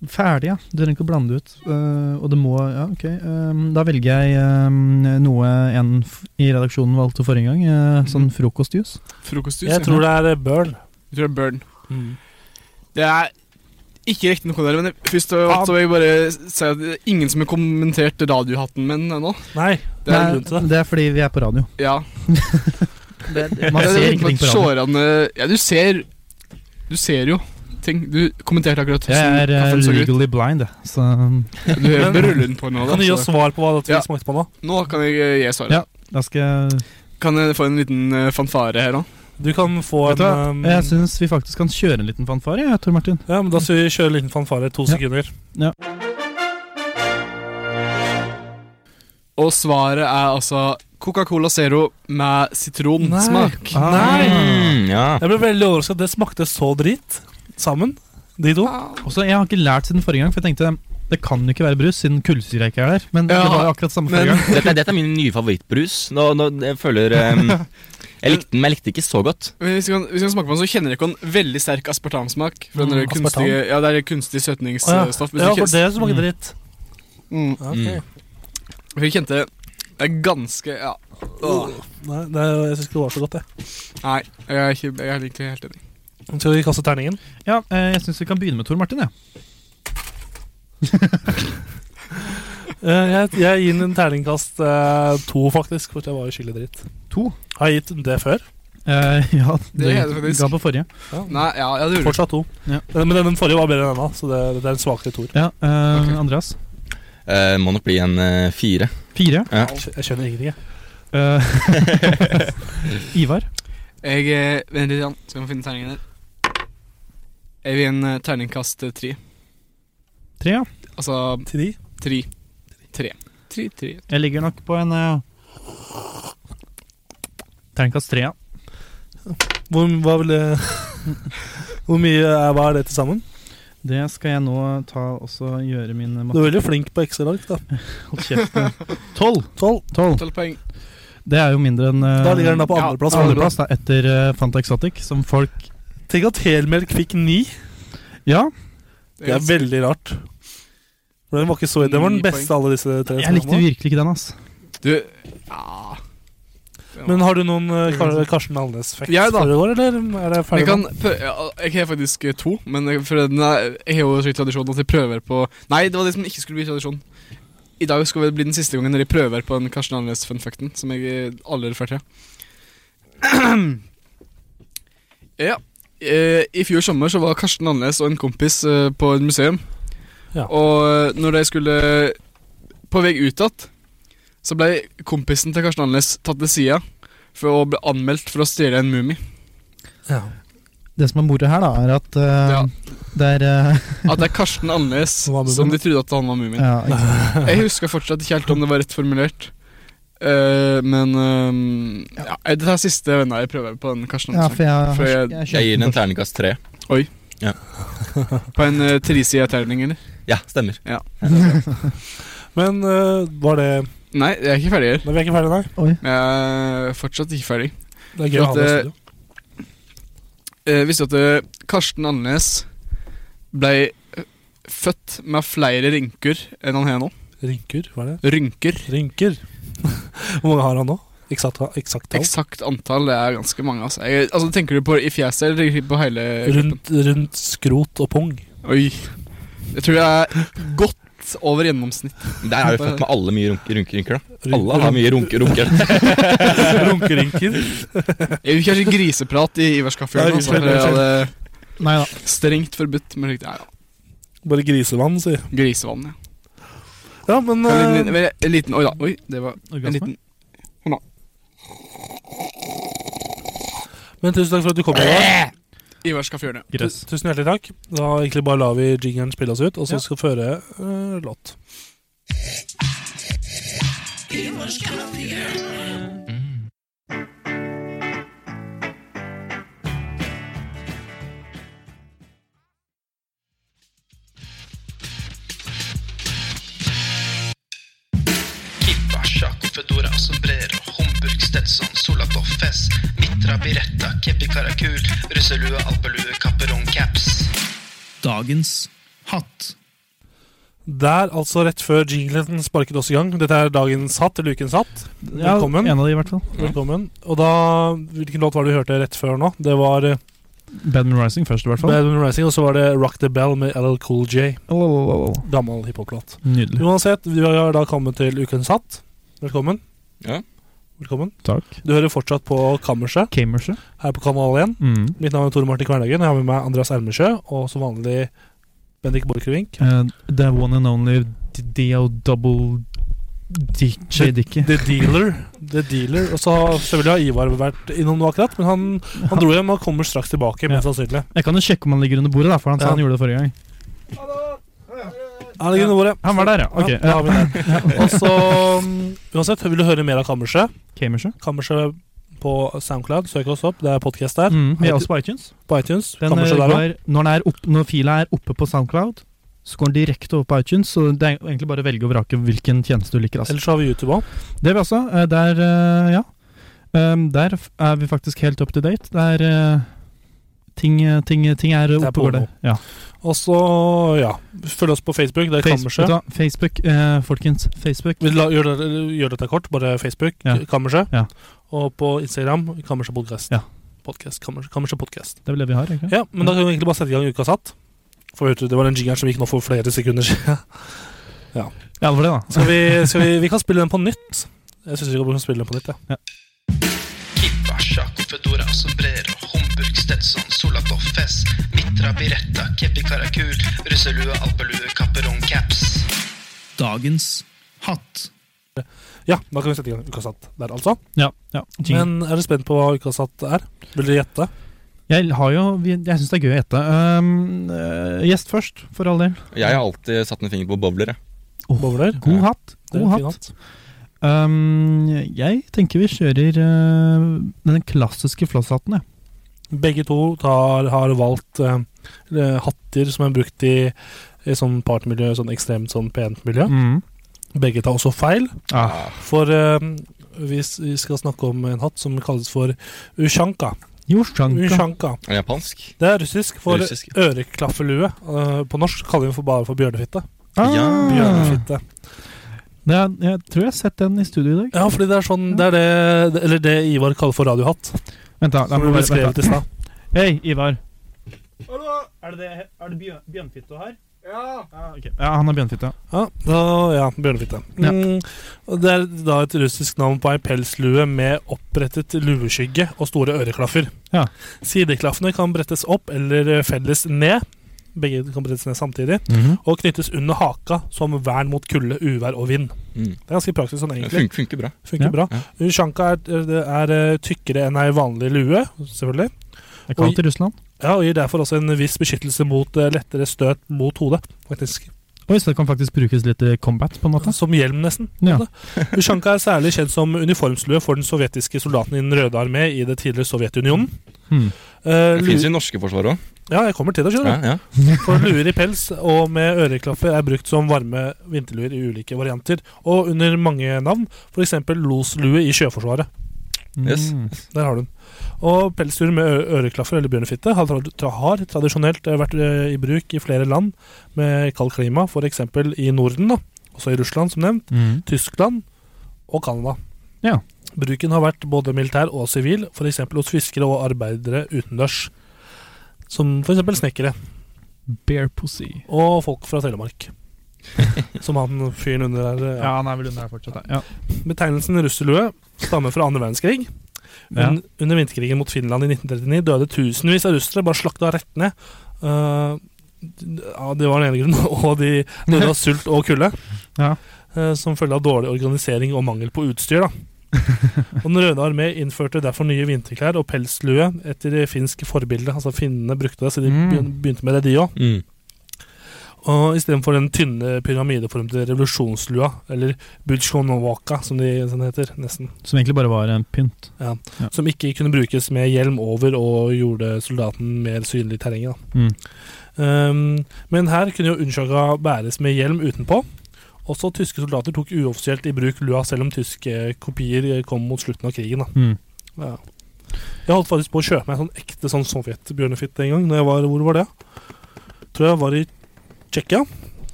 Speaker 4: Ferdig, ja. Du trenger ikke å blande ut. Eh, og det må Ja, ok. Ehm, da velger jeg ehm, noe en f i redaksjonen valgte forrige gang. eh, sånn
Speaker 2: Mm.
Speaker 4: frokostjuice.
Speaker 3: Frokostjus.
Speaker 2: Jeg tror det er eh, burn.
Speaker 3: Jeg tror det er burn. Det er ikke riktig noe der, men jeg- først og fremst så vil jeg bare si at det er ingen som har kommentert radiohatten min ennå.
Speaker 2: Nei, det er en grunn til det.
Speaker 4: det er fordi vi er på radio.
Speaker 3: Ja.
Speaker 4: Man
Speaker 3: Det er
Speaker 4: ser
Speaker 3: litt
Speaker 4: ingenting
Speaker 3: med
Speaker 4: på radio.
Speaker 3: seerne- Ja, du ser Du ser jo ting. Du kommenterte akkurat hvordan
Speaker 4: Jeg er eh,
Speaker 3: kaffen så ut.
Speaker 4: legally blind, jeg. Så ehm,
Speaker 3: Du hører rulle den på nå, da.
Speaker 2: Kan du gi oss
Speaker 3: Så.
Speaker 2: svar på hva dette vi
Speaker 3: Ja.
Speaker 2: smakte på nå?
Speaker 3: Nå kan jeg eh, gi svaret.
Speaker 4: Ja. da skal jeg
Speaker 3: Kan jeg få en liten eh, fanfare her òg?
Speaker 2: Du kan få
Speaker 4: Vet du
Speaker 2: en
Speaker 4: hva?
Speaker 2: um,
Speaker 4: Jeg syns vi faktisk kan kjøre en liten fanfare, jeg, Tor Martin.
Speaker 2: Ja, men Da skal vi kjøre en liten fanfare. To
Speaker 4: Ja.
Speaker 2: sekunder.
Speaker 3: Og svaret er altså Coca-Cola Zero med sitronsmak.
Speaker 4: Ah.
Speaker 6: Mm, ja.
Speaker 2: Jeg ble veldig overrasket. Det smakte så drit sammen, de to.
Speaker 4: Også, jeg har ikke lært siden forrige gang, for jeg tenkte det kan jo ikke være brus siden kullsyre ikke er der. Men
Speaker 3: Ja,
Speaker 4: det var jo akkurat samme
Speaker 3: men-
Speaker 4: forrige gang.
Speaker 6: Dette, er- dette er min nye favorittbrus. Nå, nå jeg føler ehm, Jeg likte den, men jeg likte den ikke så godt.
Speaker 3: Men Hvis vi kan, hvis vi kan smake på den, så kjenner jeg ikke en veldig sterk aspartamsmak. Fra den
Speaker 2: Mm,
Speaker 3: der kunstige, ja, det er kunstig
Speaker 2: Å, ja.
Speaker 3: søtningsstoff. Hvis
Speaker 2: ja,
Speaker 3: du
Speaker 2: for
Speaker 3: kjen-
Speaker 2: det smakte dritt.
Speaker 3: Mm.
Speaker 2: Ja,
Speaker 6: Mm.
Speaker 2: ok.
Speaker 3: For jeg kjente Det er ganske ja. Åh.
Speaker 2: Nei, det, jeg syns ikke det var så godt, jeg.
Speaker 3: Nei, jeg er, ikke, jeg er egentlig helt enig.
Speaker 2: Skal vi kaste terningen?
Speaker 4: Ja, eh, jeg syns vi kan begynne med Tor Martin, jeg.
Speaker 2: Eh, jeg, jeg gir den en terningkast eh, to, faktisk, for jeg var jo skyldig dritt.
Speaker 4: To?
Speaker 2: Har jeg gitt den det før?
Speaker 4: Eh, ja,
Speaker 3: Det er det
Speaker 4: det
Speaker 3: faktisk.
Speaker 4: ga på forrige.
Speaker 3: Nei, ja, ja, det gjorde du.
Speaker 2: Fortsatt to.
Speaker 4: Ja.
Speaker 2: Eh, Men den, den forrige var bedre enn denne, så det, det er en svakere toer.
Speaker 4: Ja, eh,
Speaker 3: Ok.
Speaker 4: Andreas.
Speaker 6: Eh, må nok bli en eh, fire.
Speaker 4: Fire.
Speaker 2: Jeg jeg skjønner ingenting, jeg.
Speaker 4: Eh, Ivar.
Speaker 3: Jeg eh, Vent litt, Jan, så kan vi finne terningen her. Jeg vil gi en eh, terningkast eh, tre.
Speaker 4: Tre, ja.
Speaker 3: Altså
Speaker 2: Til de.
Speaker 3: tre. Tre. Tre, tre.
Speaker 4: Jeg ligger nok på en eh, Terningkast tre, ja.
Speaker 2: Hvor, hva vil det Hvor mye er, hva er det til sammen?
Speaker 4: Det skal jeg nå ta også gjøre min
Speaker 2: Du
Speaker 4: matte.
Speaker 2: er veldig flink på excel ark da.
Speaker 4: Hold kjeft. nå. Tolv!
Speaker 2: Tolv.
Speaker 4: Tolv.
Speaker 3: Tolv poeng.
Speaker 4: Det er jo mindre enn eh,
Speaker 2: Da ligger den da på
Speaker 3: Ja,
Speaker 2: andreplass.
Speaker 3: andre-
Speaker 4: andreplass, da, etter eh, Fanta Exotic, som folk
Speaker 2: Tenk at helmelk fikk ni.
Speaker 4: Ja,
Speaker 2: Det er veldig rart. For Den var ikke så, den var den
Speaker 3: Ni
Speaker 2: beste av alle disse tre.
Speaker 4: jeg likte virkelig ikke den, ass.
Speaker 3: Du,
Speaker 2: Men har du noen eh, Kar Karsten Alnes-facts
Speaker 3: Jeg, da.
Speaker 2: for i år, eller er det
Speaker 3: jeg,
Speaker 2: ferdig?
Speaker 3: kan, prø- ja, jeg har faktisk eh, to, men jeg- for den er, jeg har jo slik tradisjon at jeg prøver på Nei, det var det som ikke skulle bli tradisjon. I dag skal det bli den siste gangen jeg prøver på den Karsten Annerledes fun facten som jeg eh, aldri refererte til. ja. eh, I fjor sommer så var Karsten Annerledes og en kompis eh, på et museum.
Speaker 2: Ja.
Speaker 3: Og eh, når de skulle på vei ut igjen, så ble kompisen til Karsten Annerledes tatt til sida for å bli anmeldt for å stjele en mumie.
Speaker 2: Ja.
Speaker 4: Det som er moro her, da, er at eh,
Speaker 3: Ja.
Speaker 4: det er eh,
Speaker 3: At det er Karsten Annes
Speaker 2: Som var mumien.
Speaker 3: som de trodde at han var mumien.
Speaker 4: ja, ikke sant.
Speaker 3: Jeg husker fortsatt ikke helt om det var rett formulert. Eh, men ehm, ja. Dette er siste venner jeg prøver på den Karsten
Speaker 4: ja,
Speaker 3: Annes.
Speaker 4: for jeg,
Speaker 3: For jeg-
Speaker 4: jeg
Speaker 6: Jeg gir
Speaker 4: kjøpte
Speaker 6: den en
Speaker 4: den
Speaker 6: terningkast tre.
Speaker 3: På en uh, tresida terning, eller?
Speaker 6: Ja, stemmer.
Speaker 2: Men eh, var det
Speaker 3: Nei, jeg er ikke ferdig her.
Speaker 2: Nei, vi er ikke ferdige, nei.
Speaker 3: Jeg er fortsatt ikke ferdig.
Speaker 2: Det er gøy å
Speaker 3: For
Speaker 2: ha
Speaker 3: at,
Speaker 2: med i
Speaker 3: eh,
Speaker 2: studio.
Speaker 3: Eh, visste du at eh, Karsten Annes ble eh, født med flere rynker enn han har nå?
Speaker 2: Rynker, hva er det?
Speaker 3: Rynker.
Speaker 2: Rynker. Hvor mange har han nå? Eksakt eksakt tall?
Speaker 3: Eksakt antall, det er ganske mange. Altså, jeg, altså Tenker du på i fjeset eller på hele kroppen?
Speaker 2: Rundt, rundt skrot og pung.
Speaker 3: Oi. Jeg tror jeg er godt over gjennomsnitt.
Speaker 6: Der er vi født med alle mye runke- runkerynker, da. Alle har
Speaker 2: Ryn-
Speaker 6: mye runke- runker.
Speaker 2: Runkerynker.
Speaker 3: Jeg vil kanskje griseprat i Ivars kaffe.
Speaker 2: Ja,
Speaker 3: Altså,
Speaker 2: griseprat,
Speaker 3: jeg hadde
Speaker 4: Nei da.
Speaker 3: strengt forbudt med riktig ja, ja.
Speaker 2: Bare grisevann, sier jeg.
Speaker 3: grisevann. Ja.
Speaker 2: Ja, men
Speaker 3: En
Speaker 2: eh,
Speaker 3: liten, en liten Oi da. Oi, det var en liten
Speaker 2: Men tusen takk for at du kom. i
Speaker 6: Eh,
Speaker 2: dag.
Speaker 3: Ivars kaffehjørne.
Speaker 2: Tu- Tusen hjertelig takk. Da egentlig bare lar vi jingeren spille oss ut, og så skal vi føre eh, låt.
Speaker 9: Kippa, sjakk, fedora, sombrero, Homburg, Stetson, Solakoff, Fess, Mitra, Biretta, Kepi, Karakul, russelue, alpelue, kapperong, caps. Dagens hatt.
Speaker 2: Der, altså rett før jinglen sparket oss i gang. Dette er dagens hatt, eller ukens hatt.
Speaker 4: Ja,
Speaker 2: Velkommen.
Speaker 4: en av de, i hvert fall.
Speaker 2: Velkommen. Og da Hvilken låt var det du hørte rett før nå? Det var eh,
Speaker 4: Badman Rising først, i hvert fall.
Speaker 2: Bad Moon Rising, og så var det Rock the Bell med LL Cool J.
Speaker 4: Lalalala.
Speaker 2: Gammel hiphop-låt.
Speaker 4: Nydelig.
Speaker 2: Uansett, vi har da kommet til ukens hatt. Velkommen.
Speaker 6: Ja.
Speaker 2: Velkommen.
Speaker 4: Takk.
Speaker 2: Du hører fortsatt på Kammerset
Speaker 4: Camerset.
Speaker 2: her på Kanal 1.
Speaker 4: Mm.
Speaker 2: Mitt navn er Tore Martin Kvernhagen. og Jeg har med meg Andreas Ermesjø og som vanlig Bendik Borchgrevink.
Speaker 4: Eh, the one and only DO double DJ Dickie.
Speaker 2: The Dealer. The Dealer. Og så har selvfølgelig har Ivar vært innom nå akkurat, men han, han dro hjem og kommer straks tilbake. Mest sannsynlig.
Speaker 4: Jeg kan jo sjekke om han ligger under bordet, da, for han sa
Speaker 2: Ja.
Speaker 4: han gjorde det forrige gang.
Speaker 2: Han ligger under bordet.
Speaker 4: Han var der, ja. Ok.
Speaker 2: Ja, da har vi den. Og så, um, uansett, vil du høre mer av Kammerset?
Speaker 4: Camerset.
Speaker 2: Kammerset på Soundcloud. Søk oss opp. Det er podkast der.
Speaker 4: Mm. Vi er også på iTunes.
Speaker 2: På iTunes.
Speaker 4: Den eh,
Speaker 2: Kammerset der også.
Speaker 4: går, når, den er opp, når fila er oppe på SoundCloud, så går den direkte over på iTunes. Så det er egentlig bare å velge og vrake hvilken tjeneste du liker. Altså.
Speaker 2: Ellers har vi YouTube òg.
Speaker 4: Det har vi også. eh, Der, eh, ja. Um, der f- er vi faktisk helt up to date. Der eh, ting, eh, ting, ting er
Speaker 2: er
Speaker 4: oppe
Speaker 2: på
Speaker 4: og går der.
Speaker 2: nå.
Speaker 4: Ja.
Speaker 2: Og så, ja Følg oss på Facebook. Det er
Speaker 4: Facebook,
Speaker 2: Kammerset.
Speaker 4: da, Facebook eh, folkens. Facebook.
Speaker 2: Vi la, gjør, det, gjør dette kort, bare Facebook,
Speaker 4: Ja.
Speaker 2: Kammerset.
Speaker 4: Ja.
Speaker 2: Og på Instagram, Kammerset Podcast.
Speaker 4: Ja.
Speaker 2: Podcast, Kammers- Kammerset Podcast.
Speaker 4: Det er vel det vi har? ikke?
Speaker 2: Ja, men da kan vi egentlig bare sette i gang ukas hatt. For vet du, Det var den jingeren som gikk nå for flere sekunder siden.
Speaker 4: Ja, det var det, da.
Speaker 2: Skal vi, skal vi, vi kan spille den på nytt. Jeg syns vi kan spille den på nytt. Ja.
Speaker 9: Kippa, sjakk, fedora, sombrero, Homburg, Stetson, Solakoff, Fess, Mitra, Biretta, Kepi, Karakul, russelue, alpelue, kapperong, caps. Dagens hatt.
Speaker 2: ja, da kan vi sette i gang ukas hatt der, altså.
Speaker 4: Ja, ja. Jingle.
Speaker 2: Men er du spent på hva ukas hatt er? Vil dere gjette?
Speaker 4: Jeg har jo vi- Jeg syns det er gøy å gjette. Um, eh, gjest først, for all del.
Speaker 6: Jeg har alltid satt en finger på bobler, jeg.
Speaker 2: Bowler?
Speaker 4: God hatt.
Speaker 2: Det er
Speaker 4: God
Speaker 2: en fin
Speaker 4: hatt. Um, jeg tenker vi kjører eh, den klassiske flosshatten, jeg.
Speaker 2: Begge to tar, har valgt eh, eh, hatter som er brukt i, i sånn partmiljø, sånn ekstremt sånn pent miljø.
Speaker 4: Mm.
Speaker 2: Begge tar også feil,
Speaker 4: Ah.
Speaker 2: for eh, vi, s- vi skal snakke om en hatt som kalles for ushanka.
Speaker 4: Yoshanka.
Speaker 2: Ushanka.
Speaker 6: Er det Japansk.
Speaker 2: Det er russisk for
Speaker 6: Russisk.
Speaker 2: øreklaffelue. Eh, på norsk kaller vi den for bare for bjørnefitte.
Speaker 4: Ah.
Speaker 2: Bjørnefitte.
Speaker 4: Det er, jeg tror jeg har sett den i studio i dag.
Speaker 2: Ja, fordi det er sånn Det er det Eller det Ivar kaller for radiohatt.
Speaker 4: Vent, da. da
Speaker 2: Som vi
Speaker 4: må jeg bare,
Speaker 2: beskrev
Speaker 4: vent,
Speaker 2: i stad.
Speaker 4: da. Hei, Ivar. Er det, bjørnfitte her? Ja. ja, han har bjørnfitte.
Speaker 2: Ja, da, ja bjørnefitte.
Speaker 4: Ja.
Speaker 2: Mm, og det er da et russisk navn på ei pelslue med opprettet lueskygge og store øreklaffer.
Speaker 4: Ja.
Speaker 2: Sideklaffene kan brettes opp eller felles ned. Begge kan brettes ned samtidig.
Speaker 4: Mhm.
Speaker 2: Og knyttes under haka som vern mot kulde, uvær og vind.
Speaker 6: Mm.
Speaker 2: Det er ganske praktisk sånn,
Speaker 6: Det
Speaker 2: egentlig.
Speaker 6: fun funker bra.
Speaker 2: Funker
Speaker 4: Ja.
Speaker 2: bra. Ushanka er, det er eh, tykkere enn ei vanlig lue, selvfølgelig.
Speaker 4: Det er kaldt i Russland.
Speaker 2: Ja, og gir derfor også en viss beskyttelse mot eh, lettere støt mot hodet, faktisk.
Speaker 4: Oi, så det kan faktisk brukes litt i combat, på en måte.
Speaker 2: Som hjelm, nesten.
Speaker 4: Ja.
Speaker 2: Ushanka er særlig kjent som uniformslue for den sovjetiske soldaten i Den røde armé i det tidligere Sovjetunionen.
Speaker 4: Hmm.
Speaker 2: Eh,
Speaker 6: Det
Speaker 2: lu-
Speaker 6: fins jo i norske forsvar òg.
Speaker 2: ja, jeg kommer til det,
Speaker 6: Ja,
Speaker 2: skjønner du.
Speaker 6: ja.
Speaker 2: For luer i pels og med øreklaffer er brukt som varme vinterluer i ulike varianter, og under mange navn, f.eks. loslue i Sjøforsvaret.
Speaker 6: Yes.
Speaker 4: Mm.
Speaker 2: Der har du den. Og pelsdyr med ø- øreklaffer eller bjørnefitte har, tra- tra har tradisjonelt eh, vært eh, i bruk i flere land med kaldt klima, f.eks. i Norden, da. også i Russland, som nevnt,
Speaker 4: Mm.
Speaker 2: Tyskland og Canada.
Speaker 4: Ja.
Speaker 2: Bruken har vært både militær og sivil, f.eks. hos fiskere og arbeidere utendørs. Som f.eks. snekkere
Speaker 4: Bear pussy.
Speaker 2: og folk fra Telemark. som han fyren under her. eh,
Speaker 4: Ja, han er vel under her fortsatt. Ja.
Speaker 2: Betegnelsen russelue stammer fra andre verdenskrig.
Speaker 4: Ja.
Speaker 2: Un under vinterkrigen mot Finland i 1939 døde tusenvis av russere, bare slakta rett ned. Eh, d- ja, det var den ene grunnen. Og de døde av sult og kulde.
Speaker 4: Ja.
Speaker 2: Eh, som følge av dårlig organisering og mangel på utstyr. Da. Og Den røde armé innførte derfor nye vinterklær og pelslue etter finsk forbilde. Altså Finnene brukte det, så de
Speaker 4: Mm.
Speaker 2: begyn- begynte med det, de òg.
Speaker 6: Mm.
Speaker 2: Og istedenfor den tynne pyramideformede revolusjonslua, eller budsjkonovaka, som de som det heter, nesten,
Speaker 4: Som egentlig bare var en pynt.
Speaker 2: som ikke kunne brukes med hjelm over og gjorde soldaten mer synlig i terrenget. Da.
Speaker 4: Mm.
Speaker 2: Um, men her kunne jo Unchaga bæres med hjelm utenpå. Også tyske soldater tok uoffisielt i bruk lua, selv om tyske kopier kom mot slutten av krigen. Da.
Speaker 4: Mm.
Speaker 2: Ja. Jeg holdt faktisk på å kjøpe meg en sånn ekte sånn sovjetbjørnefitte en gang. Når jeg var, hvor var det? Tror jeg var i Tsjekkia.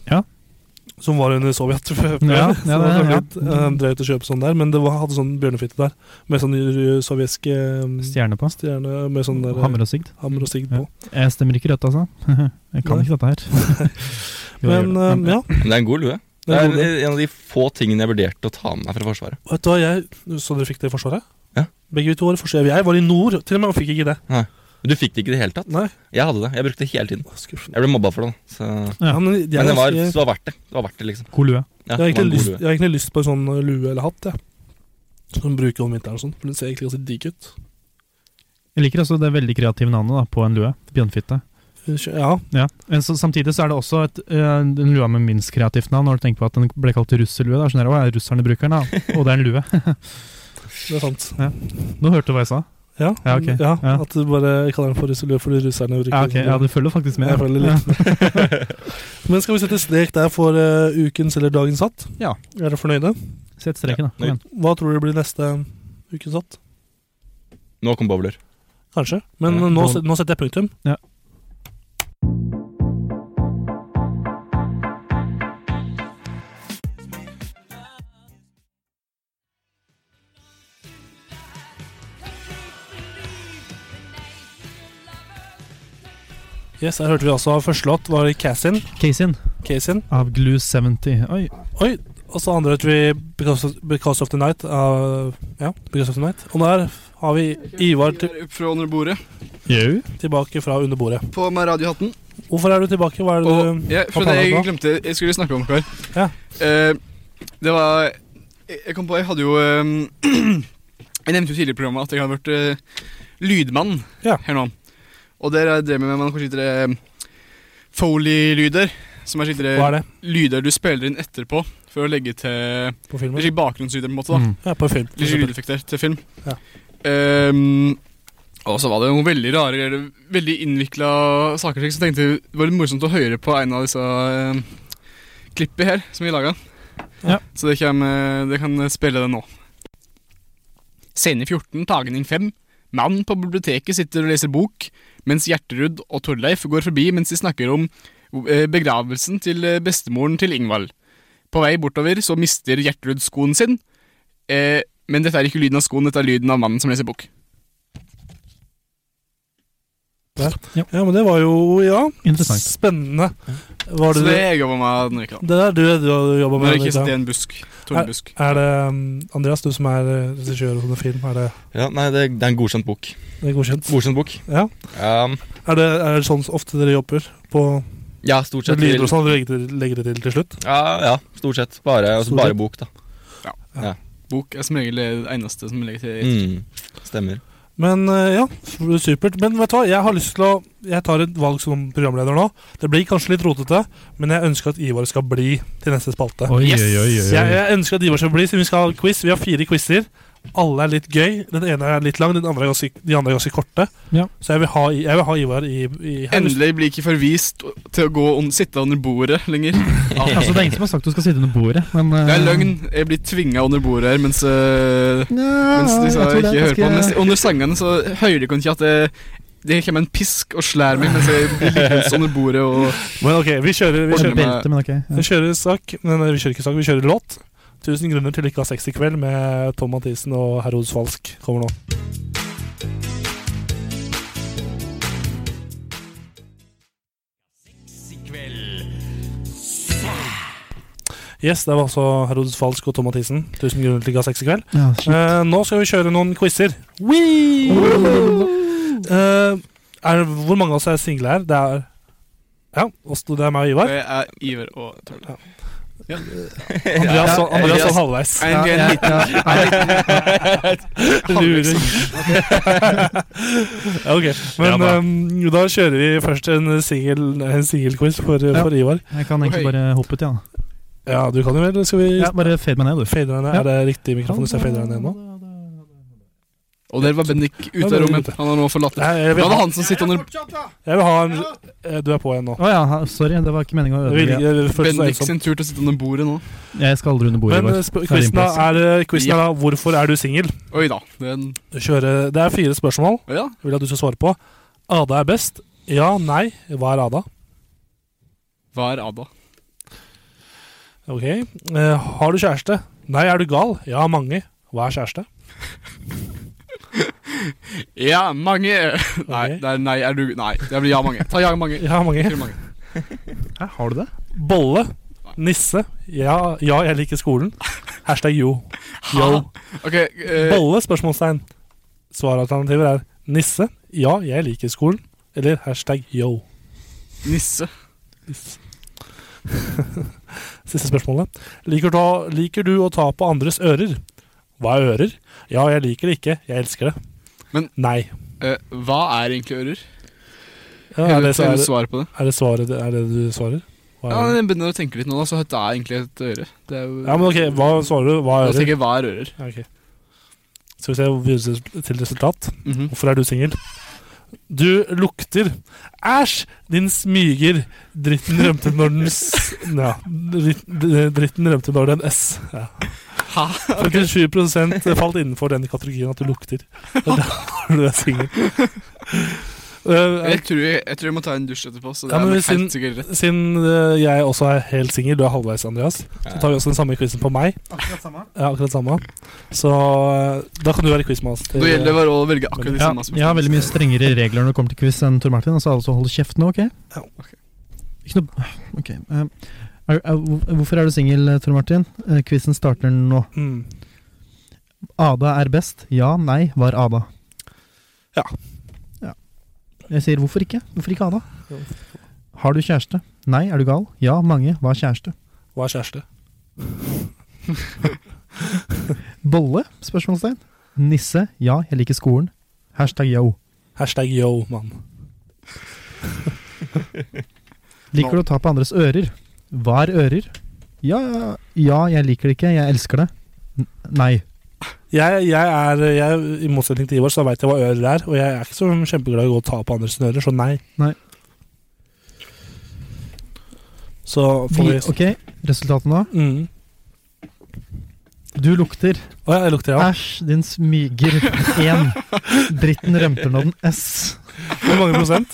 Speaker 4: Ja.
Speaker 2: Som var under Sovjet. før,
Speaker 4: Ja, ja,
Speaker 2: så det var
Speaker 4: det-
Speaker 2: kanskje
Speaker 4: ja.
Speaker 2: litt eh, drøyt å kjøpe sånn der, men det var, hadde sånn bjørnefitte der. Med sånn ru- sovjetsk eh,
Speaker 4: Stjerne på.
Speaker 2: stjerne med sånn der, eh,
Speaker 4: Hammer og sigd.
Speaker 2: hammer og sigd
Speaker 4: Ja.
Speaker 2: på.
Speaker 4: Jeg stemmer ikke rødt, altså. Jeg kan
Speaker 2: Nei.
Speaker 4: ikke dette her. Jo, jeg
Speaker 2: Men
Speaker 4: gjør
Speaker 2: eh,
Speaker 4: det.
Speaker 2: ja.
Speaker 6: Men det er en god lue. Det
Speaker 2: Det er
Speaker 6: er
Speaker 2: en god
Speaker 6: en av de få tingene jeg vurderte å ta med meg fra Forsvaret.
Speaker 2: Vet du hva jeg Så dere fikk det i Forsvaret?
Speaker 6: Ja.
Speaker 2: Begge vi to var i Forsvaret. Jeg var i nord, til og med, og fikk ikke det.
Speaker 6: Men Du fikk det ikke i det hele tatt.
Speaker 2: Nei.
Speaker 6: Jeg hadde det. Jeg brukte det hele tiden.
Speaker 2: Skuffende.
Speaker 6: Jeg ble mobba for det. da. Så.
Speaker 4: Ja.
Speaker 2: Ja, men jeg,
Speaker 6: Men det var,
Speaker 2: jeg,
Speaker 6: det var verdt det. Det var verdt det, liksom.
Speaker 4: God eh, lue.
Speaker 6: Ja,
Speaker 2: Jeg har
Speaker 6: det var en
Speaker 2: egentlig,
Speaker 6: god
Speaker 2: lyst,
Speaker 6: lue.
Speaker 2: jeg har egentlig lyst på en sånn eh, lue eller hatt, jeg. Som de bruker om vinteren og sånn. For den ser egentlig ganske digg ut.
Speaker 4: Jeg liker også det veldig kreative navnet da, på en lue. Bjørnfitte.
Speaker 2: Ja,
Speaker 4: Ja. Men så, samtidig så er det også et, eh, en lue med minst kreativt navn, når du tenker på at den ble kalt russelue. Det er sånn der, å, ja, russerne bruker den, da. Og det er en lue.
Speaker 2: det er sant.
Speaker 4: Nå hørte du hva jeg sa.
Speaker 2: Ja,
Speaker 4: Ja, ok. Ja.
Speaker 2: At du bare kaller den for russelue fordi russerne bruker
Speaker 4: Ja, ok. Ja,
Speaker 2: den.
Speaker 4: du følger faktisk med.
Speaker 2: Jeg følger litt Men skal vi sette strek der for eh, ukens eller dagens hatt?
Speaker 4: Ja.
Speaker 2: Er dere fornøyde?
Speaker 4: Ja. Sett streken, da. Kom igjen.
Speaker 2: Hva tror dere blir neste ukens hatt?
Speaker 6: Nå kom bobler.
Speaker 2: Kanskje. Men
Speaker 6: Ja.
Speaker 2: nå, set- nå setter jeg punktum.
Speaker 4: Ja.
Speaker 2: Yes, her hørte vi altså første låt var Cassin.
Speaker 4: Casein
Speaker 2: Cassin.
Speaker 4: av Glue 70. Oi.
Speaker 2: Oi, og så andre hørte vi Because of, Because of the Night. av- ja, Because of the Night. Og der har vi Ivar til,
Speaker 3: Opp fra under bordet,
Speaker 4: Jau.
Speaker 2: tilbake fra under bordet.
Speaker 3: på med radiohatten.
Speaker 2: Hvorfor er du tilbake? Hva er det
Speaker 3: Og
Speaker 2: du
Speaker 3: ja,
Speaker 2: har
Speaker 3: for det jeg
Speaker 2: planlagt nå?
Speaker 3: glemte jeg skulle snakke om, Kar.
Speaker 2: Ja.
Speaker 3: Eh, det var jeg- Jeg kom på, jeg hadde jo ehm, Jeg nevnte jo tidligere i programmet at jeg har vært eh, lydmann
Speaker 2: Ja.
Speaker 3: her nå. Og der har jeg drevet med med noen skikkelig ehm, Foley-lyder. Som er
Speaker 2: Hva
Speaker 3: skikkelig
Speaker 2: er det
Speaker 3: lyder du spiller inn etterpå for å legge til
Speaker 2: på filmen?
Speaker 3: Litt bakgrunnslyder, på en måte. da
Speaker 4: Mm.
Speaker 2: Ja, på film. for
Speaker 3: Litt
Speaker 2: eksempel.
Speaker 3: lydeffekter til film.
Speaker 2: Ja.
Speaker 3: Ehm, og så var det noen veldig rare, eller veldig innvikla saker. slik, Så tenkte jeg det var litt morsomt å høre på en av disse ehm, klippene her som vi laga.
Speaker 4: Ja.
Speaker 3: Så det kan, eh, det kan spille det nå. Scene 14, tagning 5. Mannen på biblioteket sitter og leser bok, mens Gjerterud og Torleif går forbi mens de snakker om eh, begravelsen til eh, bestemoren til Ingvald. På vei bortover så mister Gjertrud skoen sin, eh, men dette er ikke lyden av skoen, dette er lyden av mannen som leser bok.
Speaker 2: Der. Ja, men det var jo Ja,
Speaker 4: Interessant.
Speaker 2: spennende. Var
Speaker 3: Så
Speaker 2: det
Speaker 3: det
Speaker 2: det,
Speaker 3: jobba med denne uka.
Speaker 2: der du, du har jobba
Speaker 3: Når
Speaker 2: med?
Speaker 3: jeg ikke
Speaker 2: Anita?
Speaker 3: sitter i en busk. Tornebusk.
Speaker 2: Er det um, Andreas, du som er eh, regissør og sånne film, er det,
Speaker 6: Ja, nei, det, det er en godkjent bok.
Speaker 2: det er godkjent?
Speaker 6: Godkjent bok.
Speaker 2: Ja.
Speaker 6: Um,
Speaker 2: Er det, er det sånn så ofte dere jobber? På
Speaker 6: ja, stort sett.
Speaker 2: lyder og sånn, dere legger, legger det til til slutt?
Speaker 6: Ja, ja, stort sett. Bare, altså,
Speaker 2: Stort
Speaker 6: bare
Speaker 2: sett.
Speaker 6: bok, da.
Speaker 3: Bok er som regel det eneste som legger til
Speaker 6: Mm, stemmer.
Speaker 2: Men eh, ja, supert. Men vet du hva, jeg har lyst til å Jeg tar et valg som programleder nå. Det blir kanskje litt rotete, men jeg ønsker at Ivar skal bli til neste spalte.
Speaker 4: Oi,
Speaker 3: Yes!
Speaker 4: oi, oi, oi,
Speaker 2: Jeg,
Speaker 4: oi.
Speaker 2: jeg ønsker at Ivar skal bli, siden vi skal ha quiz. Vi har fire quizer. Alle er litt gøy. Den ene er litt lang, den andre er ganske, de andre er ganske korte.
Speaker 4: Ja.
Speaker 2: Så jeg vil ha, I- jeg vil ha Ivar i, i her.
Speaker 3: Endelig blir ikke forvist til å gå og sitte under bordet lenger.
Speaker 4: Altså, det er ingen som har sagt du skal sitte under bordet, men eh,
Speaker 3: Det er løgn. Jeg blir tvinga under bordet her, mens, øh, mens de sa jeg ikke hører på. Mens under sangene så hører de ikke at det, det kommer en pisk og slår meg mens jeg blir liggende under bordet og
Speaker 2: Men ok, vi kjører, vi
Speaker 3: Ordentlig.
Speaker 2: kjører,
Speaker 4: Belte, men ok.
Speaker 2: vi kjører sak. Men eh, vi kjører ikke sak, vi kjører låt. 1000 grunner til ikke å ha sex i kveld med Tom Mathisen og Herodes Falsk kommer nå. Yes, det var altså Herodes Falsk og Tom Mathisen. 1000 grunner til ikke å ha sex i kveld.
Speaker 4: Ja,
Speaker 2: Eh, nå skal vi kjøre noen quizer. Eh, er, hvor mange av oss er single her? Det er Ja, oss to, det er meg og Ivar.
Speaker 3: Det er Iver og Tørle.
Speaker 2: Andreas så- Andreas
Speaker 6: Andreas.
Speaker 2: sånn halvveis.
Speaker 3: En, en liten
Speaker 2: Luring. Ja, ok, men ehm, da kjører vi først en singel- en singelquiz for,
Speaker 4: Ja.
Speaker 2: for Ivar.
Speaker 4: Jeg kan egentlig
Speaker 3: Oi.
Speaker 4: bare hoppe ut, ja.
Speaker 2: Ja, du kan jo vel? Skal vi
Speaker 4: ja. Bare fade meg ned, du.
Speaker 2: fader deg ned?
Speaker 4: Ja.
Speaker 2: Er det riktig mikrofon hvis jeg fader deg ned nå?
Speaker 3: Og der var Bendik ute av rommet. Han har nå forlatt det.
Speaker 2: Nei, jeg
Speaker 3: Da
Speaker 2: vil
Speaker 3: var det
Speaker 2: ha,
Speaker 3: han som sitter under
Speaker 2: jeg vil ha en eh, Du er på igjen nå.
Speaker 4: Å ja, ha- sorry, det var ikke meningen å
Speaker 2: Jeg vil,
Speaker 4: ødelegge.
Speaker 2: jeg vil føle så
Speaker 3: Bendik
Speaker 2: ensom.
Speaker 3: sin tur til å sitte under bordet nå.
Speaker 4: Jeg skal aldri under bordet.
Speaker 2: Men eh,
Speaker 4: Ivar.
Speaker 2: sp-
Speaker 4: Det er din
Speaker 2: quizen da
Speaker 4: plass.
Speaker 2: er, eh, quizen er da 'Hvorfor er du singel?'
Speaker 3: Oi da. Det er en,
Speaker 2: Kjøre- Det er fire spørsmål
Speaker 3: Å ja.
Speaker 2: jeg vil at du skal svare på. Ada er best. Ja, nei. Hva er Ada?
Speaker 3: Hva er Ada?
Speaker 2: Ok. Eh, har du kjæreste? Nei, er du gal? Ja, mange. Hva er kjæreste?
Speaker 3: Ja, mange. Nei,
Speaker 2: Ok.
Speaker 3: det er nei, er du Nei, det blir ja, mange. Ta ja, mange.
Speaker 2: Ja, mange.
Speaker 3: Sier mange.
Speaker 4: Hæ, har du det?
Speaker 2: Bolle. Nisse. Ja, ja jeg liker skolen. Hashtag jo. Yo.
Speaker 3: Ok, eh,
Speaker 2: Bolle? spørsmålstegn. Svaralternativer er nisse. Ja, jeg liker skolen. Eller hashtag yo.
Speaker 3: Nisse.
Speaker 2: Siste spørsmålet. Liker, ta, liker du å ta på andres ører? Hva er ører? Ja, jeg liker det ikke. Jeg elsker det.
Speaker 3: Men-
Speaker 2: Nei.
Speaker 3: Eh, hva er egentlig ører?
Speaker 2: Ja,
Speaker 3: Er
Speaker 2: er, det, er, det,
Speaker 3: svaret på det?
Speaker 2: er, det svaret, er det du svarer? Hva
Speaker 3: Ja,
Speaker 2: er det?
Speaker 3: jeg begynner å tenke litt nå, da, så dette er egentlig et øre. Det er jo,
Speaker 2: Ja, men ok, hva svarer du? Hva er
Speaker 3: Da
Speaker 2: ører?
Speaker 3: tenker jeg hva er ører?
Speaker 2: Ja, ok. Skal vi se hvor vi er til resultat.
Speaker 3: Mhm.
Speaker 2: Hvorfor er du singel? Du lukter Æsj! Din smyger. Dritten rømte når den s... Ja. dritt- Dritten rømte når den s. Ja.
Speaker 3: Hæ?
Speaker 2: 57 falt innenfor den kategorien at du lukter. Og Da er du singel. Eh,
Speaker 3: Jeg, tror jeg, jeg tror jeg må ta en dusj etterpå, så det
Speaker 2: Ja,
Speaker 3: er
Speaker 2: men
Speaker 3: nok
Speaker 2: hvis den-
Speaker 3: helt sikkert rett.
Speaker 2: Siden eh, jeg også er helt singel, du er halvveis, Andreas, så tar vi også den samme quizen på meg. Ja, akkurat samme. Så eh, da kan du være quizmaster.
Speaker 3: Da gjelder det bare å velge akkurat de
Speaker 4: Ja,
Speaker 3: samme
Speaker 4: jeg har veldig mye strengere regler når det kommer til quiz enn Tor Martin, så alle som holder kjeft nå, ok?
Speaker 2: Ja,
Speaker 4: Ikke noe Ok. eh, er, er, hvor- hvorfor er du singel, Tor Martin? Uh, Quizen starter nå.
Speaker 2: Mm.
Speaker 4: Ada er best. Ja, nei, var Ada.
Speaker 2: Ja.
Speaker 4: ja. Jeg sier hvorfor ikke? Hvorfor ikke Ada?
Speaker 2: Ja.
Speaker 4: Har du kjæreste? Nei, er du gal? Ja, mange var kjæreste.
Speaker 2: Hva er kjæreste?
Speaker 4: Bolle? Spørsmålstegn. Nisse? Ja, jeg liker skolen. Hashtag yo.
Speaker 2: Hashtag yo, mann.
Speaker 4: Liker du å ta på andres ører? Hva er ører? Ja, ja, ja, jeg liker det ikke. Jeg elsker det. N nei.
Speaker 2: Jeg, jeg er, jeg, I motsetning til Ivar så veit jeg hva ører er, og jeg er ikke så kjempeglad i å gå og ta på andres ører, så nei.
Speaker 4: Nei.
Speaker 2: Så får
Speaker 4: Vi,
Speaker 2: vi
Speaker 4: ok, resultatet nå.
Speaker 2: mm.
Speaker 4: Du lukter.
Speaker 2: Å ja, jeg lukter, ja.
Speaker 4: Æsj, din smyger. Én. Dritten rømter nå den S.
Speaker 2: Hvor mange prosent?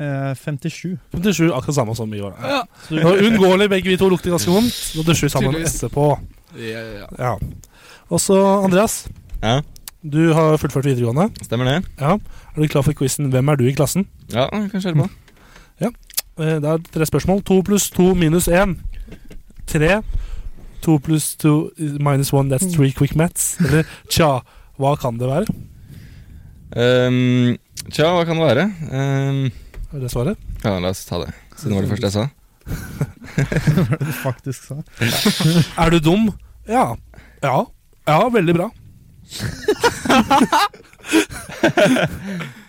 Speaker 4: eh, 57.
Speaker 2: 57, akkurat samme som i år. Ja. Så det var Uunngåelig, begge vi to lukter ganske vondt. Nå dusjer vi sammen
Speaker 3: Tydeligvis.
Speaker 2: etterpå.
Speaker 3: Ja, ja, ja.
Speaker 2: Ja. Og så, Andreas.
Speaker 6: Ja,
Speaker 2: Du har fullført videregående.
Speaker 6: stemmer det.
Speaker 2: Ja. Er du klar for quizen 'Hvem er du i klassen'?
Speaker 6: Ja, vi kan kjøre på.
Speaker 2: Eh, Det er tre spørsmål. To pluss to minus én. Tre. To pluss to eh, minus one, that's three quick mats. Eller tja, hva kan det være?
Speaker 6: Ehm, tja, hva kan det være? Ehm,
Speaker 2: Er det svaret?
Speaker 6: ja, la oss ta det. Siden det var det første jeg sa.
Speaker 4: Faktisk sa.
Speaker 2: Er du dum? Ja. Ja. Ja, veldig bra.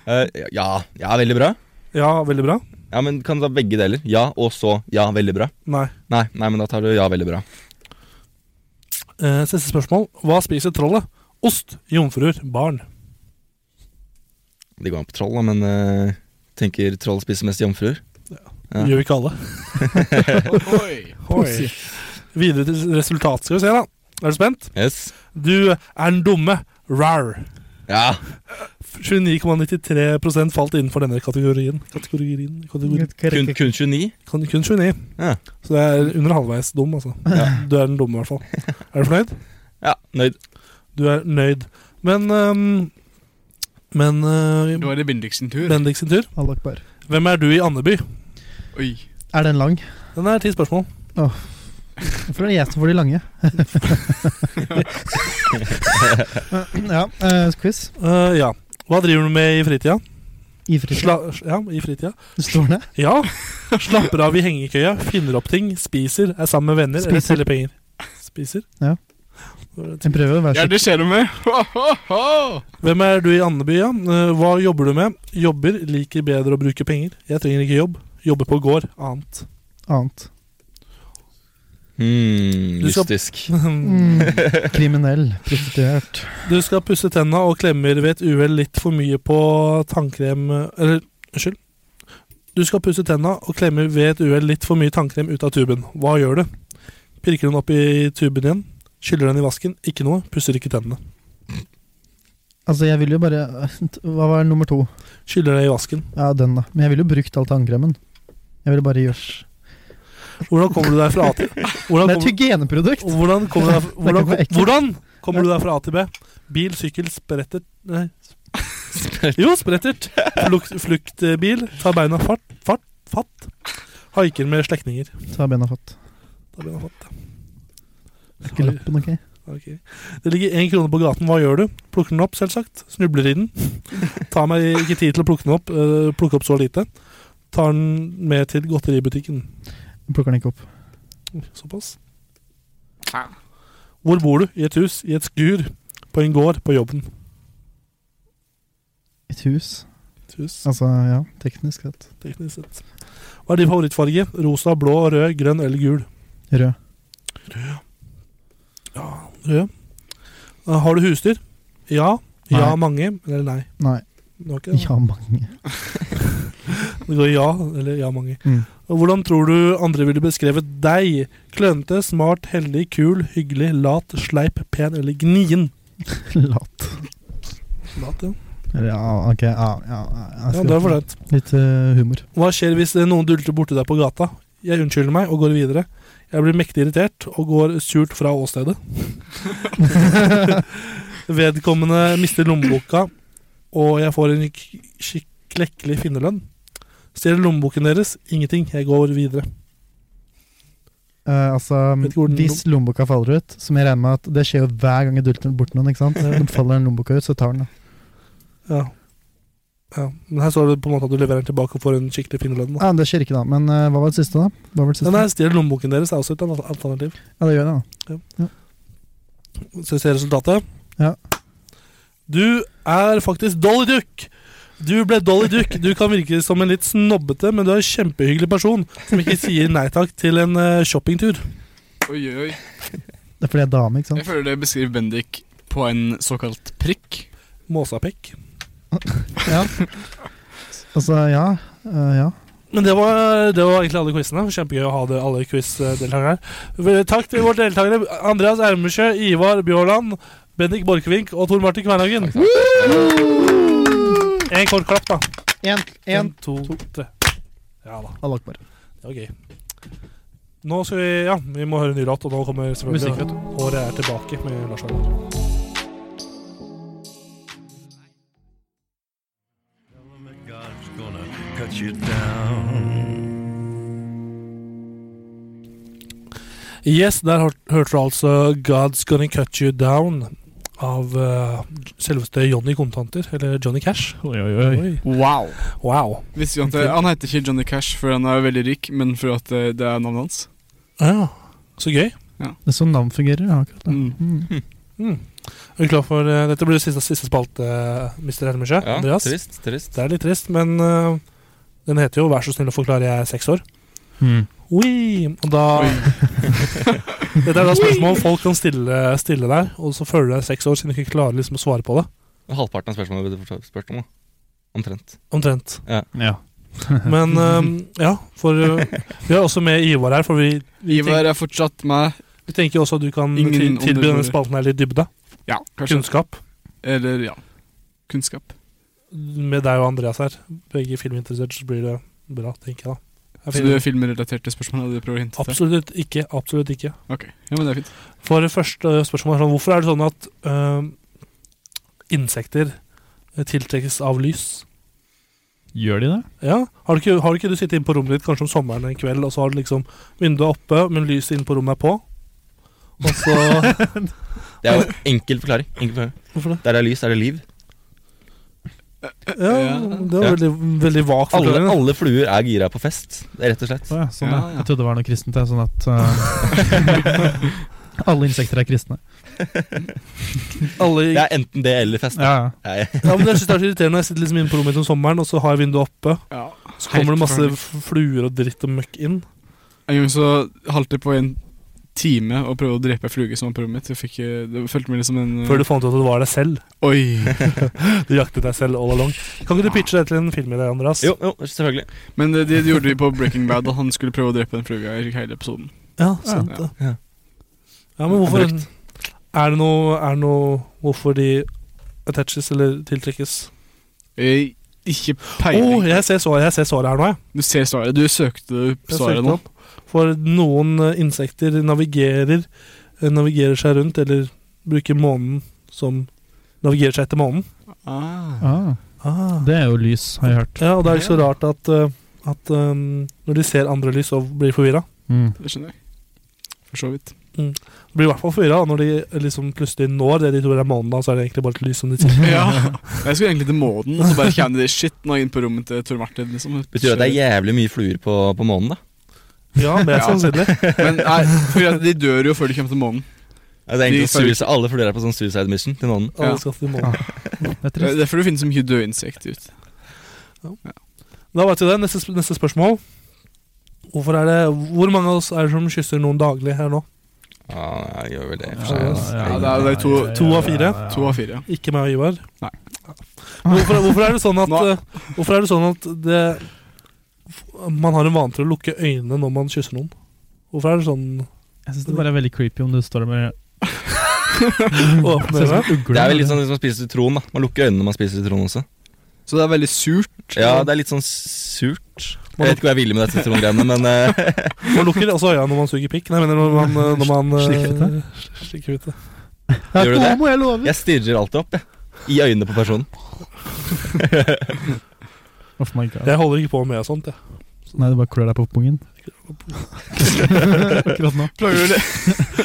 Speaker 6: Eh, ja, ja, veldig bra.
Speaker 2: Ja, veldig bra.
Speaker 6: Ja, men kan du ta begge deler? Ja, og så ja, veldig bra.
Speaker 2: Nei.
Speaker 6: Nei, nei, men da tar du ja, veldig bra.
Speaker 2: Eh, siste spørsmål. Hva spiser trollet? Ost, jomfruer, barn.
Speaker 6: Det går an på troll, da, men eh, tenker troll spiser mest jomfruer. Ja.
Speaker 2: Gjør ikke alle.
Speaker 3: Oi.
Speaker 2: Oi. Videre til resultat, skal vi se, da. Er du spent?
Speaker 6: Yes.
Speaker 2: Du er den dumme. Rar.
Speaker 6: Ja,
Speaker 2: 29,93 falt innenfor denne kategorien. Kategorien, kategorien.
Speaker 6: kun, kun 29.
Speaker 2: Kun, kun 29.
Speaker 6: Ja.
Speaker 2: Så det er under halvveis dum, altså. Du er den dumme, i hvert fall. Er du fornøyd?
Speaker 6: Ja, nøyd.
Speaker 2: Du er nøyd. Men øhm, Men øh,
Speaker 3: Nå er det Bendik sin tur.
Speaker 2: Bendik sin tur.
Speaker 4: Allah akbar.
Speaker 2: Hvem er du i Andeby?
Speaker 3: Oi.
Speaker 4: Er den lang?
Speaker 2: Den er ti spørsmål.
Speaker 4: Hvorfor er det jeg som får de lange? ja, eh, quiz.
Speaker 2: Eh, ja. Hva driver du med i fritida?
Speaker 4: I fritid.
Speaker 2: Sla ja, i fritida.
Speaker 4: Står det?
Speaker 2: Ja. Slapper av i hengekøya, finner opp ting, spiser, er sammen med venner eller
Speaker 4: Spiser.
Speaker 2: selger penger. Spiser?
Speaker 4: Ja. Jeg prøver å
Speaker 3: Ja,
Speaker 4: være så
Speaker 3: det skjer noe med. Ho, ho, ho.
Speaker 2: Hvem er du i Andeby, ja? Eh, Hva jobber du med? Jobber, liker bedre å bruke penger. Jeg trenger ikke jobb. Jobber på gård. Annet.
Speaker 4: annet.
Speaker 6: Hmm,
Speaker 2: Du skal-
Speaker 6: mystisk.
Speaker 4: Mm. Kriminell. Prostituert.
Speaker 2: Du skal pusse tenna og klemmer ved et uhell litt for mye på tannkrem Eller, unnskyld. Du skal pusse tenna og klemmer ved et uhell litt for mye tannkrem ut av tuben. Hva gjør du? Pirker den opp i tuben igjen? Skyller den i vasken? Ikke noe. Pusser ikke tennene.
Speaker 4: Altså, jeg ville jo bare Hva var nummer to?
Speaker 2: Skyller den i vasken.
Speaker 4: Ja, den, da. Men jeg ville jo brukt all tannkremen. Jeg ville bare gjørs.
Speaker 2: Hvordan kommer du deg fra A til
Speaker 4: Det
Speaker 2: Hvordan
Speaker 4: er et
Speaker 2: kommer,
Speaker 4: hygieneprodukt!
Speaker 2: hvordan kommer, du, deg- hvordan,
Speaker 4: Det er ikke for ekkelt.
Speaker 2: hvordan kommer du deg fra A til B? Bil, sykkel, spretter Nei. Jo, sprettert. Flukt, fluktbil. Tar beina fart, fart, fatt. Haiker med slektninger.
Speaker 4: Ta bena fatt.
Speaker 2: Da blir han fatt.
Speaker 4: Ikke lappen, ok?
Speaker 2: Ok. Det ligger én krone på gaten, hva gjør du? Plukker den opp, selvsagt. Snubler i den. Tar meg ikke tid til å plukke den opp. øh, plukke opp så lite. Tar den med til godteributikken.
Speaker 4: Plukker den ikke opp.
Speaker 2: Såpass. Hvor bor du? I et hus? I et skur? På en gård? På jobben?
Speaker 4: Et hus.
Speaker 2: Et hus,
Speaker 4: Altså, ja, teknisk sett.
Speaker 2: teknisk sett. Hva er din favorittfarge? Rosa, blå, rød, grønn eller gul?
Speaker 4: Rød.
Speaker 2: Rød. Uh, Har du husdyr? Ja. Ja,
Speaker 4: Nei.
Speaker 2: mange. Eller nei.
Speaker 4: Nei.
Speaker 2: Det var ikke det.
Speaker 4: Ja, mange.
Speaker 2: Det går ja, eller ja, mange.
Speaker 4: Mm.
Speaker 2: Og Hvordan tror du andre ville beskrevet deg? Klønete, smart, heldig, kul, hyggelig, lat, sleip, pen eller gnien?
Speaker 4: Lat.
Speaker 2: Lat, ja.
Speaker 4: Eller, Ja, ok. Ja, ja, ja, jeg
Speaker 2: ja
Speaker 4: skal-
Speaker 2: det er fornøyd.
Speaker 4: Litt eh, humor.
Speaker 2: Hva skjer hvis eh, noen dulter borti deg på gata? Jeg unnskylder meg og går videre. Jeg blir mektig irritert og går surt fra åstedet. Vedkommende mister lommeboka, og jeg får en k- skik- klekkelig finnerlønn. Stjeler lommeboken deres. Ingenting. Jeg går videre.
Speaker 4: Eh, altså,
Speaker 2: Vet ikke hvor den
Speaker 4: hvis lommeboka faller ut, som jeg regner med at det skjer jo hver gang jeg dulter bort noen, ikke sant? Når faller en lommeboka ut, så tar den det.
Speaker 2: Ja. ja. Men her står det på en måte at du leverer den tilbake og får en skikkelig finnerlønn. da.
Speaker 4: Ja, det skjer ikke da, men eh, hva var det siste da? Hva var det
Speaker 2: Men
Speaker 4: siste?
Speaker 2: nei, stjeler lommeboken deres er også et al- alternativ.
Speaker 4: Ja, det gjør det da.
Speaker 2: Så vi ser resultatet.
Speaker 4: Ja.
Speaker 2: Du er faktisk Dolly Duck. Du ble Dolly Duck. Du kan virke som en litt snobbete, men du er en kjempehyggelig person som ikke sier nei takk til en eh, shoppingtur.
Speaker 3: Oi, oi, oi.
Speaker 4: Det er fordi jeg er dame, ikke
Speaker 3: Jeg
Speaker 4: sant?
Speaker 3: føler det beskriver Bendik på en såkalt prikk.
Speaker 2: Måsapekk.
Speaker 4: Ja. Altså, ja. eh, ja.
Speaker 2: Men det var, det var egentlig alle quizene. Kjempegøy å ha det, alle quizdeltakerne. Vel, Takk til våre deltakere Andreas Ermesjø, Ivar Bjørland, Bendik Borchgrevink og Tor Martin Kvernhagen. En kort klapp, da.
Speaker 4: En,
Speaker 2: En, to, tre. Ja da,
Speaker 4: Allah akbar.
Speaker 2: det var gøy. Nå skal vi Ja, vi må høre en ny låt, og nå kommer
Speaker 4: Musikk,
Speaker 2: selvfølgelig
Speaker 4: vet du.
Speaker 2: Håret er tilbake med Lars Arne. Yes, der hør- hørte du altså 'God's Gonna Cut You Down' av eh, selveste Johnny Kontanter, eller Johnny Cash.
Speaker 4: Oi, oi,
Speaker 2: Oi.
Speaker 3: Wow.
Speaker 2: Wow.
Speaker 3: Visste du at eh, Han heter ikke Johnny Cash fordi han er veldig rik, men fordi at eh, det er navnet hans.
Speaker 2: Ja, så gøy.
Speaker 4: Det er sånn navn fungerer, ja, akkurat. da.
Speaker 3: Mm.
Speaker 4: Mm.
Speaker 2: Mm. Er du klar for eh, Dette blir siste, siste spalte, eh, Mr. Helmersjø.
Speaker 6: Ja,
Speaker 2: Andreas.
Speaker 6: trist, trist.
Speaker 2: Det er litt trist, men eh, den heter jo 'Vær så snill å forklare jeg er seks år'.
Speaker 4: Mm.
Speaker 2: Oi, og da Dette er da spørsmål folk kan stille, stille deg, og så føler du deg seks år siden du ikke klarer liksom å svare på det.
Speaker 6: Halvparten av spørsmålet ble det spurt om, da. Omtrent.
Speaker 2: Omtrent.
Speaker 4: Ja.
Speaker 2: Men eh, ja, for eh, Vi er også med Ivar her, for vi, vi, tenker,
Speaker 3: Ivar er fortsatt med
Speaker 2: vi tenker jo også at du kan
Speaker 3: Ingen
Speaker 2: til- tilby denne
Speaker 3: omdømmer.
Speaker 2: spalten her litt dybde.
Speaker 3: Ja, kanskje.
Speaker 2: Kunnskap.
Speaker 3: Eller ja. Kunnskap.
Speaker 2: Med deg og Andreas her, begge filminteressert, så blir det bra, tenker jeg da. Det er
Speaker 3: Så
Speaker 2: fint.
Speaker 3: du er filmrelaterte spørsmål? og Du prøver å hinte til?
Speaker 2: Absolutt ikke. absolutt ikke.
Speaker 3: Ok, ja, men det er fint.
Speaker 2: For det første spørsmålet er sånn Hvorfor er det sånn at øhm, insekter eh, tiltrekkes av lys?
Speaker 4: Gjør de det?
Speaker 2: Ja, har du, ikke, har du ikke du sittet inne på rommet ditt kanskje om sommeren en kveld, og så har du liksom vinduet oppe, men lyset inne på rommet er på? Og så
Speaker 6: Det er jo enkel forklaring. Enkel forklaring.
Speaker 2: Hvorfor det?
Speaker 6: Der det er lys, er det liv.
Speaker 2: Ja, det var
Speaker 6: Ja.
Speaker 2: veldig, veldig vag
Speaker 6: Alle,
Speaker 2: forklaring. da.
Speaker 6: alle fluer er gira på fest, det er rett og slett.
Speaker 4: Å ja, sånn, ja,
Speaker 3: Ja, ja.
Speaker 4: Jeg trodde det var noe kristent, jeg, sånn at eh, Alle insekter er kristne.
Speaker 2: Alle,
Speaker 6: Det er enten det eller fest.
Speaker 4: Ja, ja.
Speaker 6: Nei,
Speaker 2: ja, men jeg synes det er så irriterende når jeg sitter liksom inne på rommet mitt om sommeren, og så har jeg vinduet oppe,
Speaker 3: Ja.
Speaker 2: så kommer det masse f- fluer og dritt og møkk inn.
Speaker 3: En gang så holdt jeg på i en time å prøve å drepe ei fluge som var på rommet mitt. Jeg fikk, eh, det følte meg litt som en eh,
Speaker 2: Før du fant ut at det var deg selv.
Speaker 3: Oi!
Speaker 2: Du jaktet deg selv all along. Kan ikke du pitche det til en film i deg, Andreas?
Speaker 6: Jo, jo, selvfølgelig.
Speaker 3: Men det, det gjorde de på Breaking Bad, da han skulle prøve å drepe den fluga i hele episoden.
Speaker 2: Ja, sant det. Ja.
Speaker 6: Ja.
Speaker 2: men hvorfor
Speaker 6: Brukt.
Speaker 2: Er det noe, er det noe Hvorfor de attaches eller tiltrekkes?
Speaker 3: Jeg, Eh, ikke
Speaker 2: Å,
Speaker 3: peiling.
Speaker 2: jeg ser svaret jeg ser svaret her nå, jeg.
Speaker 3: Du ser svaret. Du søkte
Speaker 2: jeg
Speaker 3: svaret
Speaker 2: søkte
Speaker 3: nå.
Speaker 2: opp. For noen eh, insekter navigerer eh, Navigerer seg rundt, eller bruker månen som Navigerer seg etter månen.
Speaker 3: Ah.
Speaker 4: Ah, det er jo lys, har jeg hørt.
Speaker 2: Ja, og det er ikke så rart at, eh, at eh, når de ser andre lys, så blir de forvirra.
Speaker 4: Mm.
Speaker 3: Det skjønner jeg. For så vidt.
Speaker 2: Blir i hvert fall forvirra når de eh, liksom plutselig når det de tror er månen, da, så er det egentlig bare et lys som de ser.
Speaker 3: Ja. Jeg skulle egentlig til månen, og så bare kjenner de shit nå inn på rommet til Tor Martin. Liksom.
Speaker 6: Betyr det at det er jævlig mye fluer på, på månen, da?
Speaker 2: Ja, mer
Speaker 3: Ja.
Speaker 2: sannsynlig.
Speaker 3: Men nei, for at de dør jo før de kommer til månen.
Speaker 6: Ja, det er
Speaker 3: De
Speaker 6: egentlig
Speaker 3: følger-
Speaker 6: suicide, alle fluer er på sånn suicide mission til månen.
Speaker 2: Alle
Speaker 3: Ja.
Speaker 2: skal til månen.
Speaker 4: Det er
Speaker 3: Det er
Speaker 4: trist.
Speaker 3: derfor det finnes så mye døde insekter ute.
Speaker 2: Da vet vi det. Neste, sp- neste spørsmål. Hvorfor er det, hvor mange av oss er det som kysser noen daglig her nå?
Speaker 6: Ja, jeg gjør vel det.
Speaker 2: Ja,
Speaker 6: for seg, ass.
Speaker 3: ja, det er- det er to-
Speaker 2: to av fire.
Speaker 3: To av fire.
Speaker 2: Ikke meg og Ivar.
Speaker 3: Nei.
Speaker 2: Hvorfor, hvorfor er det sånn at,
Speaker 3: Nå-
Speaker 2: eh, hvorfor er det, sånn at det, f- man har en vane til å lukke øynene når man kysser noen? Hvorfor er det sånn
Speaker 4: Jeg syns det bare er veldig creepy om du står der med
Speaker 2: åpne
Speaker 4: Ser ut som
Speaker 2: øyne?
Speaker 4: en ugle.
Speaker 6: Det er vel litt sånn hvis man spiser sitron, da. Man lukker øynene når man spiser sitron også.
Speaker 3: Så det er veldig surt.
Speaker 6: Ja, det er litt sånn surt. Jeg vet ikke hva jeg ville med dette sitrongreiene, men eh,
Speaker 2: Man lukker også øynene når man suger pikk. Nei, jeg mener når man, eh, når man eh,
Speaker 4: Slikker litt,
Speaker 2: slikker litt, ja.
Speaker 4: Ja,
Speaker 6: Gjør du
Speaker 4: nå
Speaker 6: det?
Speaker 4: må jeg love!
Speaker 6: jeg stirrer alltid opp, jeg. I øynene på personen.
Speaker 4: Oh my god.
Speaker 2: Jeg holder ikke på med sånt, jeg.
Speaker 4: Nei, det bare klør deg på pungen. Akkurat nå.
Speaker 3: Plager du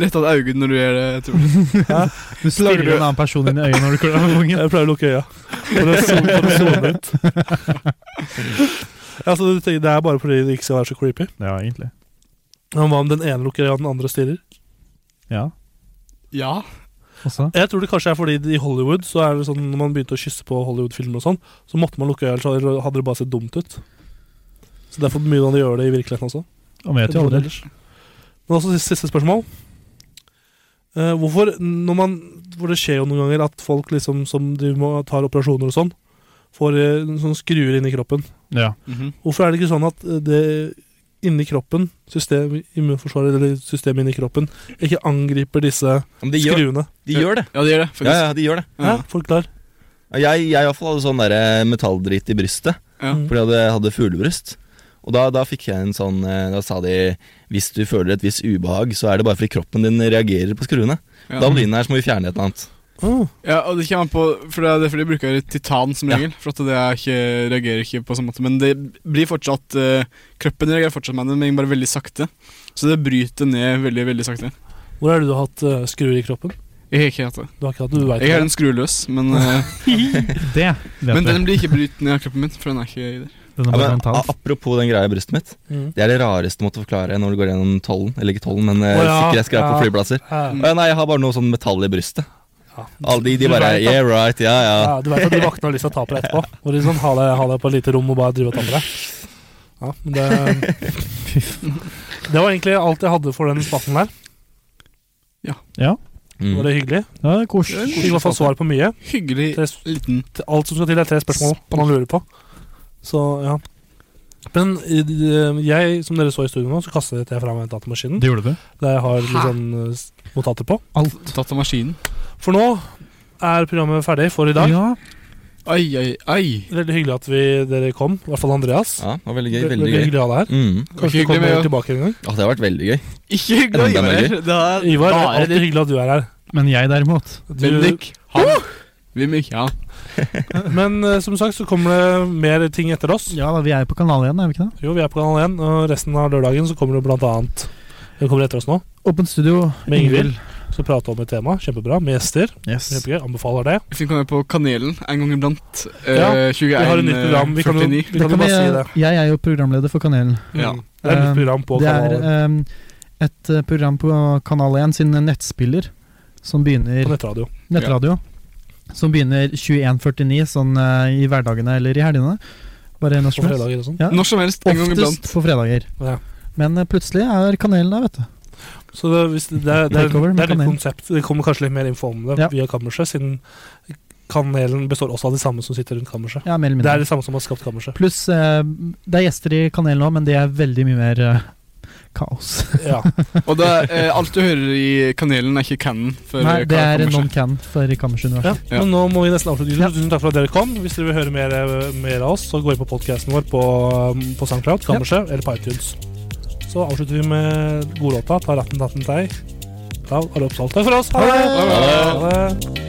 Speaker 3: lett av øynene når du gjør det? Tror jeg.
Speaker 4: Du stirrer en annen person inn i øyet når du klør deg på pungen.
Speaker 2: Jeg pleier å lukke øya for å zo- for å sone ut. Altså, du tenker, det er bare fordi det ikke skal være så creepy.
Speaker 4: Ja, egentlig.
Speaker 2: Men hva om den ene lukker øya, og den andre stirrer?
Speaker 4: Ja.
Speaker 3: Ja.
Speaker 4: Også.
Speaker 2: Jeg tror det kanskje er fordi i Hollywood så er det sånn Når man begynte å kysse på Hollywood-filmer og sånn, så måtte man lukke øya, ellers hadde det- hadde det bare sett dumt ut. Så derfor begynner man å gjøre det i virkeligheten også.
Speaker 4: Og vi vet jo aldri.
Speaker 2: Men også siste, siste spørsmål. Eh, hvorfor, når man For det skjer jo noen ganger at folk liksom som driver med tar operasjoner og sånn, får eh, sånn skruer inn i kroppen.
Speaker 4: Ja.
Speaker 3: Mhm.
Speaker 2: Hvorfor er det ikke sånn at eh, det inni kroppen, system, immunforsvaret eller systemet inni kroppen, ikke angriper disse
Speaker 6: Ja, Men de gjør,
Speaker 2: skruene?
Speaker 6: de gjør det.
Speaker 3: ja, det gjør det.
Speaker 6: Ja,
Speaker 3: Faktisk.
Speaker 6: ja, de gjør det.
Speaker 2: Ja, Forklar.
Speaker 6: Jeg, jeg i hvert fall hadde sånn der eh, metalldrit i brystet.
Speaker 3: Ja.
Speaker 6: For de hadde, hadde fuglebryst. Og da, da fikk jeg en sånn eh, Da sa de hvis du føler et visst ubehag, så er det bare fordi kroppen din reagerer på skruene.
Speaker 3: Ja.
Speaker 6: Da blir den her, så må vi fjerne et eller annet.
Speaker 2: Åh,
Speaker 3: Ja, og det kommer an på For det er derfor de bruker titan som
Speaker 6: Ja.
Speaker 3: regel. For at det er ikke, reagerer ikke på samme måte. Men det blir fortsatt eh, Kroppen reagerer fortsatt med det, men bare veldig sakte. Så det bryter ned veldig, veldig sakte.
Speaker 2: Hvor er det du har hatt eh, skruer i kroppen?
Speaker 3: Jeg har ikke hatt det.
Speaker 2: Du har ikke hatt det, du vet
Speaker 3: Jeg har
Speaker 2: det.
Speaker 3: den skruløs, men, eh,
Speaker 4: Det vet
Speaker 3: men
Speaker 4: vi.
Speaker 3: den blir ikke brytt ned av kroppen min. For den er ikke i der.
Speaker 4: Den
Speaker 6: Ja,
Speaker 4: er bare
Speaker 6: men, Ah.
Speaker 4: mental.
Speaker 6: a- apropos den greia i brystet mitt.
Speaker 2: Mm.
Speaker 6: Det er det rareste måte å forklare når du går gjennom tollen. Eller ikke tollen, men eh,
Speaker 2: Å, ja,
Speaker 6: sikkerhetsgreier
Speaker 2: ja.
Speaker 6: på flyplasser.
Speaker 2: Ja,
Speaker 3: Mm.
Speaker 6: Å, ja, nei, jeg har bare noe sånn metall i brystet.
Speaker 2: Ja.
Speaker 6: Alle
Speaker 2: Du
Speaker 6: de, de bare
Speaker 2: vet at-
Speaker 6: Yeah, right. Ja, ja.
Speaker 2: ja, du vet at du våkner og har lyst til å ta på deg etterpå. Hvor de sånn, ha deg, ha deg på et lite rom og bare drive og ta på deg. Ja, men det, det var egentlig alt jeg hadde for den spalten der. Var
Speaker 6: Mm.
Speaker 2: det hyggelig?
Speaker 4: Ja, det er koselig.
Speaker 2: Fikk i hvert fall svar på mye.
Speaker 3: Hyggelig
Speaker 2: Tre,
Speaker 3: liten
Speaker 2: til- alt som skal til, er tre spørsmål man lurer på. Så ja. Men eh, jeg, som dere så i studio nå, så kastet jeg fra meg datamaskinen.
Speaker 4: Det gjorde du.
Speaker 2: Der jeg har litt sånn eh, s- notater på.
Speaker 4: Alt.
Speaker 3: tatt av maskinen.
Speaker 2: For nå er programmet ferdig for i dag.
Speaker 4: Ja.
Speaker 3: Ai, ai, ai.
Speaker 2: Veldig hyggelig at vi, dere kom, i hvert fall Andreas.
Speaker 6: Ja, det var veldig gøy.
Speaker 2: Veldig,
Speaker 6: Veldig gøy.
Speaker 2: hyggelig å ha deg her.
Speaker 6: Mm.
Speaker 2: Kanskje
Speaker 3: hyggelig
Speaker 2: du kommer
Speaker 3: med å-
Speaker 2: tilbake en gang.
Speaker 6: Å, det har vært veldig gøy.
Speaker 3: Ikke hyggelig å
Speaker 6: Enda
Speaker 3: være her. Det er
Speaker 2: Ivar, det er
Speaker 3: bare
Speaker 2: alltid hyggelig at du er her.
Speaker 4: Men jeg derimot
Speaker 2: Du,
Speaker 3: Bendik. Han. Vimik, ja.
Speaker 2: men eh, som sagt så kommer det mer ting etter oss.
Speaker 4: Ja da, vi er på kanal igjen, er vi ikke det?
Speaker 2: Jo, vi er på kanal 1, og resten av lørdagen så kommer det blant annet Det kommer etter oss nå.
Speaker 4: Åpent studio.
Speaker 2: Med Ingvild. Skal prate om et tema. Kjempebra. Med gjester.
Speaker 4: Yes.
Speaker 2: Kjempegøy. Anbefaler det.
Speaker 3: Vi kan være på Kanelen en gang iblant. Uh,
Speaker 2: Ja,
Speaker 3: vi
Speaker 2: Vi har et nytt program. Vi kan jo, vi
Speaker 4: Da
Speaker 2: kan jo
Speaker 4: kan vi,
Speaker 2: bare si det.
Speaker 4: jeg er jo programleder for Kanelen.
Speaker 3: Ja.
Speaker 2: Mm. Det er et nytt program på
Speaker 4: det er
Speaker 2: kanalen.
Speaker 4: ehm, et eh, program på Kanal 1 sin nettspiller som begynner
Speaker 2: På nettradio.
Speaker 4: Nettradio. Som begynner 21.49 sånn eh, i hverdagene eller i helgene. Bare når
Speaker 2: På
Speaker 4: som helst.
Speaker 2: fredager og sånn.
Speaker 4: Ja.
Speaker 3: Når som helst en gang iblant.
Speaker 4: Oftest på fredager.
Speaker 2: Ja.
Speaker 4: Men eh, plutselig er Kanelen der, vet du.
Speaker 2: Så det, hvis det, det, er- det,
Speaker 4: Takeover
Speaker 2: er-
Speaker 4: med
Speaker 2: det er et
Speaker 4: kanel.
Speaker 2: konsept. Det kommer kanskje litt mer info om det
Speaker 4: Ja.
Speaker 2: via kammerset, siden kanelen består også av de samme som sitter rundt kammerset.
Speaker 4: Ja, mer eller
Speaker 2: Det
Speaker 4: mindre.
Speaker 2: er de samme som har skapt kammerset.
Speaker 4: Pluss eh, det er gjester i Kanelen òg, men det er veldig mye mer eh, kaos.
Speaker 2: Ja.
Speaker 3: Og da, eh, alt du hører i kanelen er ikke canon. for
Speaker 4: Nei, det
Speaker 3: Karl
Speaker 4: er
Speaker 3: Kammersø.
Speaker 4: non-can for Kammerset
Speaker 2: ja.
Speaker 4: univers.
Speaker 3: Ja.
Speaker 2: Men nå må vi nesten avslutte. Tusen tusen takk for at dere kom. Hvis dere vil høre mer, mer av oss, så gå inn på podkasten vår på, på SoundCloud, kammerset eller på iTunes. Så avslutter vi med godlåta 'Ta ratten tatten tei' av Are Oppsal. Takk for oss. Ha det!
Speaker 3: Ha det!
Speaker 2: Ha det.